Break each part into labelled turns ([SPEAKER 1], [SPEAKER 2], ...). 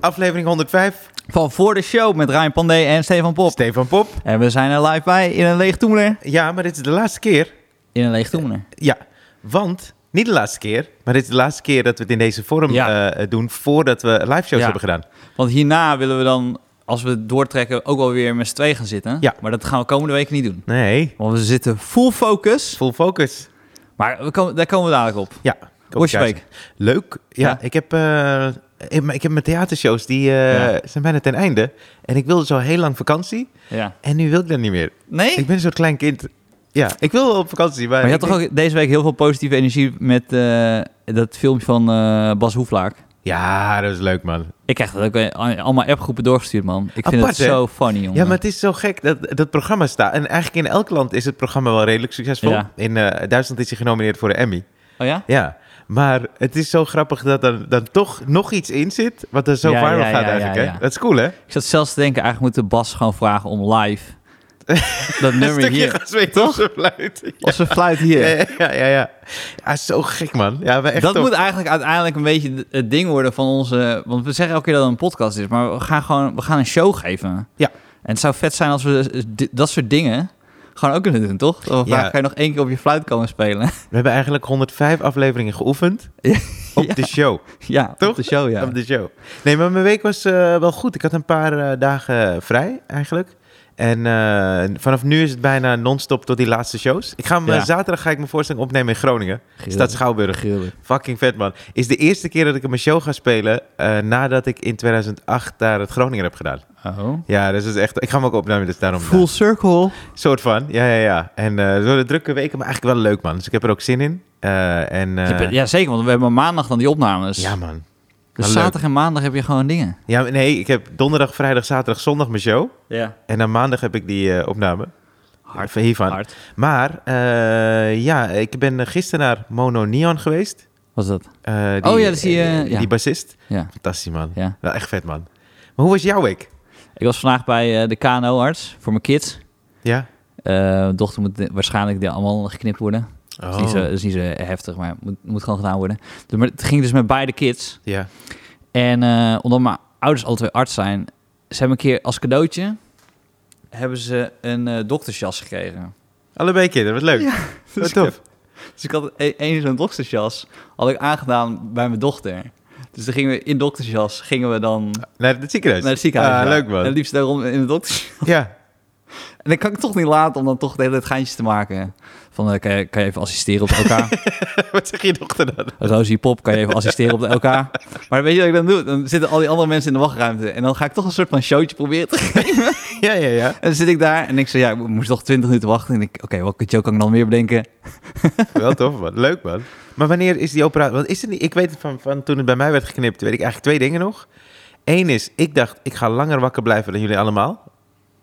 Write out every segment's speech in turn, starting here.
[SPEAKER 1] aflevering 105.
[SPEAKER 2] Van voor de show met Ryan Pandey en Stefan Pop.
[SPEAKER 1] Stefan Pop.
[SPEAKER 2] En we zijn er live bij in een leeg toemeler.
[SPEAKER 1] Ja, maar dit is de laatste keer.
[SPEAKER 2] In een leeg toemeler.
[SPEAKER 1] Ja, want niet de laatste keer, maar dit is de laatste keer dat we het in deze vorm
[SPEAKER 2] Ja.
[SPEAKER 1] eh, doen voordat we live shows
[SPEAKER 2] Ja.
[SPEAKER 1] hebben gedaan.
[SPEAKER 2] Want hierna willen we dan, als we het doortrekken, ook wel weer met z'n twee gaan zitten.
[SPEAKER 1] Ja.
[SPEAKER 2] Maar dat gaan we komende week niet doen.
[SPEAKER 1] Nee,
[SPEAKER 2] Want we zitten full focus.
[SPEAKER 1] full focus.
[SPEAKER 2] Maar we komen, daar komen we dadelijk op.
[SPEAKER 1] Ja.
[SPEAKER 2] Hoe is je
[SPEAKER 1] Koopkaars.
[SPEAKER 2] week?
[SPEAKER 1] Leuk. Ja,
[SPEAKER 2] Ja.
[SPEAKER 1] ik heb... eh, ik, maar ik heb mijn theatershows, die eh, zijn bijna ten einde. En ik wilde zo heel lang vakantie.
[SPEAKER 2] Ja.
[SPEAKER 1] En nu wil ik dat niet meer.
[SPEAKER 2] Nee?
[SPEAKER 1] Ik ben een soort klein kind. Ja, ik wil wel op vakantie. Maar,
[SPEAKER 2] Maar je
[SPEAKER 1] ik
[SPEAKER 2] had toch
[SPEAKER 1] denk-
[SPEAKER 2] ook deze week heel veel positieve energie met eh, dat filmpje van eh, Bas Hoeflaak.
[SPEAKER 1] Ja, dat is leuk, man.
[SPEAKER 2] Ik krijg dat ook eh, allemaal appgroepen doorgestuurd, man. Ik vind
[SPEAKER 1] Apart,
[SPEAKER 2] het
[SPEAKER 1] hè?
[SPEAKER 2] zo funny, jongen.
[SPEAKER 1] Ja, maar het is zo gek dat dat programma staat. En eigenlijk in elk land is het programma wel redelijk succesvol.
[SPEAKER 2] Ja.
[SPEAKER 1] In eh, Duitsland is hij genomineerd voor de Emmy.
[SPEAKER 2] Oh ja?
[SPEAKER 1] Ja, maar het is zo grappig dat er dan toch nog iets in zit... wat er zo
[SPEAKER 2] Ja,
[SPEAKER 1] viral
[SPEAKER 2] ja,
[SPEAKER 1] gaat
[SPEAKER 2] ja,
[SPEAKER 1] eigenlijk.
[SPEAKER 2] ja,
[SPEAKER 1] hè?
[SPEAKER 2] ja.
[SPEAKER 1] Dat is cool, hè?
[SPEAKER 2] Ik zat zelfs te denken, eigenlijk moeten Bas gewoon vragen om live dat
[SPEAKER 1] Een
[SPEAKER 2] nummer
[SPEAKER 1] stukje
[SPEAKER 2] hier.
[SPEAKER 1] gezweet
[SPEAKER 2] Toch?
[SPEAKER 1] op zijn fluit.
[SPEAKER 2] Als we fluit hier.
[SPEAKER 1] Ja, ja, ja. ja, ja. Ja, zo gek, man. Ja, we echt
[SPEAKER 2] dat
[SPEAKER 1] top.
[SPEAKER 2] moet eigenlijk uiteindelijk een beetje d- het ding worden van onze... Want we zeggen elke keer dat het een podcast is, maar we gaan gewoon we gaan een show geven.
[SPEAKER 1] Ja.
[SPEAKER 2] En het zou vet zijn als we s- d- dat soort dingen gewoon ook kunnen doen, toch? Dan
[SPEAKER 1] Ja.
[SPEAKER 2] kan je nog één keer op je fluit komen spelen.
[SPEAKER 1] We hebben eigenlijk 105 afleveringen geoefend
[SPEAKER 2] Ja.
[SPEAKER 1] op de show.
[SPEAKER 2] ja,
[SPEAKER 1] Toch?
[SPEAKER 2] op de show, ja.
[SPEAKER 1] Op de show. Nee, maar mijn week was eh, wel goed. Ik had een paar eh, dagen vrij eigenlijk. En eh, vanaf nu is het bijna non-stop tot die laatste shows. Ik ga hem, eh,
[SPEAKER 2] Ja.
[SPEAKER 1] zaterdag ga ik mijn voorstelling opnemen in Groningen.
[SPEAKER 2] Geel.
[SPEAKER 1] Stad Schouwburg.
[SPEAKER 2] Geel.
[SPEAKER 1] Fucking vet, man. Is de eerste keer dat ik mijn show ga spelen eh, nadat ik in 2008 daar het Groningen heb gedaan.
[SPEAKER 2] Oh.
[SPEAKER 1] Ja, dus dat is echt... Ik ga hem ook opnemen, dus daarom... eh,
[SPEAKER 2] Full circle.
[SPEAKER 1] Soort van, ja, ja, ja. En eh door de drukke weken, maar eigenlijk wel leuk, man. Dus ik heb er ook zin in. Eh, en, eh,
[SPEAKER 2] ja, zeker, want we hebben maandag dan die opnames.
[SPEAKER 1] ja, man.
[SPEAKER 2] dus
[SPEAKER 1] leuk.
[SPEAKER 2] zaterdag en maandag heb je gewoon dingen.
[SPEAKER 1] Ja, maar nee, ik heb donderdag, vrijdag, zaterdag, zondag mijn show.
[SPEAKER 2] Ja.
[SPEAKER 1] En dan maandag heb ik die eh, opname.
[SPEAKER 2] Hard.
[SPEAKER 1] Van hiervan.
[SPEAKER 2] Hard.
[SPEAKER 1] Maar eh, ja, ik ben eh, gisteren naar Mono Neon geweest.
[SPEAKER 2] Wat is dat?
[SPEAKER 1] Eh, die,
[SPEAKER 2] Oh ja, dat is die, eh, ja.
[SPEAKER 1] die bassist.
[SPEAKER 2] Ja.
[SPEAKER 1] Fantastisch, man.
[SPEAKER 2] Ja.
[SPEAKER 1] Wel echt vet, man. Maar hoe was jouw week?
[SPEAKER 2] Ik was vandaag bij eh, de KNO-arts voor mijn kids.
[SPEAKER 1] Ja?
[SPEAKER 2] Eh, mijn dochter moet de- waarschijnlijk de allemaal geknipt worden. Dat, is niet zo,
[SPEAKER 1] Oh.
[SPEAKER 2] dat is niet zo heftig, maar moet, moet gewoon gedaan worden. Dus, maar het ging dus met beide kids.
[SPEAKER 1] Ja.
[SPEAKER 2] En eh, omdat mijn ouders alle twee arts zijn, ze hebben een keer als cadeautje hebben ze een eh, doktersjas gekregen.
[SPEAKER 1] Allebei kinderen, wat leuk.
[SPEAKER 2] Ja,
[SPEAKER 1] Wat
[SPEAKER 2] Dus
[SPEAKER 1] tof.
[SPEAKER 2] ik- Dus ik had e- één zo'n doktersjas had ik aangedaan bij mijn dochter. Dus dan gingen we in doktersjas gingen we dan
[SPEAKER 1] Naar het ziekenhuis.
[SPEAKER 2] naar het ziekenhuis.
[SPEAKER 1] Ah,
[SPEAKER 2] ja.
[SPEAKER 1] leuk,
[SPEAKER 2] En
[SPEAKER 1] man.
[SPEAKER 2] het liefst daarom in de dokter.
[SPEAKER 1] Ja.
[SPEAKER 2] En dan kan ik het toch niet laten om dan toch de hele tijd geintjes te maken. Van, eh, kan, je, kan je even assisteren op elkaar?
[SPEAKER 1] wat zeg je dochter dan?
[SPEAKER 2] Rosie Pop, kan je even assisteren op elkaar? Maar weet je wat ik dan doe? Dan zitten al die andere mensen in de wachtruimte. En dan ga ik toch een soort van showtje proberen te geven.
[SPEAKER 1] ja, ja, ja.
[SPEAKER 2] En dan zit ik daar en ik zeg, ja, ik moest toch 20 minuten wachten. En ik, oké, welke joke kan ik dan weer bedenken?
[SPEAKER 1] Wel tof, man. Leuk, man. Maar wanneer is die operatie? Want is het niet... Ik weet het van, van toen het bij mij werd geknipt, weet ik eigenlijk twee dingen nog. Eén is, ik dacht, ik ga langer wakker blijven dan jullie allemaal.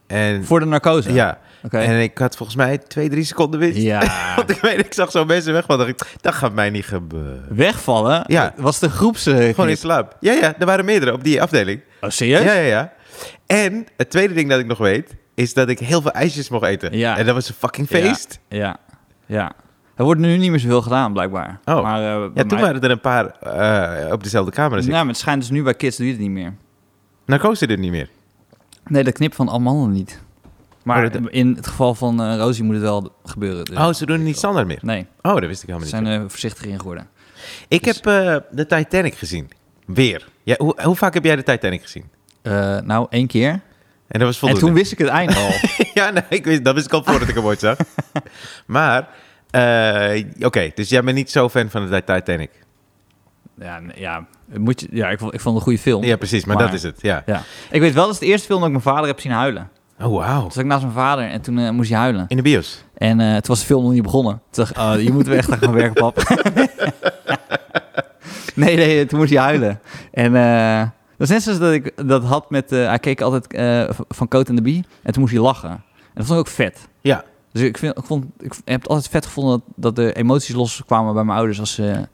[SPEAKER 1] En
[SPEAKER 2] Voor de narcose?
[SPEAKER 1] ja,
[SPEAKER 2] Oké.
[SPEAKER 1] en ik had volgens mij twee, drie seconden winst.
[SPEAKER 2] Ja.
[SPEAKER 1] Want ik weet, ik zag zo mensen weg, want dacht ik, dat gaat mij niet gebeuren.
[SPEAKER 2] Wegvallen?
[SPEAKER 1] Ja.
[SPEAKER 2] Was de groeps... eh,
[SPEAKER 1] Gewoon in slaap. Ja, ja, er waren meerdere op die afdeling.
[SPEAKER 2] Oh, serieus?
[SPEAKER 1] Ja, ja, ja. En het tweede ding dat ik nog weet, is dat ik heel veel ijsjes mocht eten.
[SPEAKER 2] Ja.
[SPEAKER 1] En dat was een fucking feest.
[SPEAKER 2] Ja. ja. Ja. Er wordt nu niet meer zoveel gedaan, blijkbaar.
[SPEAKER 1] Oh.
[SPEAKER 2] Maar, eh, bij
[SPEAKER 1] Ja, toen
[SPEAKER 2] mij-
[SPEAKER 1] waren er een paar eh, op dezelfde kamer als ik.
[SPEAKER 2] Ja, maar het schijnt dus nu bij kids doe je het niet meer.
[SPEAKER 1] Narcose dit niet meer.
[SPEAKER 2] Nee, dat knip van amandelen niet. Maar
[SPEAKER 1] Oh, dat-
[SPEAKER 2] in het geval van eh Rosie moet het wel gebeuren. dus.
[SPEAKER 1] Oh, ze doen het niet standaard meer.
[SPEAKER 2] Nee,
[SPEAKER 1] Oh, dat wist ik
[SPEAKER 2] ze
[SPEAKER 1] helemaal niet.
[SPEAKER 2] zijn Dus- er voorzichtig in geworden.
[SPEAKER 1] Ik heb eh, de Titanic gezien. Weer. Ja, hoe, hoe vaak heb jij de Titanic gezien?
[SPEAKER 2] Eh, nou, één keer.
[SPEAKER 1] En dat was
[SPEAKER 2] En
[SPEAKER 1] voldoende.
[SPEAKER 2] toen wist ik het einde al.
[SPEAKER 1] ja, nee, ik wist, dat wist ik al voordat ik hem ooit zag. Maar, eh, oké, dus jij bent niet zo fan van de Titanic.
[SPEAKER 2] ja, nee, ja, moet je, ja ik, vond- ik vond het een goede film.
[SPEAKER 1] Ja, precies, maar,
[SPEAKER 2] Maar-
[SPEAKER 1] dat is het. Ja.
[SPEAKER 2] Ja. Ik weet wel, dat is de eerste film dat ik mijn vader heb zien huilen.
[SPEAKER 1] Oh, wauw.
[SPEAKER 2] Toen zat ik naast mijn vader en toen eh, moest hij huilen.
[SPEAKER 1] In de bios.
[SPEAKER 2] En eh, toen was de film nog niet begonnen. Toen dacht ik, oh, hier moeten we echt aan gaan werken, pap. nee, nee, toen moest hij huilen. En eh, dat is net zoals dat ik dat had met... eh, hij keek altijd eh, v- van Coat en de Bee. En toen moest hij lachen. En dat vond ik ook vet.
[SPEAKER 1] Ja.
[SPEAKER 2] Dus ik, vind, ik, vond, ik v- heb het altijd vet gevonden dat, dat de emoties loskwamen bij mijn ouders als ze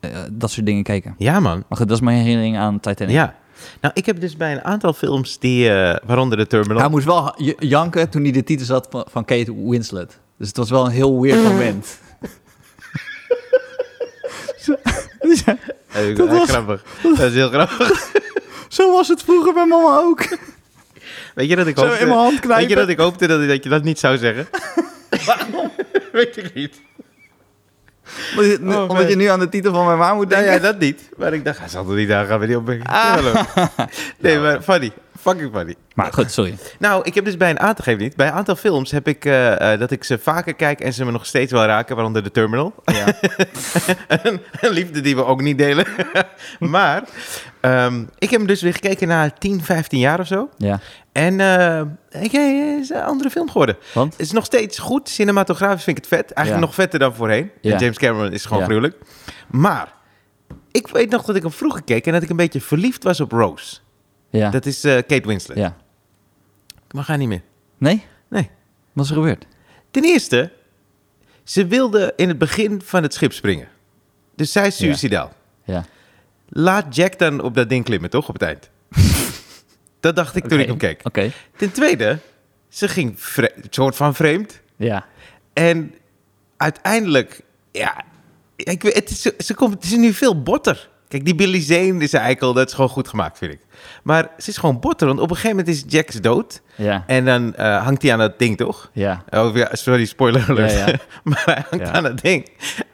[SPEAKER 2] eh, dat soort dingen keken.
[SPEAKER 1] Ja, man.
[SPEAKER 2] Maar goed, dat is mijn herinnering aan Titanic.
[SPEAKER 1] Ja. Nou, ik heb dus bij een aantal films die, eh, waaronder de Terminal...
[SPEAKER 2] Hij moest wel ha- j- janken toen hij de titel zat van, van Kate Winslet. Dus het was wel een heel weird moment. Zo-
[SPEAKER 1] Eh,
[SPEAKER 2] dat was- Nou,
[SPEAKER 1] Eh, grappig. Dat is heel grappig.
[SPEAKER 2] Zo was het vroeger bij mama ook.
[SPEAKER 1] Weet je dat ik
[SPEAKER 2] Zo in mijn
[SPEAKER 1] hoopte,
[SPEAKER 2] hand knijpen.
[SPEAKER 1] weet je dat, ik hoopte dat, dat je dat niet zou zeggen? Waarom? weet ik niet.
[SPEAKER 2] Omdat je, nu-
[SPEAKER 1] Oh,
[SPEAKER 2] omdat
[SPEAKER 1] man.
[SPEAKER 2] je nu aan de titel van mijn waar moet
[SPEAKER 1] Nou
[SPEAKER 2] denken.
[SPEAKER 1] ja, dat niet. Maar ik dacht, hij zal er niet aan gaan, weer die opmerking.
[SPEAKER 2] Ah.
[SPEAKER 1] Jawel hoor. Nee,
[SPEAKER 2] Nou.
[SPEAKER 1] maar funny. Fucking funny.
[SPEAKER 2] Maar goed, sorry.
[SPEAKER 1] Nou, ik heb dus bij een aantal, geef niet, bij een aantal films heb ik eh, eh, dat ik ze vaker kijk en ze me nog steeds wel raken, waaronder The Terminal.
[SPEAKER 2] Ja.
[SPEAKER 1] een liefde die we ook niet delen. maar ehm, ik heb hem dus weer gekeken na 10, 15 jaar of zo.
[SPEAKER 2] ja.
[SPEAKER 1] En eh ik, eh, het is een andere film geworden.
[SPEAKER 2] Want?
[SPEAKER 1] Het is nog steeds goed. Cinematografisch vind ik het vet. Eigenlijk
[SPEAKER 2] Ja.
[SPEAKER 1] nog vetter dan voorheen.
[SPEAKER 2] Ja.
[SPEAKER 1] En James Cameron is gewoon
[SPEAKER 2] Ja.
[SPEAKER 1] gruwelijk. Maar ik weet nog dat ik hem vroeger keek en dat ik een beetje verliefd was op Rose.
[SPEAKER 2] Ja.
[SPEAKER 1] Dat is eh, Kate Winslet.
[SPEAKER 2] ja.
[SPEAKER 1] Ik mag haar niet meer.
[SPEAKER 2] Nee?
[SPEAKER 1] Nee.
[SPEAKER 2] Wat is er gebeurd?
[SPEAKER 1] Ten eerste, ze wilde in het begin van het schip springen. Dus zij is
[SPEAKER 2] Ja.
[SPEAKER 1] suicidaal.
[SPEAKER 2] Ja.
[SPEAKER 1] Laat Jack dan op dat ding klimmen, toch? Op het eind. dat dacht ik toen ik hem keek.
[SPEAKER 2] Oké.
[SPEAKER 1] Ten tweede, ze ging vre- soort van vreemd.
[SPEAKER 2] Ja.
[SPEAKER 1] En uiteindelijk, ja, ik, weet- het, is, ze komt, het is nu veel botter. Kijk, die Billy Zane is eigenlijk al, dat is gewoon goed gemaakt, vind ik. Maar ze is gewoon botter, want op een gegeven moment is Jack's dood.
[SPEAKER 2] Ja.
[SPEAKER 1] En dan eh, hangt hij aan dat ding, toch?
[SPEAKER 2] Ja.
[SPEAKER 1] Oh ja, sorry, spoiler alert.
[SPEAKER 2] Ja, ja.
[SPEAKER 1] maar hij hangt
[SPEAKER 2] Ja.
[SPEAKER 1] aan dat ding.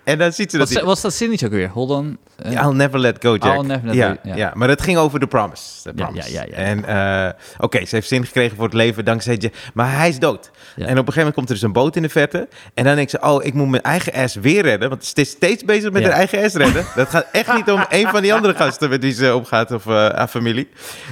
[SPEAKER 1] En dan ziet ze dat
[SPEAKER 2] Wat
[SPEAKER 1] hij...
[SPEAKER 2] was dat zinnetje ook weer? Hold on. eh,
[SPEAKER 1] I'll never let go, Jack.
[SPEAKER 2] I'll never let
[SPEAKER 1] ja,
[SPEAKER 2] go, ja.
[SPEAKER 1] ja. maar het ging over de promise. The
[SPEAKER 2] Ja,
[SPEAKER 1] promise.
[SPEAKER 2] ja, ja, ja.
[SPEAKER 1] En eh, oké, ze heeft zin gekregen voor het leven dankzij Jack. Maar hij is dood.
[SPEAKER 2] Ja.
[SPEAKER 1] En op een gegeven moment komt er dus een boot in de verte. En dan denkt ze, oh, ik moet mijn eigen ass weer redden. Want ze is steeds bezig met
[SPEAKER 2] Ja.
[SPEAKER 1] haar eigen ass redden. Dat gaat echt niet om een van die andere gasten met wie ze opgaat of eh, haar familie.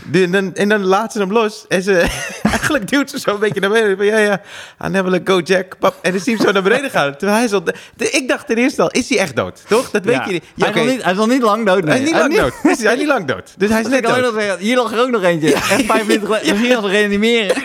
[SPEAKER 1] Die- en, dan, en dan laat ze hem los. En ze, eigenlijk duwt ze zo een beetje naar beneden. Van, ja, ja, I'll never let go, Jack. Pap. En dan zie je hem zo naar beneden gaan. Terwijl hij is al... Ik dacht ten eerste al, is hij echt dood? Toch? Dat weet
[SPEAKER 2] ja.
[SPEAKER 1] je niet. Ja,
[SPEAKER 2] Hij, is
[SPEAKER 1] oké.
[SPEAKER 2] nog niet, hij is nog niet lang dood.
[SPEAKER 1] Hij is
[SPEAKER 2] nee.
[SPEAKER 1] niet lang dood. Hij is, hij is niet lang dood. Dus hij is
[SPEAKER 2] Dus ik
[SPEAKER 1] net
[SPEAKER 2] kan ook
[SPEAKER 1] dood.
[SPEAKER 2] nog zeggen, hier lag er ook nog eentje. Echt vijf minuten geleden. Misschien als we reanimeren.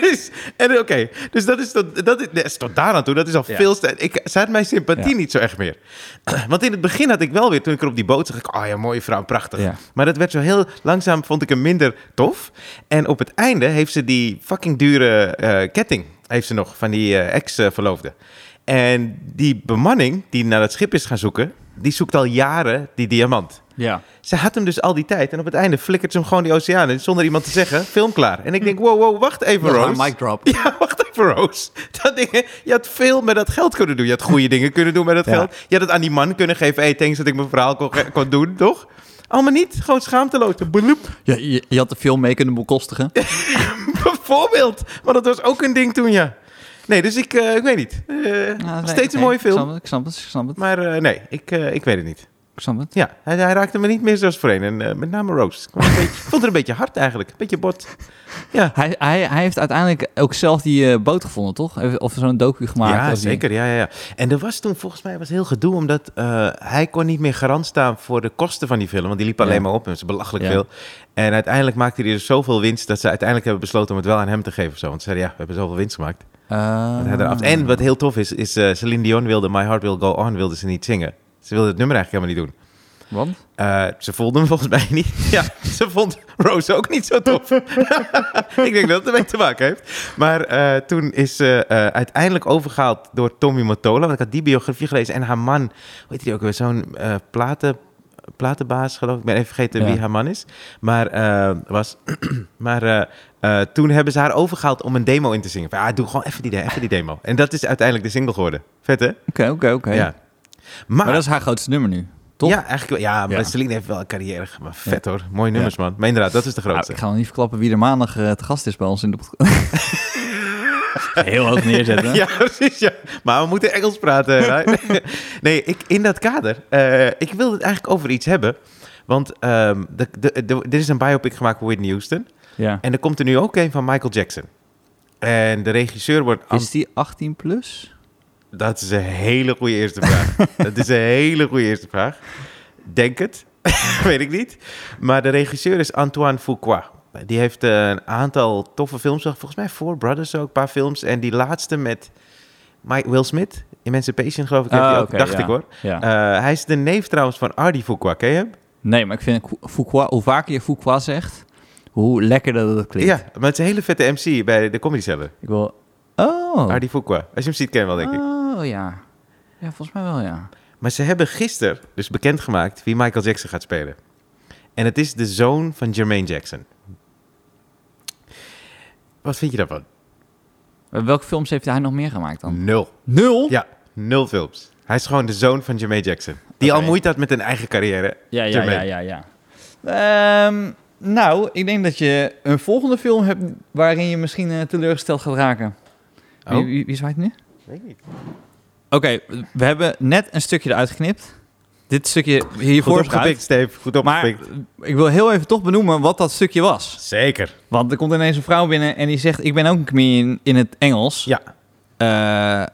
[SPEAKER 1] Dus- en oké, dus dat is tot, dat is, nee, is tot daar aan toe. Dat is al
[SPEAKER 2] Ja.
[SPEAKER 1] veel... ster- Ik, ze had mijn sympathie
[SPEAKER 2] Ja.
[SPEAKER 1] niet zo echt meer. Want in het begin had ik wel weer, toen ik er op die boot zag, ik, oh ja, mooie vrouw, prachtig.
[SPEAKER 2] Ja.
[SPEAKER 1] Maar dat werd zo heel langzaam, vond ik hem minder tof. En op het einde heeft ze die fucking dure eh, ketting, heeft ze nog, van die eh, ex-verloofde. En die bemanning die naar het schip is gaan zoeken, die zoekt al jaren die diamant.
[SPEAKER 2] Ja.
[SPEAKER 1] Ze had hem dus al die tijd. En op het einde flikkert ze hem gewoon die oceaan in. Zonder iemand te zeggen, film klaar. En ik denk, wow, wow, wacht even,
[SPEAKER 2] Ja,
[SPEAKER 1] Roos.
[SPEAKER 2] mic drop.
[SPEAKER 1] Ja, wacht even, Roos. Dat ding, je had veel met dat geld kunnen doen. Je had goede dingen kunnen doen met dat
[SPEAKER 2] Ja.
[SPEAKER 1] geld. Je had het aan die man kunnen geven. Hey, thanks dat ik mijn verhaal kon, kon doen, toch? Allemaal niet. Gewoon schaamteloos. Bloep.
[SPEAKER 2] Ja, je, je had de film mee kunnen bekostigen.
[SPEAKER 1] Bijvoorbeeld. Maar dat was ook een ding toen, ja. Nee, dus ik, eh, ik weet niet. Eh,
[SPEAKER 2] Ja, nee,
[SPEAKER 1] steeds een
[SPEAKER 2] nee,
[SPEAKER 1] mooie film.
[SPEAKER 2] Nou, Ik snap het, ik snap het, ik snap het.
[SPEAKER 1] Maar eh, nee, ik, eh, ik weet het niet.
[SPEAKER 2] Ik snap het.
[SPEAKER 1] Ja, hij, hij raakte me niet meer zoals voorheen. En eh, met name Roos. Ik vond het een beetje- ik vond het een beetje hard eigenlijk. Een beetje bot. Ja,
[SPEAKER 2] Hij, hij, hij heeft uiteindelijk ook zelf die eh, boot gevonden, toch? Hij heeft- Of zo'n docu gemaakt.
[SPEAKER 1] ja
[SPEAKER 2] of die-
[SPEAKER 1] zeker. Ja, ja, ja. En er was toen volgens mij was heel gedoe. Omdat eh, hij kon niet meer garant staan voor de kosten van die film. Want die liep
[SPEAKER 2] Ja.
[SPEAKER 1] alleen maar op. En ze belachelijk
[SPEAKER 2] Ja.
[SPEAKER 1] veel. En uiteindelijk maakte hij er zoveel winst. Dat ze uiteindelijk hebben besloten om het wel aan hem te geven. Of zo. Want ze zeiden ja, we hebben zoveel winst gemaakt.
[SPEAKER 2] Ah.
[SPEAKER 1] Dat hij eraf- En wat heel tof is, is eh Celine Dion wilde My Heart Will Go On wilde ze niet zingen. Ze wilde het nummer eigenlijk helemaal niet doen.
[SPEAKER 2] Want?
[SPEAKER 1] Eh, ze voelde hem volgens mij niet. Ja, ze vond Rose ook niet zo tof. ik denk dat het ermee te maken heeft. Maar eh, toen is ze eh, uiteindelijk overgehaald door Tommy Mottola. Want ik had die biografie gelezen. En haar man, hoe heet die ook weer? Zo'n eh, platen, platenbaas, geloof ik. Ik ben even vergeten
[SPEAKER 2] Ja.
[SPEAKER 1] wie haar man is. Maar, eh, was, maar eh, eh, toen hebben ze haar overgehaald om een demo in te zingen. Van, ah, doe gewoon even die, de- even die demo. En dat is uiteindelijk de single geworden. Vet, hè?
[SPEAKER 2] Oké, oké, oké.
[SPEAKER 1] Ja.
[SPEAKER 2] Maar dat is haar grootste nummer nu, toch?
[SPEAKER 1] Ja, eigenlijk wel. Ja, maar
[SPEAKER 2] Ja.
[SPEAKER 1] Celine heeft wel een carrière gemaakt. Vet hoor. Mooie nummers, man. Maar inderdaad, dat is de
[SPEAKER 2] Nou,
[SPEAKER 1] grootste.
[SPEAKER 2] ik ga nog niet verklappen wie er maandag eh, te gast is bij ons in de podcast. Heel hoog neerzetten.
[SPEAKER 1] ja, precies. Ja. Maar we moeten Engels praten. hè? nee, ik, in dat kader. eh, ik wilde het eigenlijk over iets hebben. Want ehm, de, de, de- er is een biopic gemaakt voor Whitney Houston.
[SPEAKER 2] Ja.
[SPEAKER 1] En er komt er nu ook een van Michael Jackson. En de regisseur wordt... Ant-
[SPEAKER 2] Is die 18 plus?
[SPEAKER 1] Dat is een hele goede eerste vraag. dat is een hele goede eerste vraag. Denk het. Weet ik niet. Maar de regisseur is Antoine Fuqua. Die heeft eh, een aantal toffe films. gemaakt. Volgens mij Four Brothers ook, een paar films. En die laatste met Mike Will Smith. Emancipation geloof ik. heeft
[SPEAKER 2] Ah,
[SPEAKER 1] hij ook,
[SPEAKER 2] oké,
[SPEAKER 1] dacht
[SPEAKER 2] ja.
[SPEAKER 1] ik hoor.
[SPEAKER 2] Ja.
[SPEAKER 1] Eh, hij is de neef trouwens van Ardi Fuqua. Ken je hem?
[SPEAKER 2] nee, maar ik vind Fou- Fouqua, hoe vaker je Fouqua zegt, hoe lekkerder dat het klinkt.
[SPEAKER 1] Ja, maar het is een hele vette MC bij de Comedy Cellar.
[SPEAKER 2] Ik wil... Oh.
[SPEAKER 1] Ardi Fuqua. Als je hem ziet, ken je hem wel denk ik.
[SPEAKER 2] Oh, ja. Ja, volgens mij wel, ja.
[SPEAKER 1] Maar ze hebben gisteren dus bekendgemaakt wie Michael Jackson gaat spelen. En het is de zoon van Jermaine Jackson. Wat vind je daarvan?
[SPEAKER 2] Welke films heeft hij nog meer gemaakt dan?
[SPEAKER 1] Nul.
[SPEAKER 2] Nul?
[SPEAKER 1] Ja, nul films. Hij is gewoon de zoon van Jermaine Jackson. Die
[SPEAKER 2] Oké.
[SPEAKER 1] al moeite had met een eigen carrière.
[SPEAKER 2] Ja, ja, ja,
[SPEAKER 1] Jermaine.
[SPEAKER 2] ja. ja. Ehm, nou, ik denk dat je een volgende film hebt waarin je misschien eh, teleurgesteld gaat raken.
[SPEAKER 1] Oh.
[SPEAKER 2] Wie, wie, wie zwaait nu?
[SPEAKER 1] Weet ik niet.
[SPEAKER 2] Oké, we hebben net een stukje eruit geknipt. Dit stukje
[SPEAKER 1] Goed
[SPEAKER 2] hiervoor is
[SPEAKER 1] opgepikt,
[SPEAKER 2] eruit.
[SPEAKER 1] Steve. Goed
[SPEAKER 2] Maar
[SPEAKER 1] opgepikt.
[SPEAKER 2] ik wil heel even toch benoemen wat dat stukje was.
[SPEAKER 1] Zeker.
[SPEAKER 2] Want er komt ineens een vrouw binnen en die zegt... ik ben ook een comedian in het Engels.
[SPEAKER 1] Ja.
[SPEAKER 2] Eh,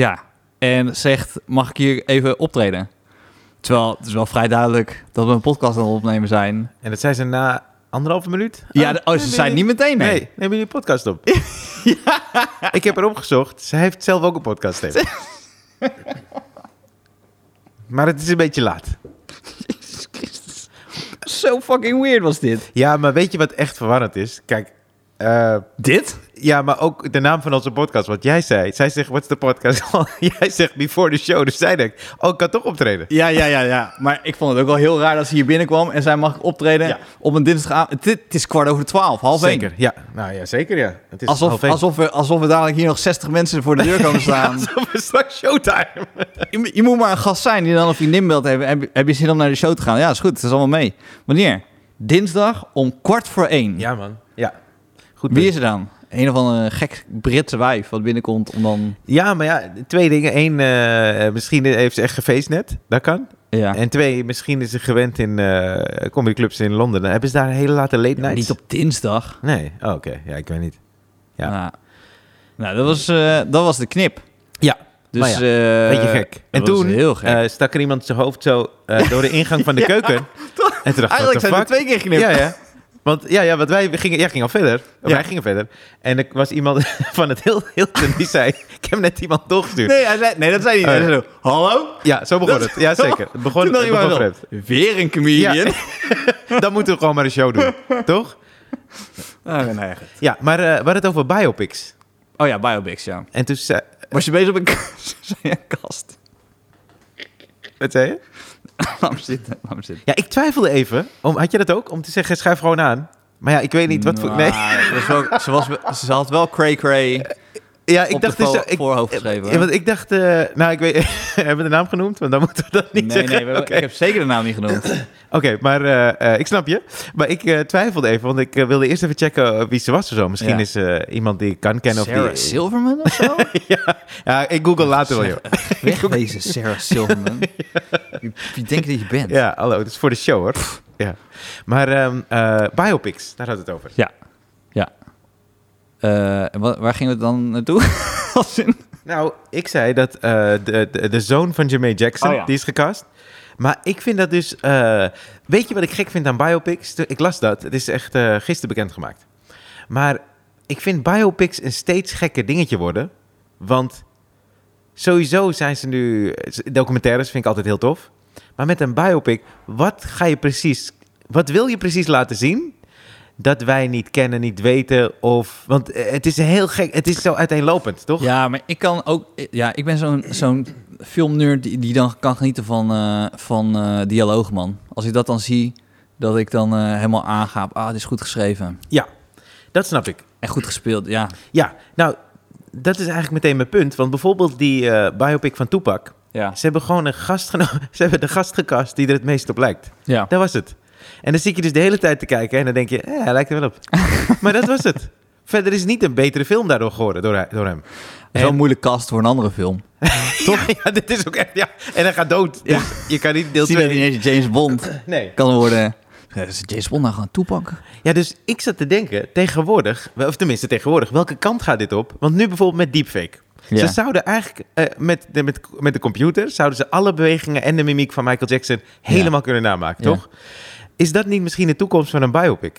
[SPEAKER 2] ja. En zegt, mag ik hier even optreden? Terwijl het is wel vrij duidelijk dat we een podcast aan het opnemen zijn.
[SPEAKER 1] En dat zei ze na anderhalve minuut.
[SPEAKER 2] ja,
[SPEAKER 1] Oh,
[SPEAKER 2] de- oh,
[SPEAKER 1] nee,
[SPEAKER 2] ze
[SPEAKER 1] nee,
[SPEAKER 2] zijn
[SPEAKER 1] nee.
[SPEAKER 2] niet meteen
[SPEAKER 1] Nee,
[SPEAKER 2] mee.
[SPEAKER 1] neem jullie een podcast op. Ik heb erop gezocht. Ze heeft zelf ook een podcast. Steve. maar het is een beetje laat.
[SPEAKER 2] Zo fucking weird was dit.
[SPEAKER 1] Ja, maar weet je wat echt verwarrend is? Kijk, eh,
[SPEAKER 2] Dit?
[SPEAKER 1] ja, maar ook de naam van onze podcast. Wat jij zei. Zij zegt, what's the podcast? jij zegt, before the show. Dus zij denkt, oh, ik kan toch optreden.
[SPEAKER 2] Ja, ja, ja, ja. Maar ik vond het ook wel heel raar dat ze hier binnenkwam en zij mag optreden
[SPEAKER 1] Ja.
[SPEAKER 2] op een dinsdagavond. Dit het is kwart over twaalf, half één.
[SPEAKER 1] zeker, ja. Nou ja, zeker ja. Het is half
[SPEAKER 2] Alsof,
[SPEAKER 1] één.
[SPEAKER 2] alsof, we, alsof we dadelijk hier nog 60 mensen voor de deur komen staan.
[SPEAKER 1] Alsof het straks showtime.
[SPEAKER 2] je, je moet maar een gast zijn die dan een vriendin belt hebben. Heb, je- heb je zin om naar de show te gaan? Ja, is goed. Het is allemaal mee. Wanneer? Dinsdag om kwart voor één.
[SPEAKER 1] Ja, man. Ja. Goed
[SPEAKER 2] Wie is er dan? Een of andere gek Britse wijf wat binnenkomt om dan...
[SPEAKER 1] Ja, maar ja, twee dingen. Eén, eh, eh, misschien heeft ze echt gefeest net. Dat kan.
[SPEAKER 2] Ja.
[SPEAKER 1] En twee, misschien is ze gewend in eh comedyclubs in Londen. Dan hebben ze daar hele late late nights.
[SPEAKER 2] Niet op dinsdag.
[SPEAKER 1] Nee, oh, oké. Ja, ik weet niet. Ja.
[SPEAKER 2] Nou, nou, dat, was, eh, dat was de knip.
[SPEAKER 1] Ja,
[SPEAKER 2] Dus,
[SPEAKER 1] maar Nou ja,
[SPEAKER 2] eh,
[SPEAKER 1] beetje gek. En
[SPEAKER 2] dat was
[SPEAKER 1] toen
[SPEAKER 2] heel gek.
[SPEAKER 1] eh, stak er iemand zijn hoofd zo eh, door de ingang van de keuken. En toen dacht ik,
[SPEAKER 2] Eigenlijk
[SPEAKER 1] what the
[SPEAKER 2] zijn er
[SPEAKER 1] fuck?
[SPEAKER 2] twee keer geknipt.
[SPEAKER 1] Ja, ja. Want, ja, ja, want wij gingen, jij ging al verder. Of
[SPEAKER 2] Ja.
[SPEAKER 1] Wij gingen verder. En er was iemand van het heel Hilton die zei... Ik heb net iemand doorgestuurd.
[SPEAKER 2] Nee, hij zei, nee, dat zei hij
[SPEAKER 1] Oh,
[SPEAKER 2] niet. Hij zei zo, hallo?
[SPEAKER 1] Ja, zo begon het. Ja, zeker. Het begon,
[SPEAKER 2] Toen dacht
[SPEAKER 1] het
[SPEAKER 2] ik
[SPEAKER 1] begon
[SPEAKER 2] wel,
[SPEAKER 1] vreemd.
[SPEAKER 2] weer een comedian.
[SPEAKER 1] Ja. Dan moeten we gewoon maar een show doen. Toch?
[SPEAKER 2] Ah, nee, goed.
[SPEAKER 1] Ja, maar eh, we hadden het over biopics.
[SPEAKER 2] oh ja, biopics, ja.
[SPEAKER 1] En toen zei...
[SPEAKER 2] Was je bezig op een kast? Zei je een kast?
[SPEAKER 1] Wat zei je?
[SPEAKER 2] Waarom zitten? Waarom zitten?
[SPEAKER 1] Ja, ik twijfelde even. Om, had je dat ook? Om te zeggen, schuif gewoon aan. Maar ja, ik weet niet wat voor... Nee.
[SPEAKER 2] Nou, dat is wel- ze, was, wel- ze had wel cray cray.
[SPEAKER 1] Ja, ik
[SPEAKER 2] op
[SPEAKER 1] dacht...
[SPEAKER 2] de
[SPEAKER 1] dus,
[SPEAKER 2] vo-
[SPEAKER 1] ik,
[SPEAKER 2] voorhoofd geschreven,
[SPEAKER 1] eh,
[SPEAKER 2] hoor.
[SPEAKER 1] want ik dacht... eh, nou, ik weet... hebben we de naam genoemd? Want dan moeten we dat niet
[SPEAKER 2] Nee, nee,
[SPEAKER 1] zeggen.
[SPEAKER 2] we hebben-
[SPEAKER 1] Oké.
[SPEAKER 2] ik heb zeker de naam niet genoemd.
[SPEAKER 1] Oké, maar eh, eh, ik snap je. Maar ik eh, twijfelde even, want ik eh, wilde eerst even checken wie ze was of zo. Misschien
[SPEAKER 2] Ja.
[SPEAKER 1] is ze iemand die ik kan kennen
[SPEAKER 2] Sarah
[SPEAKER 1] of die...
[SPEAKER 2] Silverman of zo?
[SPEAKER 1] Ja, ik google later wel, joh.
[SPEAKER 2] Wegwezen, Sarah Silverman. Wie, wie denk je dat je bent?
[SPEAKER 1] Ja, hallo, het is voor de show hoor. Ja. Maar ehm, eh, biopics, daar had het over.
[SPEAKER 2] Ja. ja. Eh, en wa- waar gingen we dan naartoe? Als in-
[SPEAKER 1] Nou, ik zei dat eh, de, de, de zoon van Jermaine Jackson,
[SPEAKER 2] Oh, ja.
[SPEAKER 1] die is gecast. Maar ik vind dat dus... eh, weet je wat ik gek vind aan biopics? Toen- Ik las dat, het is echt eh gisteren bekendgemaakt. Maar ik vind biopics een steeds gekker dingetje worden. Want sowieso zijn ze nu... Documentaires vind ik altijd heel tof. Maar met een biopic, wat ga je precies... Wat wil je precies laten zien... Dat wij niet kennen, niet weten of... Want eh, het is heel gek. Het is zo uiteenlopend, toch?
[SPEAKER 2] Ja, maar ik kan ook. Ja, ik ben zo'n zo'n filmnerd die, die dan kan genieten van, eh, van eh, dialoog, man. Als ik dat dan zie, dat ik dan eh, helemaal aangaap. Ah, dit is goed geschreven
[SPEAKER 1] Ja, dat snap ik.
[SPEAKER 2] en goed gespeeld. Ja,
[SPEAKER 1] Ja, nou, dat is eigenlijk meteen mijn punt. Want bijvoorbeeld die eh, biopic van Tupac.
[SPEAKER 2] ja,
[SPEAKER 1] Ze hebben gewoon een gast genomen. Ze hebben de gast gekast die er het meest op lijkt.
[SPEAKER 2] ja.
[SPEAKER 1] Dat was het. En dan zit je dus de hele tijd te kijken en dan denk je, eh, hij lijkt er wel op. maar dat was het. Verder is niet een betere film daardoor geworden door, hij- door hem.
[SPEAKER 2] Zo'n
[SPEAKER 1] En-
[SPEAKER 2] moeilijk cast voor een andere film.
[SPEAKER 1] Toch? ja, dit is ook echt, ja. En hij gaat dood. Dus je kan niet deel
[SPEAKER 2] Zie dat
[SPEAKER 1] 2...
[SPEAKER 2] ineens James Bond
[SPEAKER 1] Nee.
[SPEAKER 2] kan worden. Ja, Is James Bond nou gaan toepakken?
[SPEAKER 1] Ja, dus ik zat te denken, tegenwoordig, of tenminste tegenwoordig, welke kant gaat dit op? Want nu bijvoorbeeld met deepfake.
[SPEAKER 2] Ja.
[SPEAKER 1] Ze zouden eigenlijk eh, met, de, met, met de computer, zouden ze alle bewegingen en de mimiek van Michael Jackson helemaal kunnen namaken,
[SPEAKER 2] Ja.
[SPEAKER 1] toch? Is dat niet misschien de toekomst van een biopic?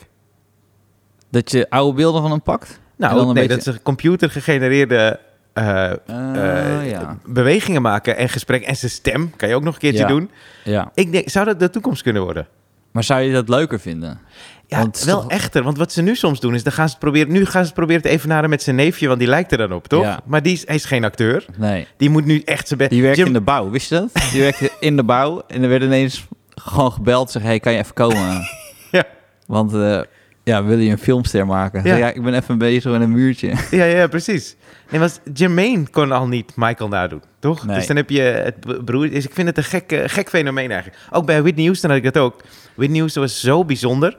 [SPEAKER 2] Dat je oude beelden van hem pakt? En
[SPEAKER 1] Nou,
[SPEAKER 2] dan
[SPEAKER 1] nee,
[SPEAKER 2] een beetje-
[SPEAKER 1] dat ze computergegenereerde eh,
[SPEAKER 2] Ah,
[SPEAKER 1] eh,
[SPEAKER 2] ja.
[SPEAKER 1] bewegingen maken en gesprek en zijn stem kan je ook nog een keertje
[SPEAKER 2] Ja.
[SPEAKER 1] doen.
[SPEAKER 2] ja.
[SPEAKER 1] Ik denk, zou dat de toekomst kunnen worden?
[SPEAKER 2] Maar zou je dat leuker vinden?
[SPEAKER 1] Ja,
[SPEAKER 2] Want het is
[SPEAKER 1] wel
[SPEAKER 2] toch-
[SPEAKER 1] echter. Want wat ze nu soms doen is, dan gaan ze het proberen, nu gaan ze het proberen te evenaren met zijn neefje, want die lijkt er dan op, toch?
[SPEAKER 2] Ja.
[SPEAKER 1] Maar die is, hij is geen acteur.
[SPEAKER 2] Nee.
[SPEAKER 1] Die moet nu echt zijn best...
[SPEAKER 2] Die werkt
[SPEAKER 1] Jim-
[SPEAKER 2] in de bouw, wist je dat? Die werkte in de bouw en er werd ineens gewoon gebeld. Zeg, hey, kan je even komen?
[SPEAKER 1] Ja.
[SPEAKER 2] Want eh, ja, wil je een filmster maken?
[SPEAKER 1] Ja.
[SPEAKER 2] Ja, ik ben even bezig met een muurtje.
[SPEAKER 1] Ja, ja, precies. Nee, want Jermaine kon al niet Michael nadoen, toch?
[SPEAKER 2] Nee.
[SPEAKER 1] Dus dan heb je het b- broer. Dus ik vind het een gek, eh, gek fenomeen eigenlijk. Ook bij Whitney Houston had ik dat ook. Whitney Houston was zo bijzonder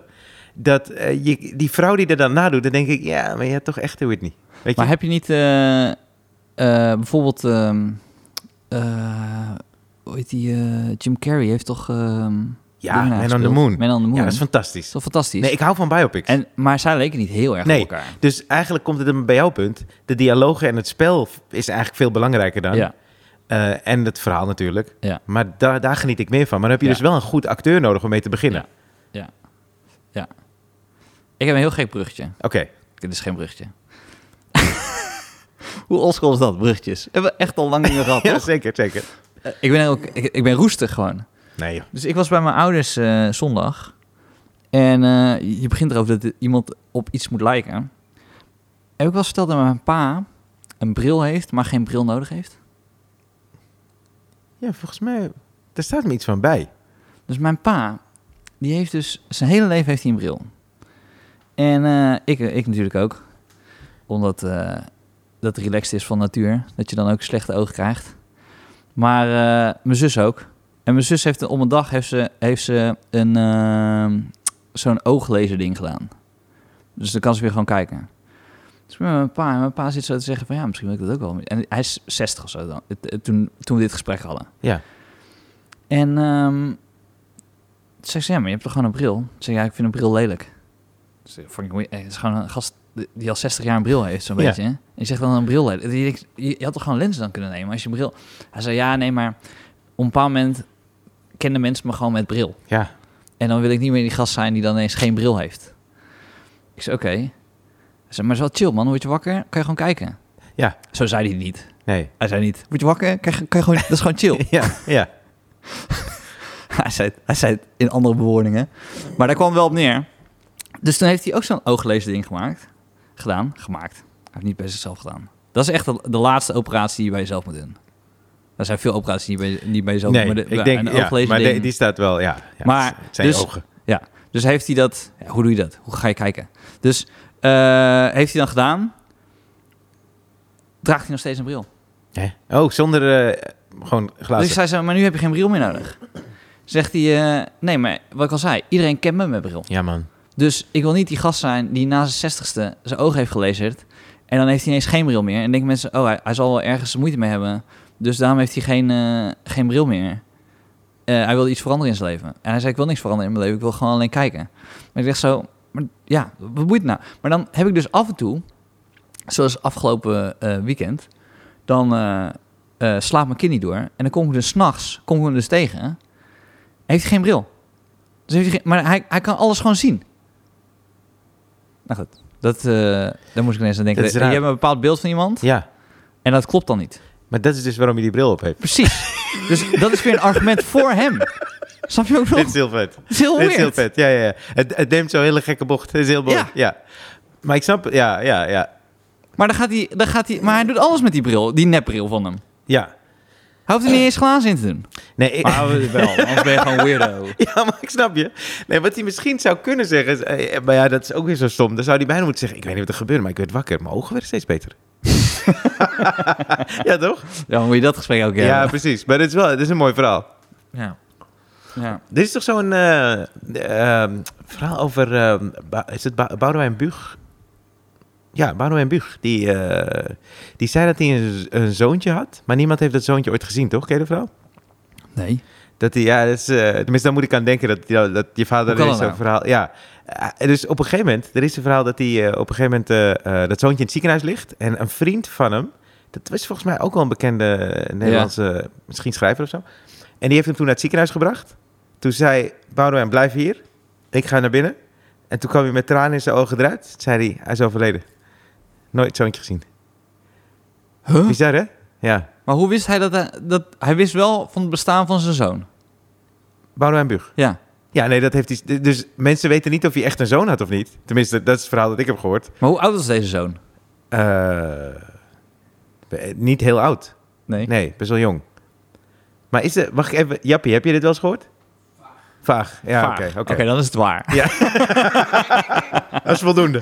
[SPEAKER 1] dat eh, je, die vrouw die er dan nadoet, dan denk ik, ja, maar je hebt toch echt een Whitney. Weet je?
[SPEAKER 2] Maar heb je niet eh, eh, bijvoorbeeld, ehm, eh, hoe heet die, eh, Jim Carrey heeft toch... ehm,
[SPEAKER 1] ja,
[SPEAKER 2] dingen
[SPEAKER 1] Man on the
[SPEAKER 2] gespeeld?
[SPEAKER 1] Moon.
[SPEAKER 2] Man on the Moon.
[SPEAKER 1] Ja, dat is
[SPEAKER 2] dat is
[SPEAKER 1] fantastisch.
[SPEAKER 2] toch fantastisch?
[SPEAKER 1] Nee, ik hou van biopics.
[SPEAKER 2] en, maar zij leken niet heel erg
[SPEAKER 1] Nee.
[SPEAKER 2] op elkaar.
[SPEAKER 1] Dus eigenlijk komt het hem bij jouw punt. De dialogen en het spel is eigenlijk veel belangrijker dan.
[SPEAKER 2] Ja.
[SPEAKER 1] Eh, en het verhaal natuurlijk.
[SPEAKER 2] Ja.
[SPEAKER 1] Maar da daar geniet ik meer van. Maar dan heb je
[SPEAKER 2] Ja.
[SPEAKER 1] dus wel een goed acteur nodig om mee te beginnen.
[SPEAKER 2] Ik heb een heel gek bruggetje.
[SPEAKER 1] Oké.
[SPEAKER 2] Dit is geen bruggetje. Hoe oldschool is dat, bruggetjes? Hebben we echt al lang niet meer gehad,
[SPEAKER 1] Ja,
[SPEAKER 2] toch?
[SPEAKER 1] zeker, zeker.
[SPEAKER 2] Eh, Ik ben, ook, ik, ik ben roestig gewoon.
[SPEAKER 1] Nee, joh.
[SPEAKER 2] Dus ik was bij mijn ouders eh, zondag. En eh, je begint erover dat iemand op iets moet lijken. Heb ik wel eens verteld dat mijn pa een bril heeft, maar geen bril nodig heeft?
[SPEAKER 1] Ja, volgens mij, daar staat me iets van bij.
[SPEAKER 2] Dus mijn pa, die heeft dus zijn hele leven heeft hij een bril. En eh, ik, ik natuurlijk ook. Omdat eh, dat relaxed is van natuur. Dat je dan ook slechte ogen krijgt. Maar eh, mijn zus ook. En mijn zus heeft om een dag heeft ze, heeft ze een, ehm, zo'n ooglazerding gedaan. Dus dan kan ze weer gewoon kijken. Dus ik ben met mijn pa en mijn pa zit zo te zeggen van ja, misschien wil ik dat ook wel. En hij is 60 of zo dan, eh, toen, toen we dit gesprek hadden.
[SPEAKER 1] Ja.
[SPEAKER 2] En ehm toen zei ze, ja, maar je hebt toch gewoon een bril? Toen zei ik, ja, ik vind een bril lelijk. Dus ik vond ik, moe- eh, het is gewoon een gast die al 60 jaar een bril heeft, zo'n
[SPEAKER 1] Ja.
[SPEAKER 2] beetje. hè? En je zegt dan een bril lelijk. Je, denkt, je je had toch gewoon lenzen dan kunnen nemen als je een bril... Hij zei, ja, nee, maar op een bepaald moment kennen mensen me gewoon met bril.
[SPEAKER 1] Ja.
[SPEAKER 2] En dan wil ik niet meer die gast zijn die dan ineens geen bril heeft. Ik zei, oké. Hij zei, maar het is wel chill, man. Word je wakker, kan je gewoon kijken.
[SPEAKER 1] Ja.
[SPEAKER 2] Zo zei hij niet.
[SPEAKER 1] Nee.
[SPEAKER 2] Hij zei niet, word je wakker, kan je, kan je gewoon... Dat is gewoon chill.
[SPEAKER 1] Ja, ja.
[SPEAKER 2] hij, zei het, hij zei het in andere bewoordingen. Maar daar kwam wel op neer. Dus toen heeft hij ook zo'n ooglezerding gemaakt. Gedaan, gemaakt. Hij heeft niet bij zichzelf gedaan. Dat is echt de, de laatste operatie die je bij jezelf moet doen. Er zijn veel operaties die je bij, die je bij jezelf
[SPEAKER 1] Nee,
[SPEAKER 2] moet
[SPEAKER 1] ik denk, ja, maar de- die staat wel, ja. ja
[SPEAKER 2] Maar,
[SPEAKER 1] het zijn je
[SPEAKER 2] dus-
[SPEAKER 1] ogen.
[SPEAKER 2] Ja, dus heeft hij dat... ja, hoe doe je dat? Hoe ga je kijken? Dus eh, heeft hij dan gedaan... Draagt hij nog steeds een bril.
[SPEAKER 1] Hè? Oh, zonder eh, gewoon glazen.
[SPEAKER 2] Dus ik zei zo, maar nu heb je geen bril meer nodig. Zegt hij, eh, nee, maar wat ik al zei, iedereen kent me met bril.
[SPEAKER 1] Ja, man.
[SPEAKER 2] Dus ik wil niet die gast zijn die na zijn 60ste zijn ogen heeft gelezerd. En dan heeft hij ineens geen bril meer. En denken mensen, oh, hij, hij zal wel ergens moeite mee hebben. Dus daarom heeft hij geen, eh, geen bril meer. Eh, hij wil iets veranderen in zijn leven. En hij zei, ik wil niks veranderen in mijn leven. Ik wil gewoon alleen kijken. Maar ik dacht zo, maar, ja, wat moet het nou? Maar dan heb ik dus af en toe, zoals afgelopen eh, weekend... dan eh eh, slaapt mijn kind niet door. En dan kom ik dus s'nachts, kom ik hem dus tegen. Heeft hij geen bril. Dus heeft hij geen- maar hij, hij kan alles gewoon zien. Nou goed, dat, eh, daar moest ik ineens aan denken.
[SPEAKER 1] Dat is
[SPEAKER 2] Je
[SPEAKER 1] raar.
[SPEAKER 2] hebt een bepaald beeld van iemand
[SPEAKER 1] Ja,
[SPEAKER 2] en dat klopt dan niet.
[SPEAKER 1] maar dat is dus waarom je die bril op heeft.
[SPEAKER 2] Precies. dus dat is weer een argument voor hem. Snap je ook nog?
[SPEAKER 1] Dit is heel vet.
[SPEAKER 2] Het is heel
[SPEAKER 1] Dit is heel
[SPEAKER 2] weird.
[SPEAKER 1] vet. Ja, ja, ja. Het, het neemt zo'n hele gekke bocht. Het is heel mooi. Ja.
[SPEAKER 2] Ja.
[SPEAKER 1] Maar ik snap... Ja, ja, ja.
[SPEAKER 2] Maar, dan gaat hij, dan gaat hij, maar hij doet alles met die bril, die nepbril van hem.
[SPEAKER 1] Ja.
[SPEAKER 2] Hij hoeft er niet eens glazen in te doen.
[SPEAKER 1] Nee, ik-
[SPEAKER 2] Maar Oh, wel, anders ben je gewoon weirdo.
[SPEAKER 1] Ja, maar ik snap je. Nee, wat hij misschien zou kunnen zeggen is... eh, maar ja, dat is ook weer zo stom. Dan zou hij bijna moeten zeggen... Ik weet niet wat er gebeurde, maar ik werd wakker. Mijn ogen werden steeds beter. ja, toch?
[SPEAKER 2] Ja, dan moet je dat gesprek ook
[SPEAKER 1] Ja,
[SPEAKER 2] hebben.
[SPEAKER 1] precies. Maar dit is wel dit is een mooi verhaal.
[SPEAKER 2] Ja. ja.
[SPEAKER 1] Dit is toch zo'n eh, ehm, verhaal over... ehm, Ba- is het ba Boudewijn Buug? Ja, Boudewijn Buug. Die, eh, die zei dat hij een, een zoontje had. Maar niemand heeft dat zoontje ooit gezien, toch? Ken je de verhaal?
[SPEAKER 2] Nee.
[SPEAKER 1] Dat hij, ja, dat is, eh, tenminste, daar moet ik aan denken dat, dat, dat je vader
[SPEAKER 2] Hoe kan
[SPEAKER 1] is
[SPEAKER 2] dat nou?
[SPEAKER 1] zo'n verhaal. Ja, Eh, dus op een gegeven moment, er is een verhaal dat hij eh, op een gegeven moment eh, eh, dat zoontje in het ziekenhuis ligt en een vriend van hem, dat was volgens mij ook wel een bekende eh, Nederlandse, eh, misschien schrijver of zo, en die heeft hem toen naar het ziekenhuis gebracht. Toen zei Boudewijn, blijf hier, ik ga naar binnen. En toen kwam hij met tranen in zijn ogen eruit, Toen zei hij, hij is overleden. Nooit zoontje gezien.
[SPEAKER 2] Huh?
[SPEAKER 1] Bizar, hè? Ja,
[SPEAKER 2] Maar hoe wist hij dat, hij dat... Hij wist wel van het bestaan van zijn zoon.
[SPEAKER 1] Boudewijn Buug.
[SPEAKER 2] Ja.
[SPEAKER 1] Ja, nee, dat heeft iets. Dus mensen weten niet of hij echt een zoon had of niet. Tenminste, dat is het verhaal dat ik heb gehoord.
[SPEAKER 2] Maar hoe oud was deze zoon?
[SPEAKER 1] Eh, niet heel oud.
[SPEAKER 2] Nee.
[SPEAKER 1] Nee, best wel jong. Maar is er. Wacht even, Jappie, heb je dit wel eens gehoord? Vaag. Vaag. Ja,
[SPEAKER 2] Vaag.
[SPEAKER 1] oké. oké.
[SPEAKER 2] dan is het waar.
[SPEAKER 1] Dat is voldoende.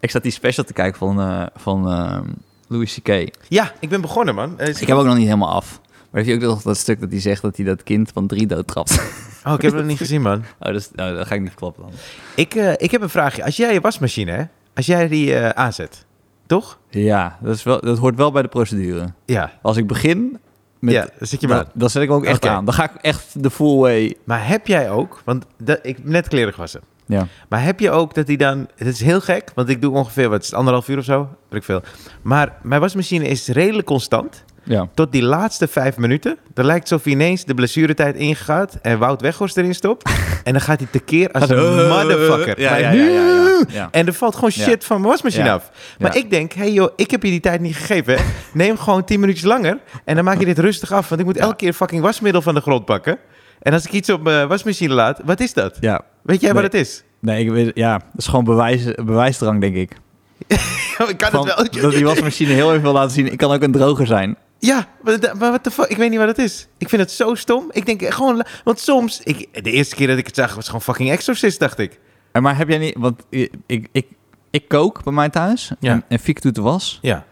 [SPEAKER 2] Ik zat die special te kijken van, eh, van eh, Louis C.K.
[SPEAKER 1] Ja, ik ben begonnen, man. Eh, is-
[SPEAKER 2] Dus Ik heb ook nog niet helemaal af. Maar heeft hij ook nog dat stuk dat hij zegt dat hij dat kind van drie doodtrapt?
[SPEAKER 1] Oh, ik heb het nog niet gezien, man.
[SPEAKER 2] Oh, dat, is- nou, dat ga ik niet verklappen dan.
[SPEAKER 1] Ik, eh, ik heb een vraagje. Als jij je wasmachine, hè? Als jij die eh, aanzet, toch?
[SPEAKER 2] Ja, dat, is wel, dat hoort wel bij de procedure.
[SPEAKER 1] Ja.
[SPEAKER 2] Als ik begin, met,
[SPEAKER 1] ja, dan zit je maar.
[SPEAKER 2] dan, dan zet ik hem ook echt
[SPEAKER 1] Oké.
[SPEAKER 2] aan. Dan ga ik echt de full way.
[SPEAKER 1] Maar heb jij ook, want dat, ik heb net kleren gewassen.
[SPEAKER 2] Ja.
[SPEAKER 1] Maar heb je ook dat die dan... Het is heel gek, want ik doe ongeveer, wat is het, anderhalf uur of zo? Weet ik veel. Maar mijn wasmachine is redelijk constant.
[SPEAKER 2] ja.
[SPEAKER 1] Tot die laatste vijf minuten. Dan lijkt het alsof ineens de blessuretijd ingaat en Wout Weghorst erin stopt. en dan gaat hij tekeer als een motherfucker.
[SPEAKER 2] Ja,
[SPEAKER 1] Maar
[SPEAKER 2] ja, ja,
[SPEAKER 1] nu-
[SPEAKER 2] ja, ja, ja.
[SPEAKER 1] En er valt gewoon shit van mijn wasmachine
[SPEAKER 2] Ja.
[SPEAKER 1] af. Maar
[SPEAKER 2] Ja.
[SPEAKER 1] ik denk, hey joh, ik heb je die tijd niet gegeven. hè. Neem gewoon tien minuutjes langer en dan maak je dit rustig af. Want ik moet elke keer fucking wasmiddel van de grond pakken. En als ik iets op mijn wasmachine laat, wat is dat?
[SPEAKER 2] Ja.
[SPEAKER 1] Weet jij wat
[SPEAKER 2] Nee.
[SPEAKER 1] het is?
[SPEAKER 2] Nee, ik weet, ja, dat is gewoon bewijs, bewijsdrang, denk ik.
[SPEAKER 1] ik kan
[SPEAKER 2] Van,
[SPEAKER 1] het wel.
[SPEAKER 2] dat die wasmachine heel even wil laten zien. Ik kan ook een droger zijn.
[SPEAKER 1] Ja, maar da- maar wat de fuck? Ik weet niet wat het is. Ik vind het zo stom. Ik denk gewoon, la- want soms, ik, de eerste keer dat ik het zag was gewoon fucking Exorcist, dacht ik.
[SPEAKER 2] En maar heb jij niet... Want ik, ik, ik, ik kook bij mij thuis.
[SPEAKER 1] Ja.
[SPEAKER 2] En, en Fieke doet de was.
[SPEAKER 1] Ja.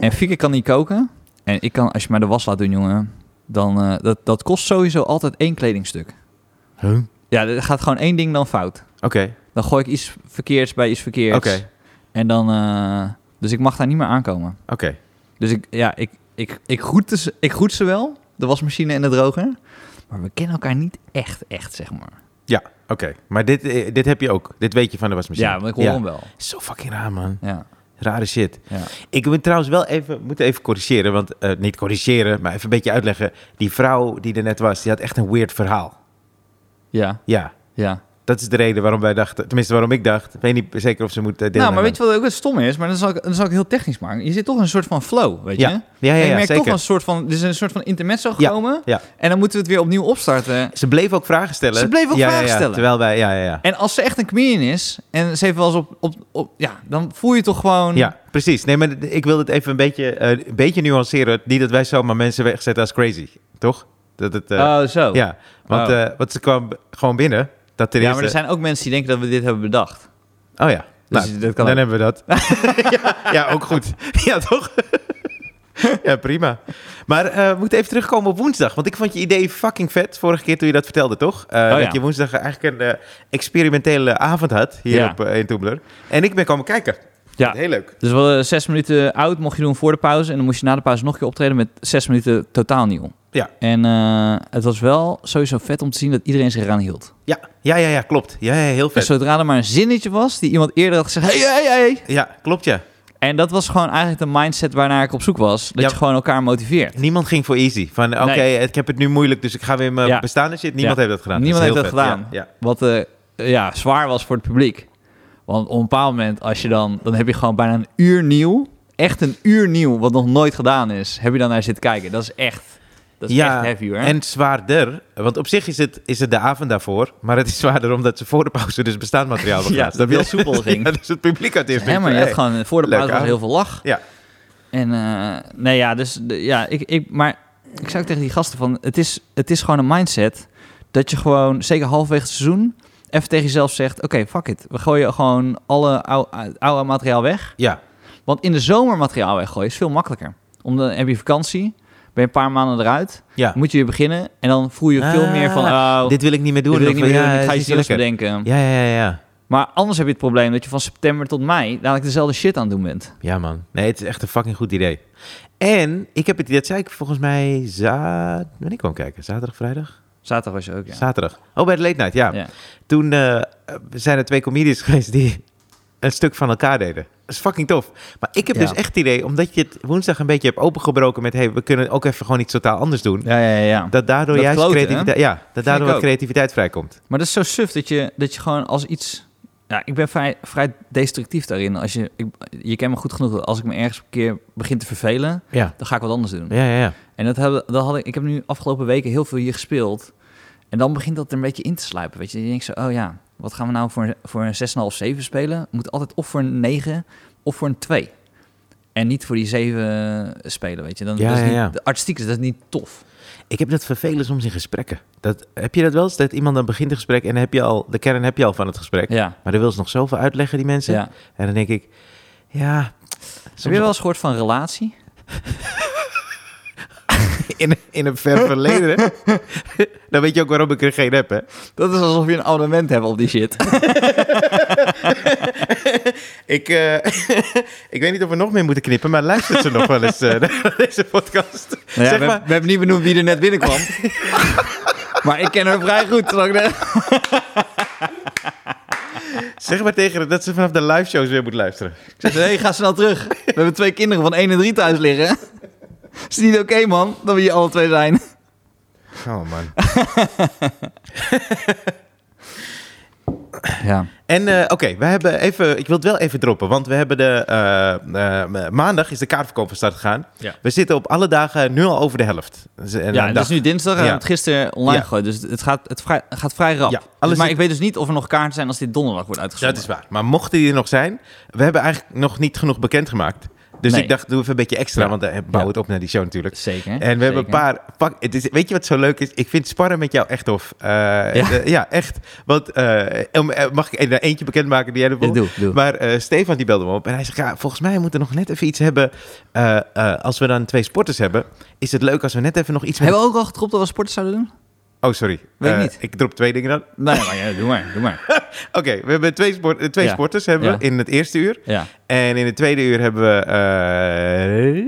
[SPEAKER 2] En Fieke kan niet koken. En ik kan, als je mij de was laat doen, jongen... Dan, eh, dat, dat kost sowieso altijd één kledingstuk.
[SPEAKER 1] Huh?
[SPEAKER 2] Ja, er gaat gewoon één ding dan fout.
[SPEAKER 1] Oké,
[SPEAKER 2] Dan gooi ik iets verkeerds bij iets verkeerds.
[SPEAKER 1] oké,
[SPEAKER 2] En dan... eh, dus ik mag daar niet meer aankomen.
[SPEAKER 1] oké.
[SPEAKER 2] Dus ik, ja, ik, ik, ik, groet ze, ik groet ze wel, de wasmachine en de droger. Maar we kennen elkaar niet echt, echt, zeg maar.
[SPEAKER 1] Ja, oké. Maar dit, eh, dit heb je ook. Dit weet je van de wasmachine.
[SPEAKER 2] Ja, maar ik hoor hem wel.
[SPEAKER 1] Zo fucking raar, man.
[SPEAKER 2] Ja,
[SPEAKER 1] Rare shit.
[SPEAKER 2] ja.
[SPEAKER 1] Ik moet trouwens wel even, moet even corrigeren, want eh, niet corrigeren, maar even een beetje uitleggen. Die vrouw die er net was, die had echt een weird verhaal.
[SPEAKER 2] ja,
[SPEAKER 1] Ja,
[SPEAKER 2] ja.
[SPEAKER 1] dat is de reden waarom wij dachten, tenminste waarom ik dacht. Ik weet niet zeker of ze moet eh, deelnemen.
[SPEAKER 2] Nou, maar weet je wat ook het stom is? Maar dan zal, ik, dan zal ik heel technisch maken. Je zit toch in een soort van flow, weet
[SPEAKER 1] Ja.
[SPEAKER 2] je?
[SPEAKER 1] Ja, ja,
[SPEAKER 2] En
[SPEAKER 1] ja,
[SPEAKER 2] je merkt
[SPEAKER 1] zeker.
[SPEAKER 2] toch een soort van... Er is een soort van intermezzo
[SPEAKER 1] Ja,
[SPEAKER 2] gekomen.
[SPEAKER 1] ja.
[SPEAKER 2] En dan moeten we het weer opnieuw opstarten.
[SPEAKER 1] Ze bleef ook vragen stellen.
[SPEAKER 2] Ze bleef ook
[SPEAKER 1] Ja, ja,
[SPEAKER 2] vragen
[SPEAKER 1] ja,
[SPEAKER 2] stellen.
[SPEAKER 1] Terwijl wij, ja, ja, ja.
[SPEAKER 2] En als ze echt een comedian is... En ze heeft wel eens op... op, op ja, dan voel je toch gewoon...
[SPEAKER 1] Ja, precies. Nee, maar ik wil het even een beetje, eh, een beetje nuanceren. Niet dat wij zomaar mensen wegzetten als crazy, toch? Dat het, eh,
[SPEAKER 2] Oh, zo.
[SPEAKER 1] Ja, dus want,
[SPEAKER 2] Oh.
[SPEAKER 1] eh, want ze kwam b- gewoon binnen. Dat ten
[SPEAKER 2] ja, maar
[SPEAKER 1] eerste-
[SPEAKER 2] er zijn ook mensen die denken dat we dit hebben bedacht.
[SPEAKER 1] Oh ja,
[SPEAKER 2] Dus
[SPEAKER 1] nou,
[SPEAKER 2] dat
[SPEAKER 1] dan
[SPEAKER 2] kan ook.
[SPEAKER 1] hebben we dat. ja, ja, ook goed. ja, toch? ja, prima. Maar eh, we moeten even terugkomen op woensdag. Want ik vond je idee fucking vet vorige keer toen je dat vertelde, toch? Eh,
[SPEAKER 2] Oh, ja.
[SPEAKER 1] Dat je woensdag eigenlijk een eh, experimentele avond had hier
[SPEAKER 2] Ja.
[SPEAKER 1] op, eh, in Toemler. En ik ben komen kijken.
[SPEAKER 2] Ja.
[SPEAKER 1] Heel leuk.
[SPEAKER 2] Dus we hadden zes minuten oud mocht je doen voor de pauze. En dan moest je na de pauze nog een keer optreden met zes minuten totaal nieuw.
[SPEAKER 1] Ja.
[SPEAKER 2] En eh, het was wel sowieso vet om te zien dat iedereen zich eraan hield.
[SPEAKER 1] Ja, ja, ja, ja klopt. Ja, ja, heel
[SPEAKER 2] Dus
[SPEAKER 1] vet.
[SPEAKER 2] zodra er maar een zinnetje was die iemand eerder had gezegd... Hey, hey, hey.
[SPEAKER 1] Ja, klopt ja.
[SPEAKER 2] En dat was gewoon eigenlijk de mindset waarnaar ik op zoek was. Dat
[SPEAKER 1] Ja.
[SPEAKER 2] je gewoon elkaar motiveert.
[SPEAKER 1] Niemand ging voor easy. Van oké,
[SPEAKER 2] Nee.
[SPEAKER 1] ik heb het nu moeilijk, dus ik ga weer mijn
[SPEAKER 2] Ja.
[SPEAKER 1] bestaande shit. Niemand
[SPEAKER 2] Ja.
[SPEAKER 1] heeft dat gedaan.
[SPEAKER 2] Niemand
[SPEAKER 1] is
[SPEAKER 2] heeft
[SPEAKER 1] heel
[SPEAKER 2] dat
[SPEAKER 1] vet.
[SPEAKER 2] gedaan.
[SPEAKER 1] Ja,
[SPEAKER 2] Wat eh, ja, zwaar was voor het publiek. Want op een bepaald moment, als je dan, dan heb je gewoon bijna een uur nieuw. Echt een uur nieuw, wat nog nooit gedaan is. Heb je dan naar zitten kijken. Dat is echt, dat is echt heavy hoor.
[SPEAKER 1] En zwaarder, want op zich is het, is het de avond daarvoor, maar het is zwaarder omdat ze voor de pauze dus bestaand materiaal
[SPEAKER 2] Ja,
[SPEAKER 1] begaat.
[SPEAKER 2] dat het heel soepel ging.
[SPEAKER 1] Ja, dus het publiek had eerst
[SPEAKER 2] Ja, maar je
[SPEAKER 1] denkt
[SPEAKER 2] had
[SPEAKER 1] van,
[SPEAKER 2] gewoon voor de
[SPEAKER 1] leuke
[SPEAKER 2] pauze was heel veel lach.
[SPEAKER 1] Ja.
[SPEAKER 2] En eh, nee, ja, dus de- ja, ik, ik, maar ik zou ook tegen die gasten van, het is, het is gewoon een mindset dat je gewoon, zeker halverwege het seizoen, even tegen jezelf zegt, oké, fuck it, we gooien gewoon alle ou- ou- oude materiaal weg.
[SPEAKER 1] hey, ja,
[SPEAKER 2] Want in de zomer materiaal weggooien is veel makkelijker. Omdat dan heb je vakantie, ben je een paar maanden eruit,
[SPEAKER 1] ja.
[SPEAKER 2] moet je weer beginnen en dan voel je veel
[SPEAKER 1] Ah,
[SPEAKER 2] meer van, oh, dit,
[SPEAKER 1] dit wil ik niet meer doen.
[SPEAKER 2] wil ik
[SPEAKER 1] Of,
[SPEAKER 2] niet meer
[SPEAKER 1] ja,
[SPEAKER 2] doen, ik
[SPEAKER 1] het
[SPEAKER 2] ga
[SPEAKER 1] is
[SPEAKER 2] iets
[SPEAKER 1] niet
[SPEAKER 2] nieuws
[SPEAKER 1] lekker.
[SPEAKER 2] bedenken.
[SPEAKER 1] Ja, ja, ja, ja.
[SPEAKER 2] Maar anders heb je het probleem dat je van september tot mei dadelijk dezelfde shit aan het doen bent.
[SPEAKER 1] Ja, man. Nee, het is echt een fucking goed idee. En ik heb het, dat zei ik volgens mij, za wanneer kwam ik kijken? Zaterdag, vrijdag?
[SPEAKER 2] Zaterdag was je ook, ja.
[SPEAKER 1] Zaterdag. Oh, bij de late night, ja.
[SPEAKER 2] Ja.
[SPEAKER 1] Toen eh, zijn er twee comedians geweest die een stuk van elkaar deden. Dat is fucking tof. Maar ik heb
[SPEAKER 2] Ja.
[SPEAKER 1] dus echt het idee, omdat je het woensdag een beetje hebt opengebroken met... hey, we kunnen ook even gewoon iets totaal anders doen.
[SPEAKER 2] Ja, ja, ja.
[SPEAKER 1] Dat daardoor
[SPEAKER 2] Dat
[SPEAKER 1] juist
[SPEAKER 2] kloten, hè?
[SPEAKER 1] creativiteit... Ja, dat daardoor
[SPEAKER 2] ik
[SPEAKER 1] wat
[SPEAKER 2] ook.
[SPEAKER 1] creativiteit vrijkomt.
[SPEAKER 2] Maar dat is zo suf dat je, dat je gewoon als iets... Ja, ik ben vrij, vrij destructief daarin. Als je, ik, je kent me goed genoeg. dat Als ik me ergens een keer begin te vervelen,
[SPEAKER 1] Ja.
[SPEAKER 2] dan ga ik wat anders doen.
[SPEAKER 1] Ja, ja, ja.
[SPEAKER 2] En dat hebben, dat had ik, ik heb nu afgelopen weken heel veel hier gespeeld. En dan begint dat er een beetje in te sluipen. Weet je, je denkt zo, oh ja, wat gaan we nou voor, een- voor een 6,5 7 spelen? Moet altijd of voor een 9 of voor een 2. En niet voor die zeven eh, spelen, weet je. Dan,
[SPEAKER 1] Ja,
[SPEAKER 2] dat is
[SPEAKER 1] ja,
[SPEAKER 2] niet,
[SPEAKER 1] ja.
[SPEAKER 2] de Artistiek is dat niet tof.
[SPEAKER 1] Ik heb dat vervelend soms in gesprekken. Dat, heb je dat wel eens? Dat iemand dan begint het gesprek en dan heb je al, de kern heb je al van het gesprek.
[SPEAKER 2] Ja,
[SPEAKER 1] Maar dan wil ze nog zoveel uitleggen, die mensen.
[SPEAKER 2] ja.
[SPEAKER 1] En dan denk ik, ja...
[SPEAKER 2] Heb je wel eens gehoord van relatie?
[SPEAKER 1] in, in een ver verleden. hè? dan weet je ook waarom ik er geen heb, hè?
[SPEAKER 2] Dat is alsof je een abonnement hebt op die shit.
[SPEAKER 1] Ik, eh, ik weet niet of we nog meer moeten knippen, maar luistert ze nog wel eens eh, naar deze podcast?
[SPEAKER 2] Nou ja,
[SPEAKER 1] zeg
[SPEAKER 2] we,
[SPEAKER 1] maar,
[SPEAKER 2] we hebben niet benoemd wie er net binnenkwam. maar ik ken haar vrij goed. terwijl ik de-
[SPEAKER 1] zeg maar tegen haar dat ze vanaf de live shows weer moet luisteren.
[SPEAKER 2] Ik zei, hey, ga snel terug. We hebben twee kinderen van 1 en 3 thuis liggen. Is het niet oké, man, dat we hier alle twee zijn?
[SPEAKER 1] Oh man.
[SPEAKER 2] Ja.
[SPEAKER 1] En eh, oké, we hebben even. Ik wil het wel even droppen, want we hebben de eh, eh, maandag is de kaartverkoop van start gegaan.
[SPEAKER 2] Ja.
[SPEAKER 1] We zitten op alle dagen nu al over de helft. Dus, eh,
[SPEAKER 2] Ja,
[SPEAKER 1] een
[SPEAKER 2] dat
[SPEAKER 1] dag.
[SPEAKER 2] is nu dinsdag
[SPEAKER 1] Ja.
[SPEAKER 2] en we hebben het gisteren online
[SPEAKER 1] Ja.
[SPEAKER 2] gegooid. Dus het gaat, het vrij, gaat vrij rap.
[SPEAKER 1] Ja,
[SPEAKER 2] Dus-
[SPEAKER 1] alles
[SPEAKER 2] maar
[SPEAKER 1] is-
[SPEAKER 2] ik weet dus niet of er nog kaarten zijn als dit donderdag wordt
[SPEAKER 1] dat
[SPEAKER 2] uitgezonden.
[SPEAKER 1] is waar. Maar mochten die er nog zijn, we hebben eigenlijk nog niet genoeg bekendgemaakt. Dus
[SPEAKER 2] Nee.
[SPEAKER 1] ik dacht, doe even een beetje extra,
[SPEAKER 2] Ja.
[SPEAKER 1] want eh, bouw
[SPEAKER 2] Ja.
[SPEAKER 1] het op naar die show natuurlijk.
[SPEAKER 2] Zeker.
[SPEAKER 1] En we hebben een
[SPEAKER 2] zeker.
[SPEAKER 1] paar. Pak, het is, weet je wat zo leuk is? Ik vind sparren met jou echt tof. Eh, de- ja, echt. Want eh, om- eh, mag ik er eentje bekendmaken die jij
[SPEAKER 2] Ja,
[SPEAKER 1] ervoor.
[SPEAKER 2] doe, doe.
[SPEAKER 1] Maar eh, Stefan die belde me op en hij zegt: ja, Volgens mij moeten we nog net even iets hebben. eh, eh, als we dan twee sporters hebben, is het leuk als we net even nog iets. Met...
[SPEAKER 2] Hebben we ook al getropt dat we sporten zouden doen?
[SPEAKER 1] Oh, sorry.
[SPEAKER 2] Weet ik
[SPEAKER 1] Eh,
[SPEAKER 2] niet.
[SPEAKER 1] Ik drop twee dingen dan.
[SPEAKER 2] Nee, maar ja, doe maar, doe maar.
[SPEAKER 1] Oké, we hebben twee, sport, eh, twee
[SPEAKER 2] Ja.
[SPEAKER 1] sporters hebben we
[SPEAKER 2] Ja.
[SPEAKER 1] in het eerste uur.
[SPEAKER 2] Ja,
[SPEAKER 1] En in het tweede uur hebben we. eh,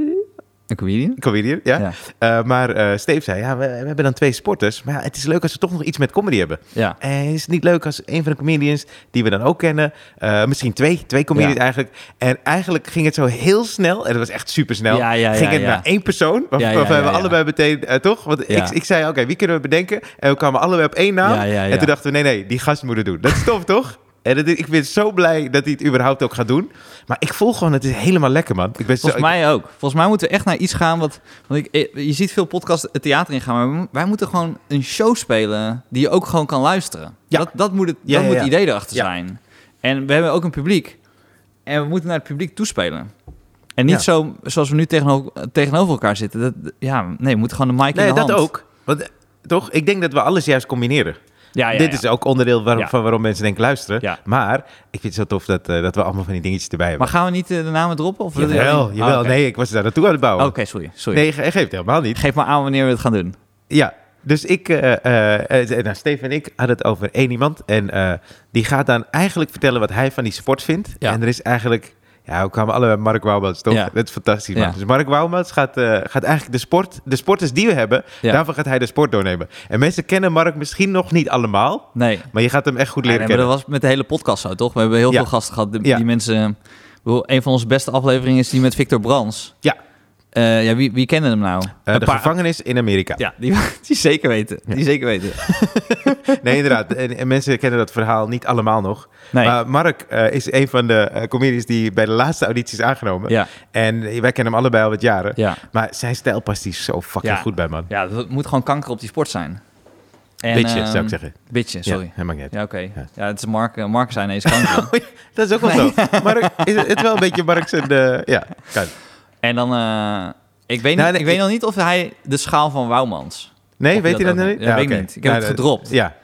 [SPEAKER 2] een comedian.
[SPEAKER 1] comedian, ja.
[SPEAKER 2] Ja.
[SPEAKER 1] Eh, maar eh, Steve zei, ja, we, we hebben dan twee sporters. Maar ja, het is leuk als we toch nog iets met comedy hebben.
[SPEAKER 2] Ja.
[SPEAKER 1] En is het niet leuk als een van de comedians die we dan ook kennen, eh, misschien twee, twee comedians
[SPEAKER 2] Ja.
[SPEAKER 1] eigenlijk. En eigenlijk ging het zo heel snel, en dat was echt super snel.
[SPEAKER 2] Ja, ja, ja,
[SPEAKER 1] ging het
[SPEAKER 2] ja.
[SPEAKER 1] naar één persoon, waar-
[SPEAKER 2] Ja, ja,
[SPEAKER 1] waarvan
[SPEAKER 2] ja,
[SPEAKER 1] we
[SPEAKER 2] ja.
[SPEAKER 1] allebei meteen, eh, toch? Want
[SPEAKER 2] Ja.
[SPEAKER 1] ik, ik zei, oké, wie kunnen we bedenken? En we kwamen allebei op één naam.
[SPEAKER 2] Ja, ja, ja.
[SPEAKER 1] En toen dachten we, nee, nee, die gast moet het doen. Dat is tof, toch? En dat, is- ik ben zo blij dat hij het überhaupt ook gaat doen. Maar ik voel gewoon, het is helemaal lekker, man. Ik ben zo,
[SPEAKER 2] Volgens mij ook. Volgens mij moeten we echt naar iets gaan wat... Want ik, eh, je ziet veel podcasts het theater ingaan, maar we mo- wij moeten gewoon een show spelen die je ook gewoon kan luisteren.
[SPEAKER 1] Ja.
[SPEAKER 2] Dat, dat moet het,
[SPEAKER 1] Ja,
[SPEAKER 2] dat
[SPEAKER 1] ja,
[SPEAKER 2] moet
[SPEAKER 1] ja.
[SPEAKER 2] het idee erachter
[SPEAKER 1] Ja.
[SPEAKER 2] zijn. En we hebben ook een publiek. En we moeten naar het publiek toespelen. En niet
[SPEAKER 1] Ja.
[SPEAKER 2] zo zoals we nu tegenover, tegenover elkaar zitten. Dat, ja, nee, we moeten gewoon de mic
[SPEAKER 1] Nee,
[SPEAKER 2] in de
[SPEAKER 1] dat
[SPEAKER 2] hand.
[SPEAKER 1] ook. Want, eh, toch? Ik denk dat we alles juist combineren.
[SPEAKER 2] Ja, ja,
[SPEAKER 1] Dit
[SPEAKER 2] ja.
[SPEAKER 1] is ook onderdeel waar-
[SPEAKER 2] Ja.
[SPEAKER 1] van waarom mensen denken luisteren.
[SPEAKER 2] Ja.
[SPEAKER 1] Maar ik vind het zo tof dat, eh, dat we allemaal van die dingetjes erbij hebben.
[SPEAKER 2] Maar gaan we niet eh, de namen droppen? Of wil je dat
[SPEAKER 1] jawel,
[SPEAKER 2] niet?
[SPEAKER 1] jawel.
[SPEAKER 2] Oh, oké.
[SPEAKER 1] Nee, ik was daar naartoe aan het bouwen.
[SPEAKER 2] Oké, sorry. sorry.
[SPEAKER 1] Nee, ge- geeft helemaal niet.
[SPEAKER 2] Geef maar aan wanneer we het gaan doen.
[SPEAKER 1] Ja, dus ik, eh, eh, eh, nou, Steven en ik hadden het over één iemand. En eh, die gaat dan eigenlijk vertellen wat hij van die sport vindt.
[SPEAKER 2] Ja.
[SPEAKER 1] En er is eigenlijk... Ja, we kwamen allebei Mark Wouwmans, toch?
[SPEAKER 2] Ja.
[SPEAKER 1] Dat is fantastisch, man.
[SPEAKER 2] Ja.
[SPEAKER 1] Dus Mark Wouwmans gaat, eh, gaat eigenlijk de sport... De sporters die we hebben,
[SPEAKER 2] Ja.
[SPEAKER 1] daarvan gaat hij de sport doornemen. En mensen kennen Mark misschien nog niet allemaal.
[SPEAKER 2] Nee.
[SPEAKER 1] Maar je gaat hem echt goed leren
[SPEAKER 2] Ja, nee,
[SPEAKER 1] kennen.
[SPEAKER 2] maar dat was met de hele podcast zo, toch? We hebben heel
[SPEAKER 1] Ja.
[SPEAKER 2] veel gasten gehad. Die,
[SPEAKER 1] Ja.
[SPEAKER 2] die mensen... ik bedoel, een van onze beste afleveringen is die met Victor Brans.
[SPEAKER 1] Ja.
[SPEAKER 2] Eh, ja, wie, wie kende hem nou?
[SPEAKER 1] Eh,
[SPEAKER 2] Een
[SPEAKER 1] de
[SPEAKER 2] paar-
[SPEAKER 1] gevangenis in Amerika.
[SPEAKER 2] Ja, die, die zeker weten. Die zeker weten.
[SPEAKER 1] Nee, inderdaad. En, en mensen kennen dat verhaal niet allemaal nog.
[SPEAKER 2] Nee.
[SPEAKER 1] Maar Mark eh, is een van de eh, comedians die bij de laatste audities is aangenomen.
[SPEAKER 2] ja,
[SPEAKER 1] En wij kennen hem allebei al wat jaren.
[SPEAKER 2] ja.
[SPEAKER 1] Maar zijn stijl past hier zo fucking
[SPEAKER 2] Ja.
[SPEAKER 1] goed bij, man.
[SPEAKER 2] ja, het moet gewoon kanker op die sport zijn. En,
[SPEAKER 1] Bitje,
[SPEAKER 2] ehm,
[SPEAKER 1] zou ik zeggen.
[SPEAKER 2] Bitje, sorry.
[SPEAKER 1] Ja,
[SPEAKER 2] Ja,
[SPEAKER 1] helemaal niet.
[SPEAKER 2] oké.
[SPEAKER 1] Ja.
[SPEAKER 2] Ja, het is Mark, eh, Mark zijn ineens kanker.
[SPEAKER 1] Dat is ook wel zo. Mark, is het, het is wel een beetje Mark zijn... eh, ja, kan.
[SPEAKER 2] en dan... eh, ik weet,
[SPEAKER 1] Nou,
[SPEAKER 2] niet,
[SPEAKER 1] nee,
[SPEAKER 2] ik weet
[SPEAKER 1] ik-
[SPEAKER 2] nog niet of hij de schaal van Wouwmans...
[SPEAKER 1] Nee,
[SPEAKER 2] Of
[SPEAKER 1] weet je dat
[SPEAKER 2] ook
[SPEAKER 1] niet?
[SPEAKER 2] Ja, weet ik
[SPEAKER 1] oké.
[SPEAKER 2] niet. Ik heb
[SPEAKER 1] Nou,
[SPEAKER 2] het
[SPEAKER 1] dat-
[SPEAKER 2] gedropt.
[SPEAKER 1] Ja,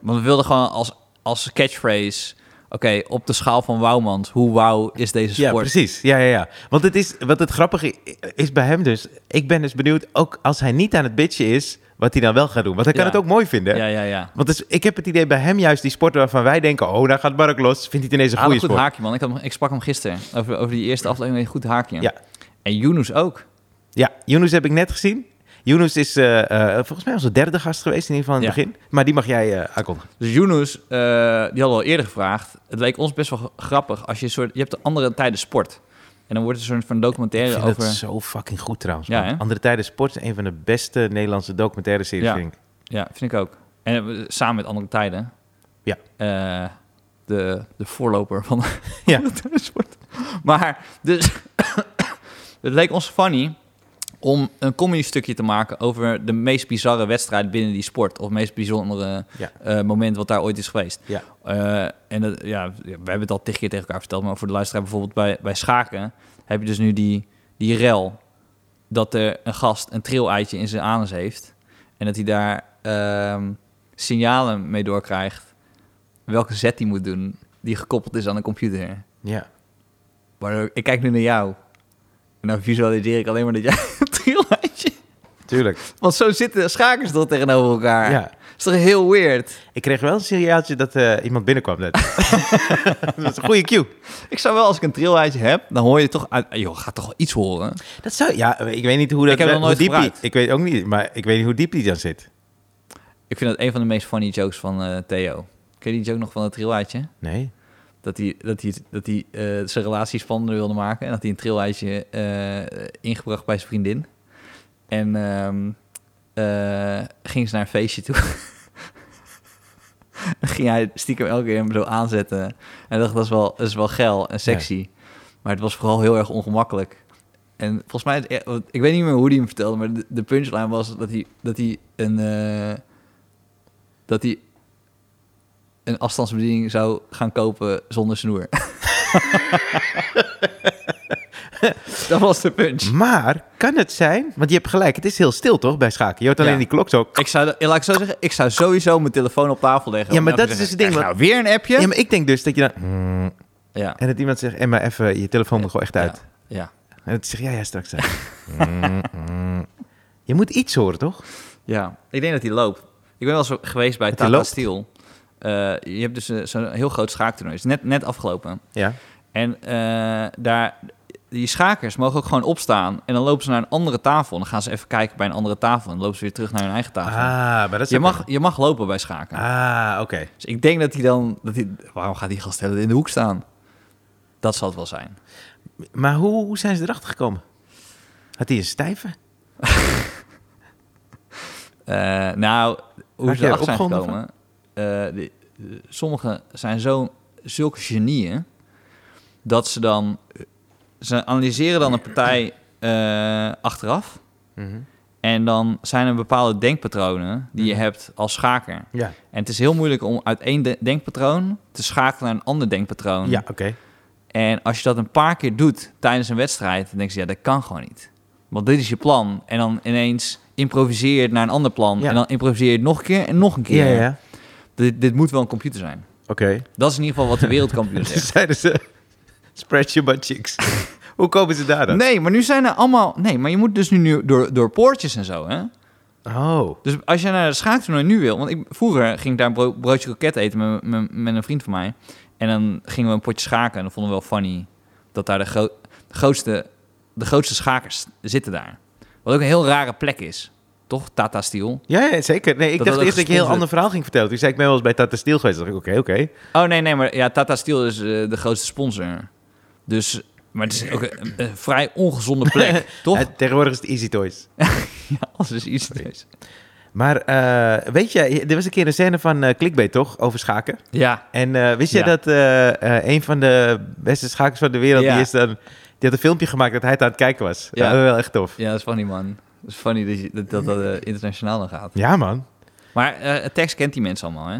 [SPEAKER 2] Want we wilden gewoon als, als catchphrase... Oké, op de schaal van Wouwmans, hoe wauw is deze
[SPEAKER 1] Ja,
[SPEAKER 2] sport?
[SPEAKER 1] precies. Ja, ja, ja. Want het is, wat het grappige i- is bij hem dus... Ik ben dus benieuwd, ook als hij niet aan het bitchen is... wat hij dan wel gaat doen. Want hij kan
[SPEAKER 2] Ja.
[SPEAKER 1] het ook mooi vinden.
[SPEAKER 2] Ja, ja, ja.
[SPEAKER 1] Want dus, ik heb het idee bij hem juist die sporten waarvan wij denken... oh, daar gaat Mark los. Vindt hij het ineens een
[SPEAKER 2] Ah, een
[SPEAKER 1] goede
[SPEAKER 2] goed
[SPEAKER 1] sport.
[SPEAKER 2] haakje, man. Ik, had, hem- ik sprak hem gisteren over, over die eerste aflevering. Een goed haakje.
[SPEAKER 1] Ja.
[SPEAKER 2] En Yunus ook.
[SPEAKER 1] Ja, Yunus heb ik net gezien. Yunus is eh, eh, volgens mij onze derde gast geweest in ieder geval in het
[SPEAKER 2] Ja.
[SPEAKER 1] begin. Maar die mag jij eh, aankondigen.
[SPEAKER 2] Dus Yunus, eh, die hadden we al eerder gevraagd. Het leek ons best wel g- grappig als je een soort... Je hebt de andere tijden sport. En dan wordt er een soort van
[SPEAKER 1] Ik
[SPEAKER 2] documentaire
[SPEAKER 1] vind
[SPEAKER 2] over...
[SPEAKER 1] dat zo fucking goed trouwens.
[SPEAKER 2] Ja,
[SPEAKER 1] man.
[SPEAKER 2] hè?
[SPEAKER 1] Andere Tijden Sport is een van de beste Nederlandse documentaire series,
[SPEAKER 2] Ja.
[SPEAKER 1] vind ik.
[SPEAKER 2] Ja, vind ik ook. En eh, samen met andere tijden.
[SPEAKER 1] Ja.
[SPEAKER 2] Eh, de, de voorloper van
[SPEAKER 1] Ja.
[SPEAKER 2] de sport. Maar dus, het leek ons funny om een comedy stukje te maken over de meest bizarre wedstrijd binnen die sport. Of het meest bijzondere
[SPEAKER 1] Ja.
[SPEAKER 2] eh, moment wat daar ooit is geweest.
[SPEAKER 1] Ja.
[SPEAKER 2] Eh, en dat, ja, we hebben het al tig keer tegen elkaar verteld, maar voor de luisteraar bijvoorbeeld bij, bij schaken heb je dus nu die, die rel dat er een gast een trilleitje in zijn anus heeft. En dat hij daar ehm, signalen mee doorkrijgt welke zet hij moet doen die gekoppeld is aan een computer.
[SPEAKER 1] Ja.
[SPEAKER 2] Maar ik kijk nu naar jou. En dan visualiseer ik alleen maar dat jij een trilleitje...
[SPEAKER 1] Tuurlijk.
[SPEAKER 2] Want zo zitten de schakers toch tegenover elkaar.
[SPEAKER 1] Ja.
[SPEAKER 2] is toch heel weird?
[SPEAKER 1] Ik kreeg wel een signaaltje dat eh, iemand binnenkwam net. dat is een goede cue.
[SPEAKER 2] Ik zou wel, als ik een trilleitje heb, dan hoor je toch... Uit, Ah, joh, gaat toch wel iets horen?
[SPEAKER 1] Dat zou, ja, ik weet niet hoe dat...
[SPEAKER 2] Ik heb nog
[SPEAKER 1] hoe
[SPEAKER 2] nooit
[SPEAKER 1] diep die-
[SPEAKER 2] gebruikt.
[SPEAKER 1] Ik weet ook niet, maar ik weet niet hoe diep die dan zit.
[SPEAKER 2] Ik vind dat een van de meest funny jokes van eh, Theo. Ken je die joke nog van het trilleitje?
[SPEAKER 1] Nee.
[SPEAKER 2] Dat hij, dat hij, dat hij eh, zijn relatie spannender wilde maken. En dat hij een trilleitje eh, ingebracht bij zijn vriendin. En ehm eh, ging ze naar een feestje toe. Dan ging hij stiekem elke keer hem zo aanzetten. En dacht, dat is wel, dat is wel geil en sexy. Maar het was vooral heel erg ongemakkelijk. En volgens mij, het- eh, want ik weet niet meer hoe hij hem vertelde, maar de, de punchline was dat hij, dat hij een... eh, dat hij een afstandsbediening zou gaan kopen zonder snoer. dat was de punch.
[SPEAKER 1] Maar kan het zijn... Want je hebt gelijk, het is heel stil toch bij schaken? Je hoort alleen
[SPEAKER 2] Ja.
[SPEAKER 1] die klok zo...
[SPEAKER 2] Ik zou, laat ik zo zeggen, ik zou sowieso mijn telefoon op tafel leggen.
[SPEAKER 1] Ja,
[SPEAKER 2] Om
[SPEAKER 1] maar
[SPEAKER 2] dan
[SPEAKER 1] dat
[SPEAKER 2] te
[SPEAKER 1] is
[SPEAKER 2] zeggen,
[SPEAKER 1] dus het ding,
[SPEAKER 2] "Krijg nou, weer een appje?
[SPEAKER 1] Ja,
[SPEAKER 2] Ja.
[SPEAKER 1] maar ik denk dus dat je dan... "Mm."
[SPEAKER 2] ja.
[SPEAKER 1] En dat iemand zegt, Emma, even, je telefoon moet gewoon echt uit.
[SPEAKER 2] Ja.
[SPEAKER 1] En dat zeg jij ja, straks uit. Mm, mm. je moet iets horen, toch?
[SPEAKER 2] Ja. Ik denk dat hij loopt. Ik ben wel eens geweest bij
[SPEAKER 1] Dat hij
[SPEAKER 2] Tata
[SPEAKER 1] loopt?
[SPEAKER 2] Steel. Eh, je hebt dus eh, zo'n heel groot schaaktoernooi. Het is net, net afgelopen.
[SPEAKER 1] Ja.
[SPEAKER 2] En eh, daar, die schakers mogen ook gewoon opstaan. En dan lopen ze naar een andere tafel. En dan gaan ze even kijken bij een andere tafel. En dan lopen ze weer terug naar hun eigen
[SPEAKER 1] Ah,
[SPEAKER 2] tafel.
[SPEAKER 1] maar dat is
[SPEAKER 2] je,
[SPEAKER 1] ook
[SPEAKER 2] mag,
[SPEAKER 1] een-
[SPEAKER 2] je mag lopen bij schaken.
[SPEAKER 1] Ah, oké.
[SPEAKER 2] Dus ik denk dat hij dan... Dat hij, waarom gaat die gast de hele tijd in de hoek staan? Dat zal het wel zijn.
[SPEAKER 1] Maar hoe, hoe zijn ze erachter gekomen? Had hij een stijve?
[SPEAKER 2] Eh, nou, hoe
[SPEAKER 1] Maak
[SPEAKER 2] ze
[SPEAKER 1] jij
[SPEAKER 2] erachter zijn
[SPEAKER 1] opgronden
[SPEAKER 2] gekomen... eh, die- eh, sommigen zijn zo, zulke genieën... dat ze dan... Ze analyseren dan een partij eh, achteraf... Mhm. En dan zijn er bepaalde denkpatronen die je
[SPEAKER 1] Mhm.
[SPEAKER 2] hebt als schaker.
[SPEAKER 1] Ja.
[SPEAKER 2] En het is heel moeilijk om uit één de- denkpatroon te schakelen naar een ander denkpatroon.
[SPEAKER 1] Ja, oké.
[SPEAKER 2] En als je dat een paar keer doet tijdens een wedstrijd, dan denk je, ja, dat kan gewoon niet. Want dit is je plan. En dan ineens improviseer je het naar een ander plan.
[SPEAKER 1] Ja.
[SPEAKER 2] En dan improviseer je het nog een keer en nog een keer.
[SPEAKER 1] Ja, ja. ja.
[SPEAKER 2] Dit, dit moet wel een computer zijn.
[SPEAKER 1] Oké.
[SPEAKER 2] Dat is in ieder geval wat de wereldkampioen
[SPEAKER 1] Toen
[SPEAKER 2] zegt.
[SPEAKER 1] zeiden ze, spread your butt cheeks. Hoe komen ze daar dan?
[SPEAKER 2] Nee, maar nu zijn er allemaal... Nee, maar je moet dus nu- nu door, door poortjes en zo, hè?
[SPEAKER 1] Oh,
[SPEAKER 2] Dus als je naar het schaaktoernooi nu wil... Want ik, vroeger ging ik daar een bro- broodje kroket eten met, met, met een vriend van mij. En dan gingen we een potje schaken. En dat vonden we wel funny. Dat daar de, gro- de, grootste, de grootste schakers zitten daar. Wat ook een heel rare plek is. Toch? Tata Steel.
[SPEAKER 1] ja, ja, zeker. Nee, ik
[SPEAKER 2] Dat
[SPEAKER 1] dacht
[SPEAKER 2] had
[SPEAKER 1] eerst dat je een heel
[SPEAKER 2] gesponsord.
[SPEAKER 1] ander verhaal ging vertellen. Toen zei ik, ik ben wel eens bij Tata Steel geweest. Toen dacht ik, oké, oké.
[SPEAKER 2] Oh nee, nee, maar ja, Tata Steel is eh, de grootste sponsor. Dus, maar het is ook een, een vrij ongezonde plek, toch?
[SPEAKER 1] Eh, Tegenwoordig is het Easy Toys.
[SPEAKER 2] Ja, als is iets. is.
[SPEAKER 1] Maar eh, weet je, er was een keer een scène van eh Clickbait, toch? Over schaken.
[SPEAKER 2] Ja,
[SPEAKER 1] En eh, wist jij
[SPEAKER 2] Ja.
[SPEAKER 1] dat eh, eh, een van de beste schakers van de wereld,
[SPEAKER 2] Ja.
[SPEAKER 1] die, is dan, die had een filmpje gemaakt dat hij het aan het kijken was.
[SPEAKER 2] Ja.
[SPEAKER 1] Ja. Dat is wel echt tof.
[SPEAKER 2] ja, dat is funny man. Dat is funny dat je- dat dat, dat eh, internationaal dan gaat.
[SPEAKER 1] Ja, man.
[SPEAKER 2] Maar eh Tex kent die mensen allemaal, hè?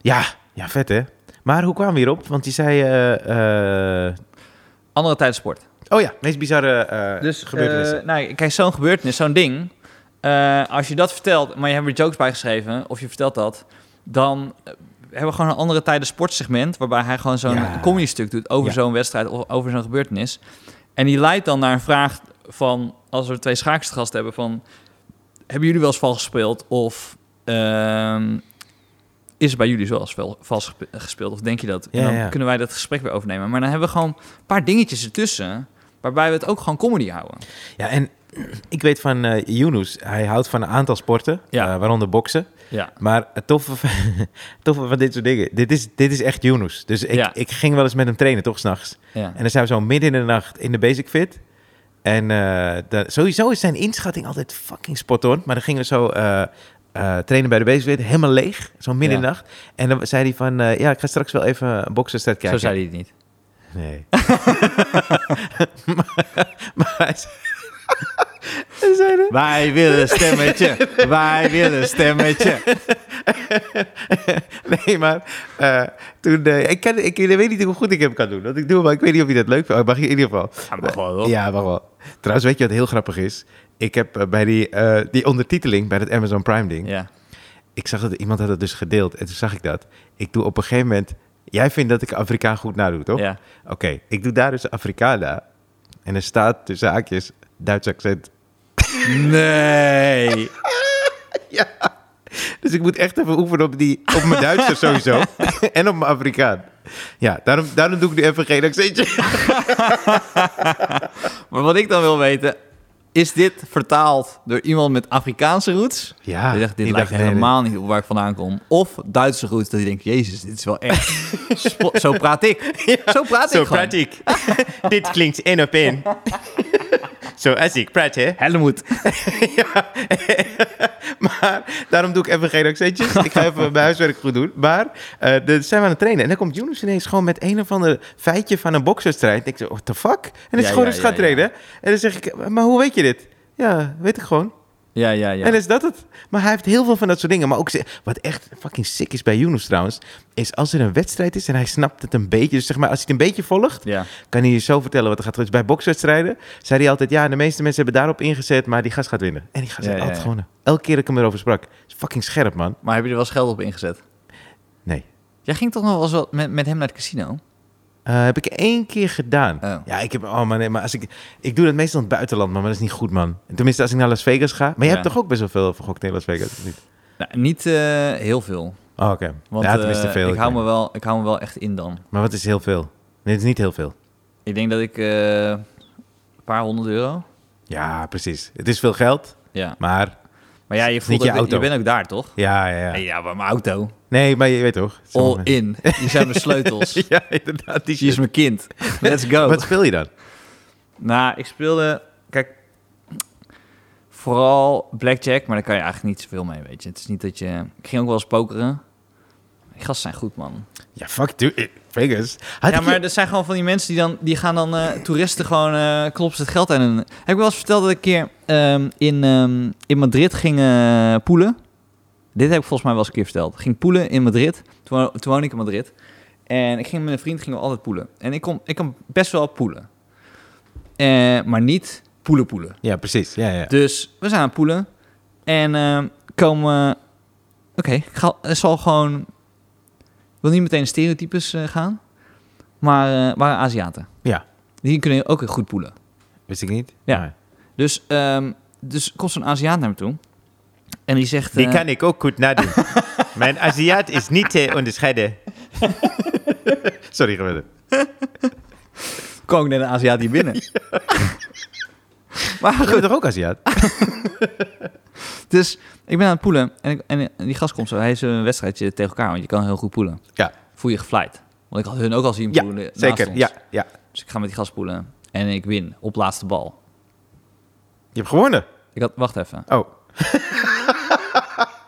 [SPEAKER 1] Ja, ja, vet hè. Maar hoe kwamen we hierop? Want die zei... eh, eh,
[SPEAKER 2] Andere tijd sport.
[SPEAKER 1] oh ja, meest bizarre eh gebeurtenissen.
[SPEAKER 2] eh, nou, kijk, zo'n gebeurtenis, zo'n ding. eh, als je dat vertelt, maar je hebt er jokes bij geschreven, of je vertelt dat, dan eh, hebben we gewoon een andere tijden sportsegment, waarbij hij gewoon zo'n
[SPEAKER 1] Ja.
[SPEAKER 2] comedy stuk doet over
[SPEAKER 1] Ja.
[SPEAKER 2] zo'n wedstrijd of over zo'n gebeurtenis. En die leidt dan naar een vraag van, als we twee schaakstergasten hebben, van, hebben jullie wel eens vals gespeeld? Of ehm, is het bij jullie wel eens wel vals gespe- gespeeld? Of denk je dat? en
[SPEAKER 1] Ja,
[SPEAKER 2] dan
[SPEAKER 1] ja.
[SPEAKER 2] kunnen wij dat gesprek weer overnemen. Maar dan hebben we gewoon een paar dingetjes ertussen, waarbij we het ook gewoon comedy houden.
[SPEAKER 1] Ja, en ik weet van eh Yunus, hij houdt van een aantal sporten,
[SPEAKER 2] Ja.
[SPEAKER 1] eh, waaronder boksen.
[SPEAKER 2] Ja.
[SPEAKER 1] Maar het toffe van, het toffe van dit soort dingen, dit is, dit is echt Yunus. Dus ik,
[SPEAKER 2] Ja.
[SPEAKER 1] ik ging wel eens met hem trainen, toch, s'nachts.
[SPEAKER 2] ja.
[SPEAKER 1] En dan zijn we zo midden in de nacht in de basic fit. En eh, da- sowieso is zijn inschatting altijd fucking spot on. Maar dan gingen we zo eh, eh, trainen bij de basic fit, helemaal leeg, zo midden
[SPEAKER 2] Ja.
[SPEAKER 1] in de nacht. En dan zei hij van, eh, ja, ik ga straks wel even een boksenwedstrijd
[SPEAKER 2] Zo
[SPEAKER 1] kijken.
[SPEAKER 2] zei hij het niet.
[SPEAKER 1] Nee. maar, maar hij zei- En zeiden,
[SPEAKER 3] Wij willen een stemmetje. Wij willen een stemmetje.
[SPEAKER 1] nee, maar eh, toen... eh, ik, kan, ik, ik weet niet hoe goed ik hem kan doen. Want ik doe hem, maar ik weet niet of je dat leuk vindt. Oh, mag je in ieder geval. Ja, wacht wel. Trouwens, weet je wat heel grappig is? Ik heb eh, bij die, eh, die ondertiteling, bij dat Amazon Prime ding...
[SPEAKER 2] Ja.
[SPEAKER 1] Ik zag dat iemand had het dus gedeeld. En toen zag ik dat. Ik doe op een gegeven moment... Jij vindt dat ik Afrikaan goed nadoe, toch?
[SPEAKER 2] ja.
[SPEAKER 1] Oké, ik doe daar dus Afrikana. En er staat tussen haakjes Duits accent.
[SPEAKER 3] Nee.
[SPEAKER 1] Ja. Dus ik moet echt even oefenen op, die, op mijn Duitser sowieso. en op mijn Afrikaan. Ja, daarom, daarom doe ik nu even geen accentje.
[SPEAKER 2] Maar wat ik dan wil weten, is dit vertaald door iemand met Afrikaanse roots?
[SPEAKER 1] Ja,
[SPEAKER 2] Die dacht, dit
[SPEAKER 1] ik
[SPEAKER 2] lijkt
[SPEAKER 1] dacht, nee,
[SPEAKER 2] helemaal niet op waar ik vandaan kom. Of Duitse roots, dat je denkt, jezus, dit is wel echt... spo- zo praat ik. zo praat ik gewoon.
[SPEAKER 3] ik.
[SPEAKER 1] Dit klinkt één op één. Zoals ik praat, hè?
[SPEAKER 2] Helmoet.
[SPEAKER 1] Ja. maar daarom doe ik even geen accentjes. Ik ga even mijn huiswerk goed doen. Maar eh dan zijn we aan het trainen. En dan komt Younes ineens gewoon met een of ander feitje van een bokswedstrijd. Ik zeg, what the fuck? En dan is
[SPEAKER 2] Ja,
[SPEAKER 1] gewoon
[SPEAKER 2] ja,
[SPEAKER 1] eens
[SPEAKER 2] ja,
[SPEAKER 1] gaan
[SPEAKER 2] ja.
[SPEAKER 1] trainen. En dan zeg ik, maar hoe weet je dit? Ja, weet ik gewoon.
[SPEAKER 2] Ja, ja, ja.
[SPEAKER 1] En is dat het. Maar hij heeft heel veel van dat soort dingen. Maar ook ze- wat echt fucking sick is bij Younes trouwens, is als er een wedstrijd is en hij snapt het een beetje. Dus zeg maar, als hij het een beetje volgt,
[SPEAKER 2] Ja.
[SPEAKER 1] kan hij je zo vertellen wat er gaat gebeuren. Dus bij bokswedstrijden zei hij altijd, ja, de meeste mensen hebben daarop ingezet, maar die gast gaat winnen. En die gast
[SPEAKER 2] Ja,
[SPEAKER 1] heeft
[SPEAKER 2] ja,
[SPEAKER 1] altijd
[SPEAKER 2] ja.
[SPEAKER 1] gewonnen. Elke keer dat ik hem erover sprak. Is fucking scherp, man.
[SPEAKER 2] Maar heb je er wel eens geld op ingezet?
[SPEAKER 1] Nee.
[SPEAKER 2] Jij ging toch nog wel eens wat met, met hem naar het casino?
[SPEAKER 1] Eh, heb ik één keer gedaan.
[SPEAKER 2] Oh.
[SPEAKER 1] Ja, ik heb. Oh man, nee, maar als ik. Ik doe dat meestal in het buitenland, man, maar dat is niet goed, man. Tenminste, als ik naar Las Vegas ga. Maar jij
[SPEAKER 2] Ja.
[SPEAKER 1] hebt toch ook best wel veel vergokt in Las Vegas? of niet?
[SPEAKER 2] Nou, niet eh, heel veel.
[SPEAKER 1] Oh, oké.
[SPEAKER 2] Want
[SPEAKER 1] ja, tenminste
[SPEAKER 2] eh,
[SPEAKER 1] veel.
[SPEAKER 2] ik, hou
[SPEAKER 1] weet
[SPEAKER 2] me wel, ik hou me wel echt in dan.
[SPEAKER 1] Maar wat is heel veel? Nee, het is niet heel veel.
[SPEAKER 2] Ik denk dat ik eh, een paar honderd euro.
[SPEAKER 1] Ja, precies. Het is veel geld,
[SPEAKER 2] Ja.
[SPEAKER 1] maar
[SPEAKER 2] Maar ja, je
[SPEAKER 1] Niet
[SPEAKER 2] voelt
[SPEAKER 1] je
[SPEAKER 2] ook- je,
[SPEAKER 1] auto.
[SPEAKER 2] bent ook daar, toch?
[SPEAKER 1] ja, ja, ja.
[SPEAKER 2] Ja, maar mijn auto.
[SPEAKER 1] Nee, maar je weet toch?
[SPEAKER 2] All
[SPEAKER 1] Sommige-
[SPEAKER 2] in. Je zijn mijn sleutels.
[SPEAKER 1] Ja, inderdaad. Die
[SPEAKER 2] Hier is mijn kind. Let's go.
[SPEAKER 1] Wat speel je dan?
[SPEAKER 2] Nou, ik speelde... Kijk, vooral blackjack, maar daar kan je eigenlijk niet zoveel mee, weet je. Het is niet dat je... Ik ging ook wel eens pokeren. Die gasten zijn goed, man.
[SPEAKER 1] Ja, fuck, dude. Vegas. Had
[SPEAKER 2] ja,
[SPEAKER 1] ik je-
[SPEAKER 2] maar er zijn gewoon van die mensen die dan... Die gaan dan eh, toeristen gewoon eh klopt het geld aan hun... Heb ik wel eens verteld dat ik een keer ehm, in, ehm, in Madrid ging eh, poelen? Dit heb ik volgens mij wel eens een keer verteld. Ging poelen in Madrid. Toen, wo- toen woonde ik in Madrid. En ik ging met een vriend gingen we altijd poelen. En ik, kon, ik kan best wel poelen. Eh, maar niet poelen poelen.
[SPEAKER 1] Ja, precies. Ja, ja.
[SPEAKER 2] Dus we zijn aan het poelen. En ehm, komen... Oké, ik ga- het zal gewoon... Ik wil niet meteen stereotypes eh, gaan. Maar eh, waren Aziaten.
[SPEAKER 1] Ja.
[SPEAKER 2] Die kunnen ook goed poelen.
[SPEAKER 1] Wist ik niet.
[SPEAKER 2] Ja.
[SPEAKER 1] Maar-
[SPEAKER 2] Dus, ehm, dus komt zo'n Aziat naar me toe. En die zegt... eh,
[SPEAKER 3] ik ook goed nadoen.
[SPEAKER 1] Mijn Aziat is niet te onderscheiden. Sorry, geworden.
[SPEAKER 2] Kwam ik net een Aziat hier binnen. maar
[SPEAKER 1] Je
[SPEAKER 2] goed,
[SPEAKER 1] bent toch ook Aziat?
[SPEAKER 2] dus ik ben aan het poelen. En, ik- en die gast komt zo. Hij is een wedstrijdje tegen elkaar. Want je kan heel goed poelen.
[SPEAKER 1] Ja.
[SPEAKER 2] Voel je geflight. Want ik had hun ook al zien
[SPEAKER 1] Ja,
[SPEAKER 2] poelen. naast
[SPEAKER 1] zeker.
[SPEAKER 2] ons.
[SPEAKER 1] Ja, ja.
[SPEAKER 2] Dus ik ga met die gast poelen. En ik win op laatste bal.
[SPEAKER 1] Je hebt gewonnen.
[SPEAKER 2] Ik had, wacht even.
[SPEAKER 1] Oh,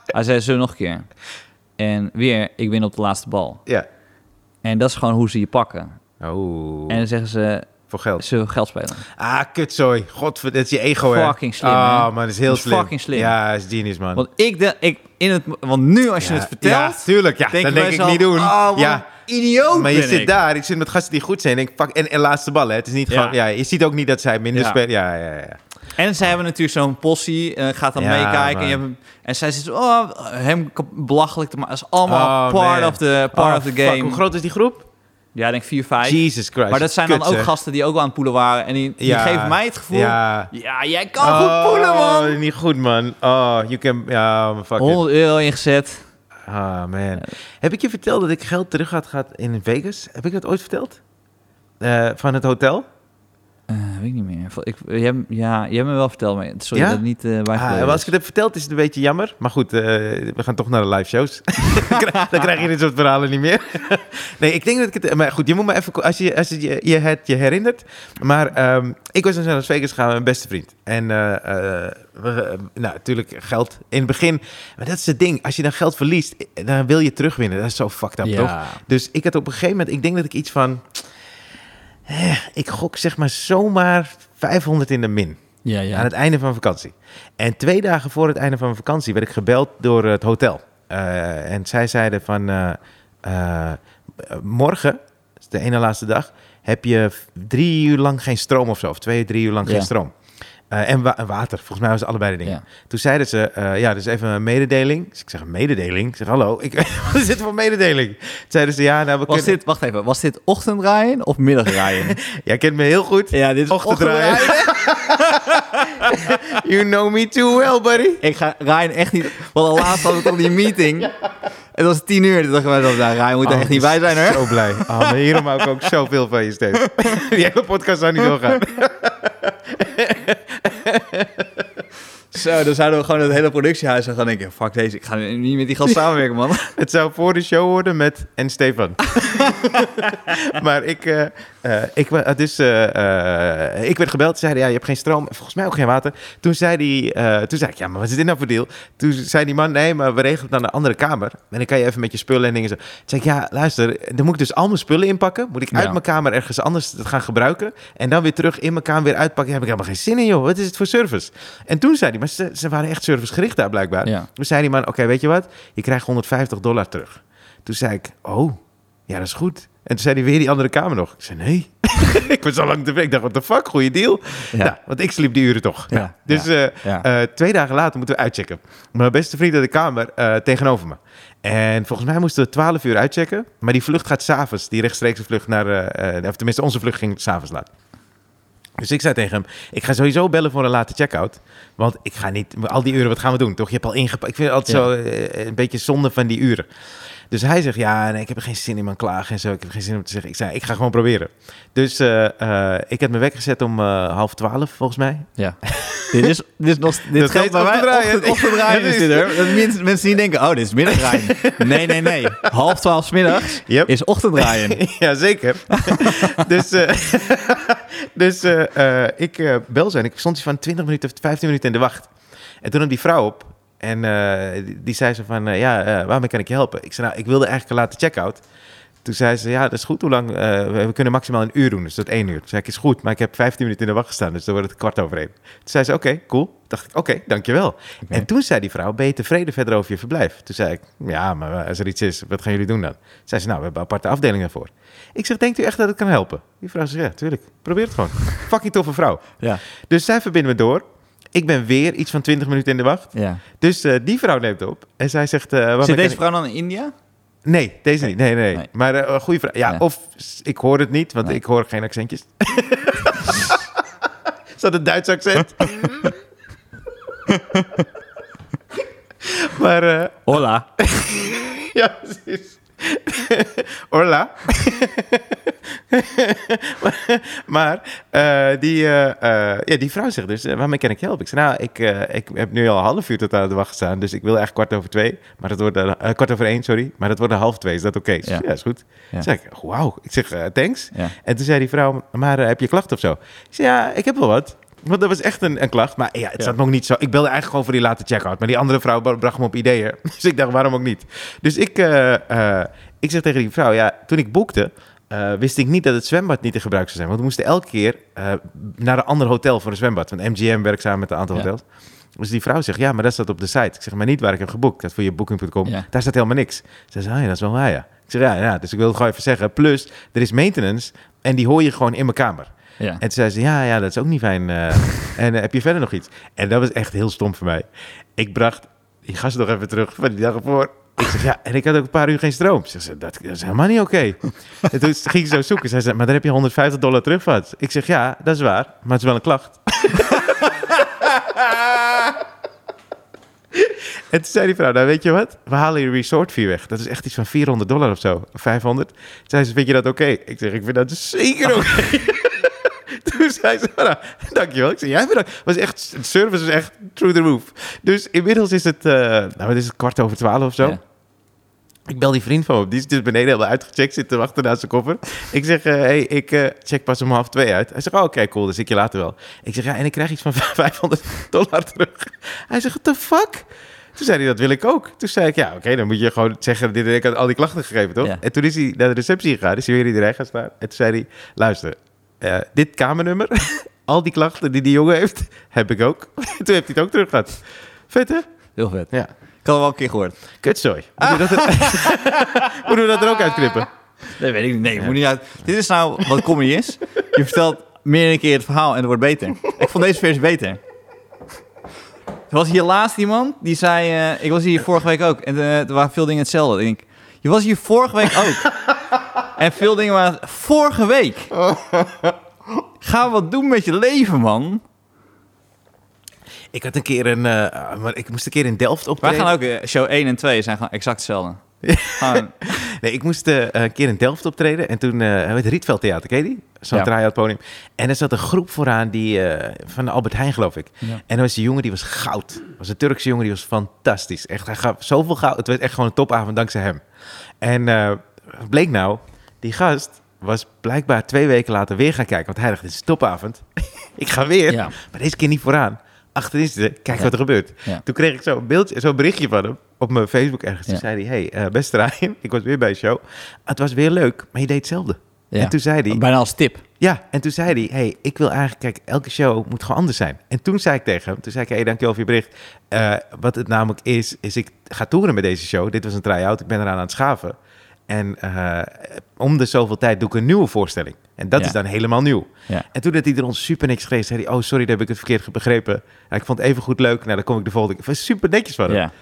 [SPEAKER 2] Hij zei zo nog een keer. En weer, ik win op de laatste bal.
[SPEAKER 1] ja.
[SPEAKER 2] En dat is gewoon hoe ze je pakken.
[SPEAKER 1] Oh,
[SPEAKER 2] En dan zeggen ze,
[SPEAKER 1] voor geld.
[SPEAKER 2] ze wil geld spelen.
[SPEAKER 1] Ah, kutzooi. Godver, dat is je ego, hè?
[SPEAKER 2] Fucking slim,
[SPEAKER 1] Oh,
[SPEAKER 2] hè?
[SPEAKER 1] man, dat is heel
[SPEAKER 2] Dat is
[SPEAKER 1] slim.
[SPEAKER 2] fucking slim.
[SPEAKER 1] Ja, dat is genius, man.
[SPEAKER 2] Want ik, de, ik in het, want nu als je
[SPEAKER 1] Ja,
[SPEAKER 2] het vertelt,
[SPEAKER 1] Ja, tuurlijk. Ja,
[SPEAKER 2] denk,
[SPEAKER 1] dat
[SPEAKER 2] je
[SPEAKER 1] denk
[SPEAKER 2] bij
[SPEAKER 1] ik niet
[SPEAKER 2] jezelf,
[SPEAKER 1] doen.
[SPEAKER 2] Oh, wat
[SPEAKER 1] ja.
[SPEAKER 2] een idioot
[SPEAKER 1] Maar je
[SPEAKER 2] ben
[SPEAKER 1] zit
[SPEAKER 2] ik.
[SPEAKER 1] daar, ik zit met gasten die goed zijn. En, ik pak, en, en laatste ballen. hè. Het is niet
[SPEAKER 2] Ja.
[SPEAKER 1] gewoon, ja, je ziet ook niet dat zij minder
[SPEAKER 2] Ja.
[SPEAKER 1] spelen. Ja, ja, ja.
[SPEAKER 2] En zij hebben natuurlijk zo'n possie, eh, gaat dan
[SPEAKER 1] Ja,
[SPEAKER 2] meekijken. En, je
[SPEAKER 1] man.
[SPEAKER 2] hebt, en zij zit zo, oh, hem kap- belachelijk te maken. Dat is allemaal
[SPEAKER 1] Oh,
[SPEAKER 2] part,
[SPEAKER 1] man.
[SPEAKER 2] of the, part
[SPEAKER 1] Oh,
[SPEAKER 2] of the
[SPEAKER 1] fuck,
[SPEAKER 2] game.
[SPEAKER 1] hoe groot is die groep?
[SPEAKER 2] Ja, ik denk 4, 5.
[SPEAKER 1] Jesus Christ.
[SPEAKER 2] Maar dat zijn
[SPEAKER 1] Kut,
[SPEAKER 2] dan ook
[SPEAKER 1] zeg.
[SPEAKER 2] gasten die ook wel aan het poelen waren. En die, die
[SPEAKER 1] Ja.
[SPEAKER 2] geven mij het gevoel, ja,
[SPEAKER 1] Ja.
[SPEAKER 2] jij kan goed poelen, man. Oh.
[SPEAKER 1] Oh, niet goed, man. Oh, you can... Ja, maar fuck it.
[SPEAKER 2] 100 euro ingezet.
[SPEAKER 1] Ah, man. Heb ik je verteld dat ik geld terug had gehad in Vegas? Heb ik dat ooit verteld? Eh, van het hotel?
[SPEAKER 2] Eh, weet ik niet meer. Ik, jij, ja, jij hebt me wel verteld, maar sorry
[SPEAKER 1] Ja?
[SPEAKER 2] dat het niet eh
[SPEAKER 1] Ah,
[SPEAKER 2] bijgebleven
[SPEAKER 1] maar als
[SPEAKER 2] was.
[SPEAKER 1] ik het heb verteld is het een beetje jammer. Maar goed, eh, we gaan toch naar de live shows. Dan krijg- Dan krijg je dit soort verhalen niet meer. nee, ik denk dat ik het... Maar goed, je moet me even... Als je, als je, je het je herinnert. Maar ehm, ik was dus naar Las Vegas gaan met mijn beste vriend. En eh, eh, we- eh, nou, natuurlijk geld in het begin. Maar dat is het ding. Als je dan geld verliest, eh, dan wil je terugwinnen. Dat is zo fucked up, toch? Dus ik had op een gegeven moment, ik denk dat ik iets van. eh, ik gok zeg maar zomaar 500 in de min.
[SPEAKER 2] Ja,
[SPEAKER 1] Aan
[SPEAKER 2] ja.
[SPEAKER 1] het einde van vakantie. En twee dagen voor het einde van mijn vakantie werd ik gebeld door het hotel. Eh, en zij zeiden van... eh, eh, morgen, dat is de ene laatste dag... heb je v- drie uur lang geen stroom of zo. Of twee, drie uur lang
[SPEAKER 2] Ja.
[SPEAKER 1] geen stroom. Eh, en wa- en water. Volgens mij was het allebei de dingen.
[SPEAKER 2] Ja.
[SPEAKER 1] Toen zeiden ze, eh, ja, dus even een mededeling. Dus ik zeg, een mededeling? Ik zeg, hallo, ik, wat is dit voor mededeling? Toen zeiden ze, ja, nou, we
[SPEAKER 2] Was
[SPEAKER 1] kunnen...
[SPEAKER 2] dit, wacht even, was dit ochtend Ryan of middag Ryan?
[SPEAKER 1] Jij kent me heel goed.
[SPEAKER 2] ja, dit is
[SPEAKER 1] Ochtend
[SPEAKER 2] ochtend
[SPEAKER 1] Ryan.
[SPEAKER 2] Ryan.
[SPEAKER 1] You know me too well, buddy.
[SPEAKER 2] Ik ga Ryan echt niet, want al laatst hadden we toch die meeting. Het was tien uur, toen dachten wij, nou, Ryan moet er
[SPEAKER 1] Oh,
[SPEAKER 2] echt niet bij zijn hoor.
[SPEAKER 1] Zo blij. Oh, maar hierom hou ik ook zoveel van je steeds. Die hele podcast zou niet doorgaan.
[SPEAKER 2] Zo, dan zouden we gewoon het hele productiehuis gaan denken, fuck deze, ik ga niet met die gast samenwerken man.
[SPEAKER 1] Het zou voor de show worden met en Stefan. maar ik, eh, eh, ik, wa- het is, eh, eh, ik werd gebeld. Ze zeiden, ja, je hebt geen stroom. Volgens mij ook geen water. Toen zei, die, eh, toen zei ik, ja, maar wat is dit nou voor deal? Toen zei die man, nee, maar we regelen het aan de andere kamer. En dan kan je even met je spullen en dingen zo. Toen zei ik, ja, luister, dan moet ik dus al mijn spullen inpakken. Moet ik uit
[SPEAKER 2] Ja.
[SPEAKER 1] mijn kamer ergens anders het gaan gebruiken. En dan weer terug in mijn kamer weer uitpakken. Daar heb ik helemaal geen zin in, joh. Wat is het voor service? En toen zei hij, maar ze, ze waren echt servicegericht daar blijkbaar.
[SPEAKER 2] Ja.
[SPEAKER 1] Toen zei die man, oké, weet je wat? Je krijgt 150 dollar terug. Toen zei ik, oh, ja, dat is goed. En toen zei hij weer die andere kamer nog. Ik zei, nee. ik was al lang tevreden. Ik dacht, what the fuck, goede deal.
[SPEAKER 2] Ja.
[SPEAKER 1] Nou, want ik sliep die uren toch.
[SPEAKER 2] Ja,
[SPEAKER 1] Nou, dus eh,
[SPEAKER 2] ja.
[SPEAKER 1] eh, twee dagen later moeten we uitchecken. Mijn beste vriend uit de kamer eh, tegenover me. En volgens mij moesten we 12 uur uitchecken. Maar die vlucht gaat s'avonds, die rechtstreekse vlucht naar... eh, eh, of tenminste, onze vlucht ging s'avonds laat. Dus ik zei tegen hem, ik ga sowieso bellen voor een late check-out. Want ik ga niet, al die uren, wat gaan we doen? Toch, je hebt al ingepakt. Ik vind het altijd
[SPEAKER 2] Ja.
[SPEAKER 1] zo eh, een beetje zonde van die uren. Dus hij zegt, ja, nee, ik heb er geen zin in mijn klagen en zo. Ik heb geen zin om te zeggen. Ik zei, ik ga gewoon proberen. Dus eh, eh, ik heb mijn wekker gezet om eh, half twaalf, volgens mij.
[SPEAKER 2] Ja. dit is, dit is nog, dit
[SPEAKER 1] Dat
[SPEAKER 2] geldt
[SPEAKER 1] heet
[SPEAKER 2] bij mij
[SPEAKER 1] ochtenddraaien.
[SPEAKER 2] ochtend, ochtenddraaien
[SPEAKER 1] Ja,
[SPEAKER 2] is
[SPEAKER 1] dit
[SPEAKER 2] dit
[SPEAKER 1] is-
[SPEAKER 2] hoor. Dat mensen, mensen niet denken, oh, dit is middagraaien. Nee, nee, nee. Half twaalf 's middags
[SPEAKER 1] Yep.
[SPEAKER 2] is ochtenddraaien.
[SPEAKER 1] Jazeker. dus eh, dus eh, eh, ik eh, bel ze en ik stond hier van 20 minuten of 15 minuten in de wacht. En toen nam die vrouw op en eh, die, die zei ze van, eh, ja, eh, waarmee kan ik je helpen? Ik zei, nou, ik wilde eigenlijk een late check-out. Toen zei ze, ja, dat is goed, hoe lang? eh, we, we kunnen maximaal een uur doen, dus dat één uur. Toen zei ik, is goed, maar ik heb 15 minuten in de wacht gestaan, dus dan wordt het kwart over één. Toen zei ze, oké, cool. Toen dacht ik, oké, dankjewel. En toen zei die vrouw, ben je tevreden verder over je verblijf? Toen zei ik, ja, maar als er iets is, wat gaan jullie doen dan? Zei ze, nou, we hebben een aparte afdeling daarvoor. Ik zeg, denkt u echt dat het kan helpen? Die vrouw zegt, ja, tuurlijk. Probeer het gewoon. Fucking toffe vrouw.
[SPEAKER 2] Ja.
[SPEAKER 1] Dus zij verbindt me door. Ik ben weer iets van 20 minuten in de wacht.
[SPEAKER 2] ja.
[SPEAKER 1] Dus eh, die vrouw neemt op. En zij zegt... eh, waarmee
[SPEAKER 2] Zit
[SPEAKER 1] kan
[SPEAKER 2] deze
[SPEAKER 1] ik-
[SPEAKER 2] vrouw dan in India?
[SPEAKER 1] Nee, deze niet. Nee, nee. nee.
[SPEAKER 2] Nee.
[SPEAKER 1] Maar eh, een goede vraag. Ja,
[SPEAKER 2] Ja.
[SPEAKER 1] of s- ik hoor het niet, want
[SPEAKER 2] Nee.
[SPEAKER 1] ik hoor geen accentjes. Is dat een Duits accent? maar eh,
[SPEAKER 2] Hola.
[SPEAKER 1] ja, precies. Orla. maar eh, die, eh, eh, ja, die vrouw zegt dus, eh, waarmee kan ik je helpen? Ik zei, nou, ik, eh, ik heb nu al een half uur tot aan de wacht gestaan. Dus ik wil echt kwart over twee. Maar dat wordt, eh, eh, kwart over één, sorry. Maar dat wordt een half twee. Is dat oké? Ze
[SPEAKER 2] Ja.
[SPEAKER 1] zei, Ja, is goed.
[SPEAKER 2] Ja.
[SPEAKER 1] Toen zei ik, wauw. Ik zeg, eh, thanks.
[SPEAKER 2] Ja.
[SPEAKER 1] En toen zei die vrouw, maar eh, heb je klachten of zo? Ik zei, ja, ik heb wel wat. Want dat was echt een, een klacht. Maar ja, het
[SPEAKER 2] Ja.
[SPEAKER 1] zat me ook niet zo. Ik belde eigenlijk gewoon voor die late check-out. Maar die andere vrouw bra- bracht me op ideeën. Dus ik dacht, waarom ook niet? Dus ik, eh, eh, ik zeg tegen die vrouw, ja, toen ik boekte... eh, wist ik niet dat het zwembad niet in gebruik zou zijn. Want we moesten elke keer eh, naar een ander hotel voor een zwembad. Want MGM werkt samen met een aantal
[SPEAKER 2] Ja.
[SPEAKER 1] hotels. Dus die vrouw zegt, ja, maar dat staat op de site. Ik zeg, maar niet waar ik heb geboekt. Dat is voor je booking.com.
[SPEAKER 2] Ja.
[SPEAKER 1] Daar staat helemaal niks. Ze zei, oh ja, dat is wel waar, ja. Ik zeg, ja, ja, dus ik wil het gewoon even zeggen. Plus, er is maintenance en die hoor je gewoon in mijn kamer.
[SPEAKER 2] Ja.
[SPEAKER 1] En toen zei ze, ja, ja, dat is ook niet fijn. eh. en eh, heb je verder nog iets? En dat was echt heel stom voor mij. Ik bracht die gast nog even terug van die dag ervoor. Ik zeg, ja, en ik had ook een paar uur geen stroom. Ze zei, dat, dat is helemaal niet oké. en toen ging ze zo zoeken. Zij zei, maar daar heb je 150 dollar terug van. Ik zeg, ja, dat is waar, maar het is wel een klacht. En toen zei die vrouw, nou weet je wat? We halen je resort fee weg. Dat is echt iets van 400 dollar of zo. 500. Toen zei ze, vind je dat oké? Ik zeg, ik vind dat zeker oké. Toen zei ze, nou, dankjewel. Ik zei, jij bedankt. Was echt, de service was echt through the roof. Dus inmiddels is het, eh, nou het is het kwart over twaalf of zo.
[SPEAKER 2] Ja.
[SPEAKER 1] Ik bel die vriend van me op. Die is dus beneden helemaal uitgecheckt. Zit te wachten naast zijn koffer. Ik zeg, eh, hey, ik eh, check pas om half twee uit. Hij zegt, oh, oké, cool. Dan zie ik je later wel. Ik zeg, ja, en ik krijg iets van 500 dollar terug. Hij zegt, what the fuck? Toen zei hij, dat wil ik ook. Toen zei ik, ja, oké, dan moet je gewoon zeggen... Dit, en ik had al die klachten gegeven, toch?
[SPEAKER 2] Ja.
[SPEAKER 1] En toen is hij naar de receptie gegaan. Is hij weer in de rij gaan staan. En toen zei hij, luister, eh, dit kamernummer Al die klachten die die jongen heeft, heb ik ook. Toen heeft hij het ook terug gehad. Vet, hè?
[SPEAKER 2] Heel vet.
[SPEAKER 1] Ja.
[SPEAKER 3] Ik had hem al een keer gehoord.
[SPEAKER 1] Kutzooi. Moeten we dat er- Moeten we dat er ook uitknippen?
[SPEAKER 2] Dat weet ik niet.
[SPEAKER 3] Nee, moet niet uit. Dit is nou wat comedy is. Je vertelt meer dan een keer het verhaal en het wordt beter. Ik vond deze versie beter. Er was hier laatst iemand die zei... eh, ik was hier vorige week ook. En eh, er waren veel dingen hetzelfde. Ik denk, je was hier vorige week ook. en veel dingen waren... Vorige week! Ga wat doen met je leven, man.
[SPEAKER 1] Ik had een keer een... eh, maar ik moest een keer in Delft
[SPEAKER 2] Wij
[SPEAKER 1] optreden.
[SPEAKER 2] gaan ook... eh, Show 1 en 2 zijn gewoon exact hetzelfde. Gewoon-
[SPEAKER 1] Nee, ik moest eh, een keer in Delft optreden. En toen, eh het Rietveld Theater, ken je die? Zo'n
[SPEAKER 2] Ja.
[SPEAKER 1] try-out podium. En er zat een groep vooraan die, eh, van Albert Heijn, geloof ik.
[SPEAKER 2] Ja.
[SPEAKER 1] En er was een jongen die was goud. Er was een Turkse jongen die was fantastisch. Echt, hij gaf zoveel goud. Het werd echt gewoon een topavond dankzij hem. En eh, wat bleek nou, die gast was blijkbaar twee weken later weer gaan kijken. Want hij dacht, dit is een topavond. ik ga weer.
[SPEAKER 2] Ja.
[SPEAKER 1] Maar deze keer niet vooraan. Achterin zitten, kijk
[SPEAKER 2] Ja.
[SPEAKER 1] wat er gebeurt.
[SPEAKER 2] Ja.
[SPEAKER 1] Toen kreeg ik zo'n beeldje, zo'n berichtje van hem op mijn Facebook ergens. Toen
[SPEAKER 2] Ja.
[SPEAKER 1] zei hij, hey, eh, beste Ryan, ik was weer bij een show. Het was weer leuk, maar je deed hetzelfde.
[SPEAKER 2] Ja.
[SPEAKER 1] En toen zei hij,
[SPEAKER 2] Bijna als tip.
[SPEAKER 1] ja, en toen zei hij, hey, ik wil eigenlijk, kijk, elke show moet gewoon anders zijn. En toen zei ik tegen hem, toen zei ik, hey, dankjewel voor je bericht. Eh, wat het namelijk is, is ik ga toeren met deze show. Dit was een try-out, ik ben eraan aan het schaven. En eh, om de zoveel tijd doe ik een nieuwe voorstelling. En dat
[SPEAKER 2] Ja.
[SPEAKER 1] is dan helemaal nieuw.
[SPEAKER 2] Ja.
[SPEAKER 1] En toen had hij er ons super niks gegeven, zei hij, oh, sorry, daar heb ik het verkeerd begrepen. Nou, ik vond het even goed leuk, nou, dan kom ik de volgende keer. Super netjes van hem.
[SPEAKER 2] Ja.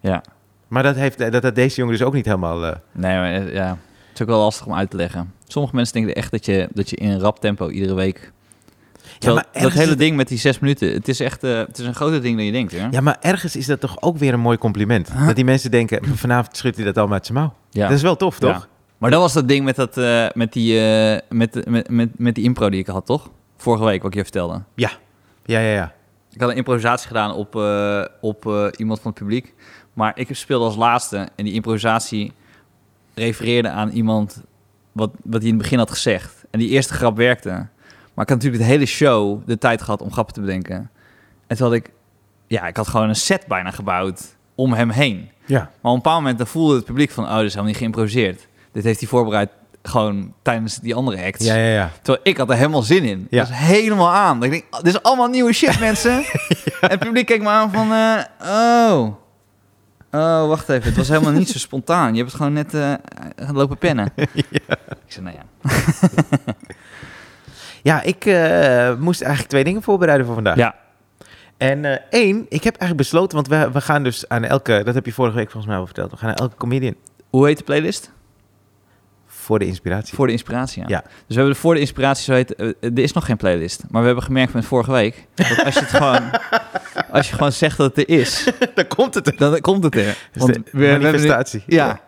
[SPEAKER 2] Ja.
[SPEAKER 1] Maar dat, heeft, dat had deze jongen dus ook niet helemaal... eh,
[SPEAKER 2] Nee, maar eh, ja. Het is ook wel lastig om uit te leggen. Sommige mensen denken echt dat je, dat je in een rap tempo iedere week... Terwijl
[SPEAKER 1] maar
[SPEAKER 2] dat
[SPEAKER 1] ergens
[SPEAKER 2] hele
[SPEAKER 1] is-
[SPEAKER 2] ding met die zes minuten, het is echt eh, het is een groter ding dan je denkt, hè?
[SPEAKER 1] Ja, maar ergens is dat toch ook weer een mooi compliment. Dat die mensen denken, vanavond schudt hij dat allemaal uit zijn mouw.
[SPEAKER 2] Ja.
[SPEAKER 1] Dat is wel tof, toch?
[SPEAKER 2] Ja. Maar dat was dat ding met, dat, eh, met, die, eh, met, met, met, met die impro die ik had, toch? Vorige week, wat ik je vertelde.
[SPEAKER 1] Ja, ja, ja. ja,
[SPEAKER 2] Ik had een improvisatie gedaan op, eh, op eh, iemand van het publiek. Maar ik speelde als laatste. En die improvisatie refereerde aan iemand wat, wat hij in het begin had gezegd. En die eerste grap werkte. Maar ik had natuurlijk de hele show de tijd gehad om grappen te bedenken. En toen had ik... Ja, ik had gewoon een set bijna gebouwd om hem heen.
[SPEAKER 1] Ja.
[SPEAKER 2] Maar op een bepaald moment dan voelde het publiek van... Oh, dit is helemaal niet geïmproviseerd. Dit heeft hij voorbereid gewoon tijdens die andere acts.
[SPEAKER 1] Ja, ja, ja.
[SPEAKER 2] Terwijl ik had er helemaal zin in.
[SPEAKER 1] Ja.
[SPEAKER 2] Dat was helemaal aan. Dat Ik denk, oh, dit is allemaal nieuwe shit, mensen. En het publiek keek me aan van, eh, oh. Oh, wacht even. Het was helemaal niet zo spontaan. Je hebt het gewoon net eh, gaan lopen pennen. Ik zei, nou ja.
[SPEAKER 1] Ja, ik eh, moest eigenlijk twee dingen voorbereiden voor vandaag.
[SPEAKER 2] Ja.
[SPEAKER 1] En eh, één, ik heb eigenlijk besloten, want we, we gaan dus aan elke... Dat heb je vorige week volgens mij al verteld. We gaan aan elke comedian
[SPEAKER 2] Hoe heet de playlist?
[SPEAKER 1] voor de inspiratie.
[SPEAKER 2] Voor de inspiratie, ja.
[SPEAKER 1] Ja.
[SPEAKER 2] Dus we hebben de voor de inspiratie, zo heet, eh, er is nog geen playlist. Maar we hebben gemerkt met vorige week, dat als je het gewoon, als je gewoon zegt dat het er is,
[SPEAKER 1] Daar komt het.
[SPEAKER 2] dan komt het er.
[SPEAKER 1] Dus de
[SPEAKER 2] we- we hebben nu-
[SPEAKER 1] manifestatie.
[SPEAKER 2] ja. Nou,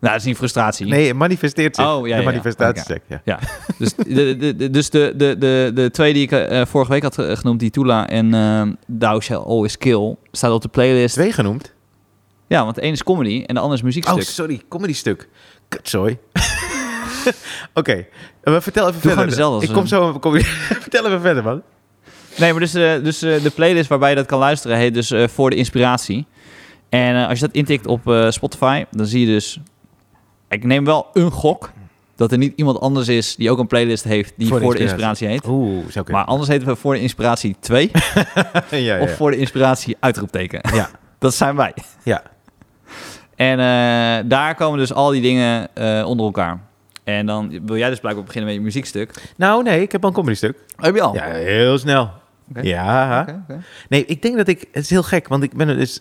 [SPEAKER 2] dat is niet frustratie.
[SPEAKER 1] Nee, het manifesteert zich.
[SPEAKER 2] Oh, ja, ja,
[SPEAKER 1] de
[SPEAKER 2] ja.
[SPEAKER 1] manifestatiecheck, ja.
[SPEAKER 2] Ja, dus, de, de, de, dus de, de, de, de twee die ik eh, vorige week had eh, genoemd, die Tula en ehm Thou Shall Always Kill, staat op de playlist.
[SPEAKER 1] Twee genoemd.
[SPEAKER 2] Ja, want de ene is comedy en de ander is muziekstuk.
[SPEAKER 1] Oh, sorry, comedy stuk. Kutzooi. Oké, eh, vertel even
[SPEAKER 2] gewoon
[SPEAKER 1] verder.
[SPEAKER 2] dezelfde als
[SPEAKER 1] ik kom
[SPEAKER 2] een-
[SPEAKER 1] zo comedy. vertel even verder, man.
[SPEAKER 2] Nee, maar dus, eh, dus eh, de playlist waarbij je dat kan luisteren heet dus eh, Voor de Inspiratie. En eh, als je dat intikt op eh, Spotify, dan zie je dus... Ik neem wel een gok dat er niet iemand anders is die ook een playlist heeft die Voor de, inspiratie. heet.
[SPEAKER 1] Oeh, zou
[SPEAKER 2] Maar
[SPEAKER 1] kunnen.
[SPEAKER 2] anders heten we Voor de Inspiratie 2
[SPEAKER 1] ja, ja,
[SPEAKER 2] of
[SPEAKER 1] ja.
[SPEAKER 2] Voor de Inspiratie uitroepteken.
[SPEAKER 1] Ja.
[SPEAKER 2] Dat zijn wij.
[SPEAKER 1] ja.
[SPEAKER 2] En eh, daar komen dus al die dingen eh, onder elkaar. En dan wil jij dus blijkbaar beginnen met je muziekstuk.
[SPEAKER 1] Nou, nee, ik heb al een comedy stuk.
[SPEAKER 2] Heb je al?
[SPEAKER 1] Ja, heel snel.
[SPEAKER 2] Oh. Oké.
[SPEAKER 1] Ja. Nee, ik denk dat ik... Het is heel gek, want ik ben er dus...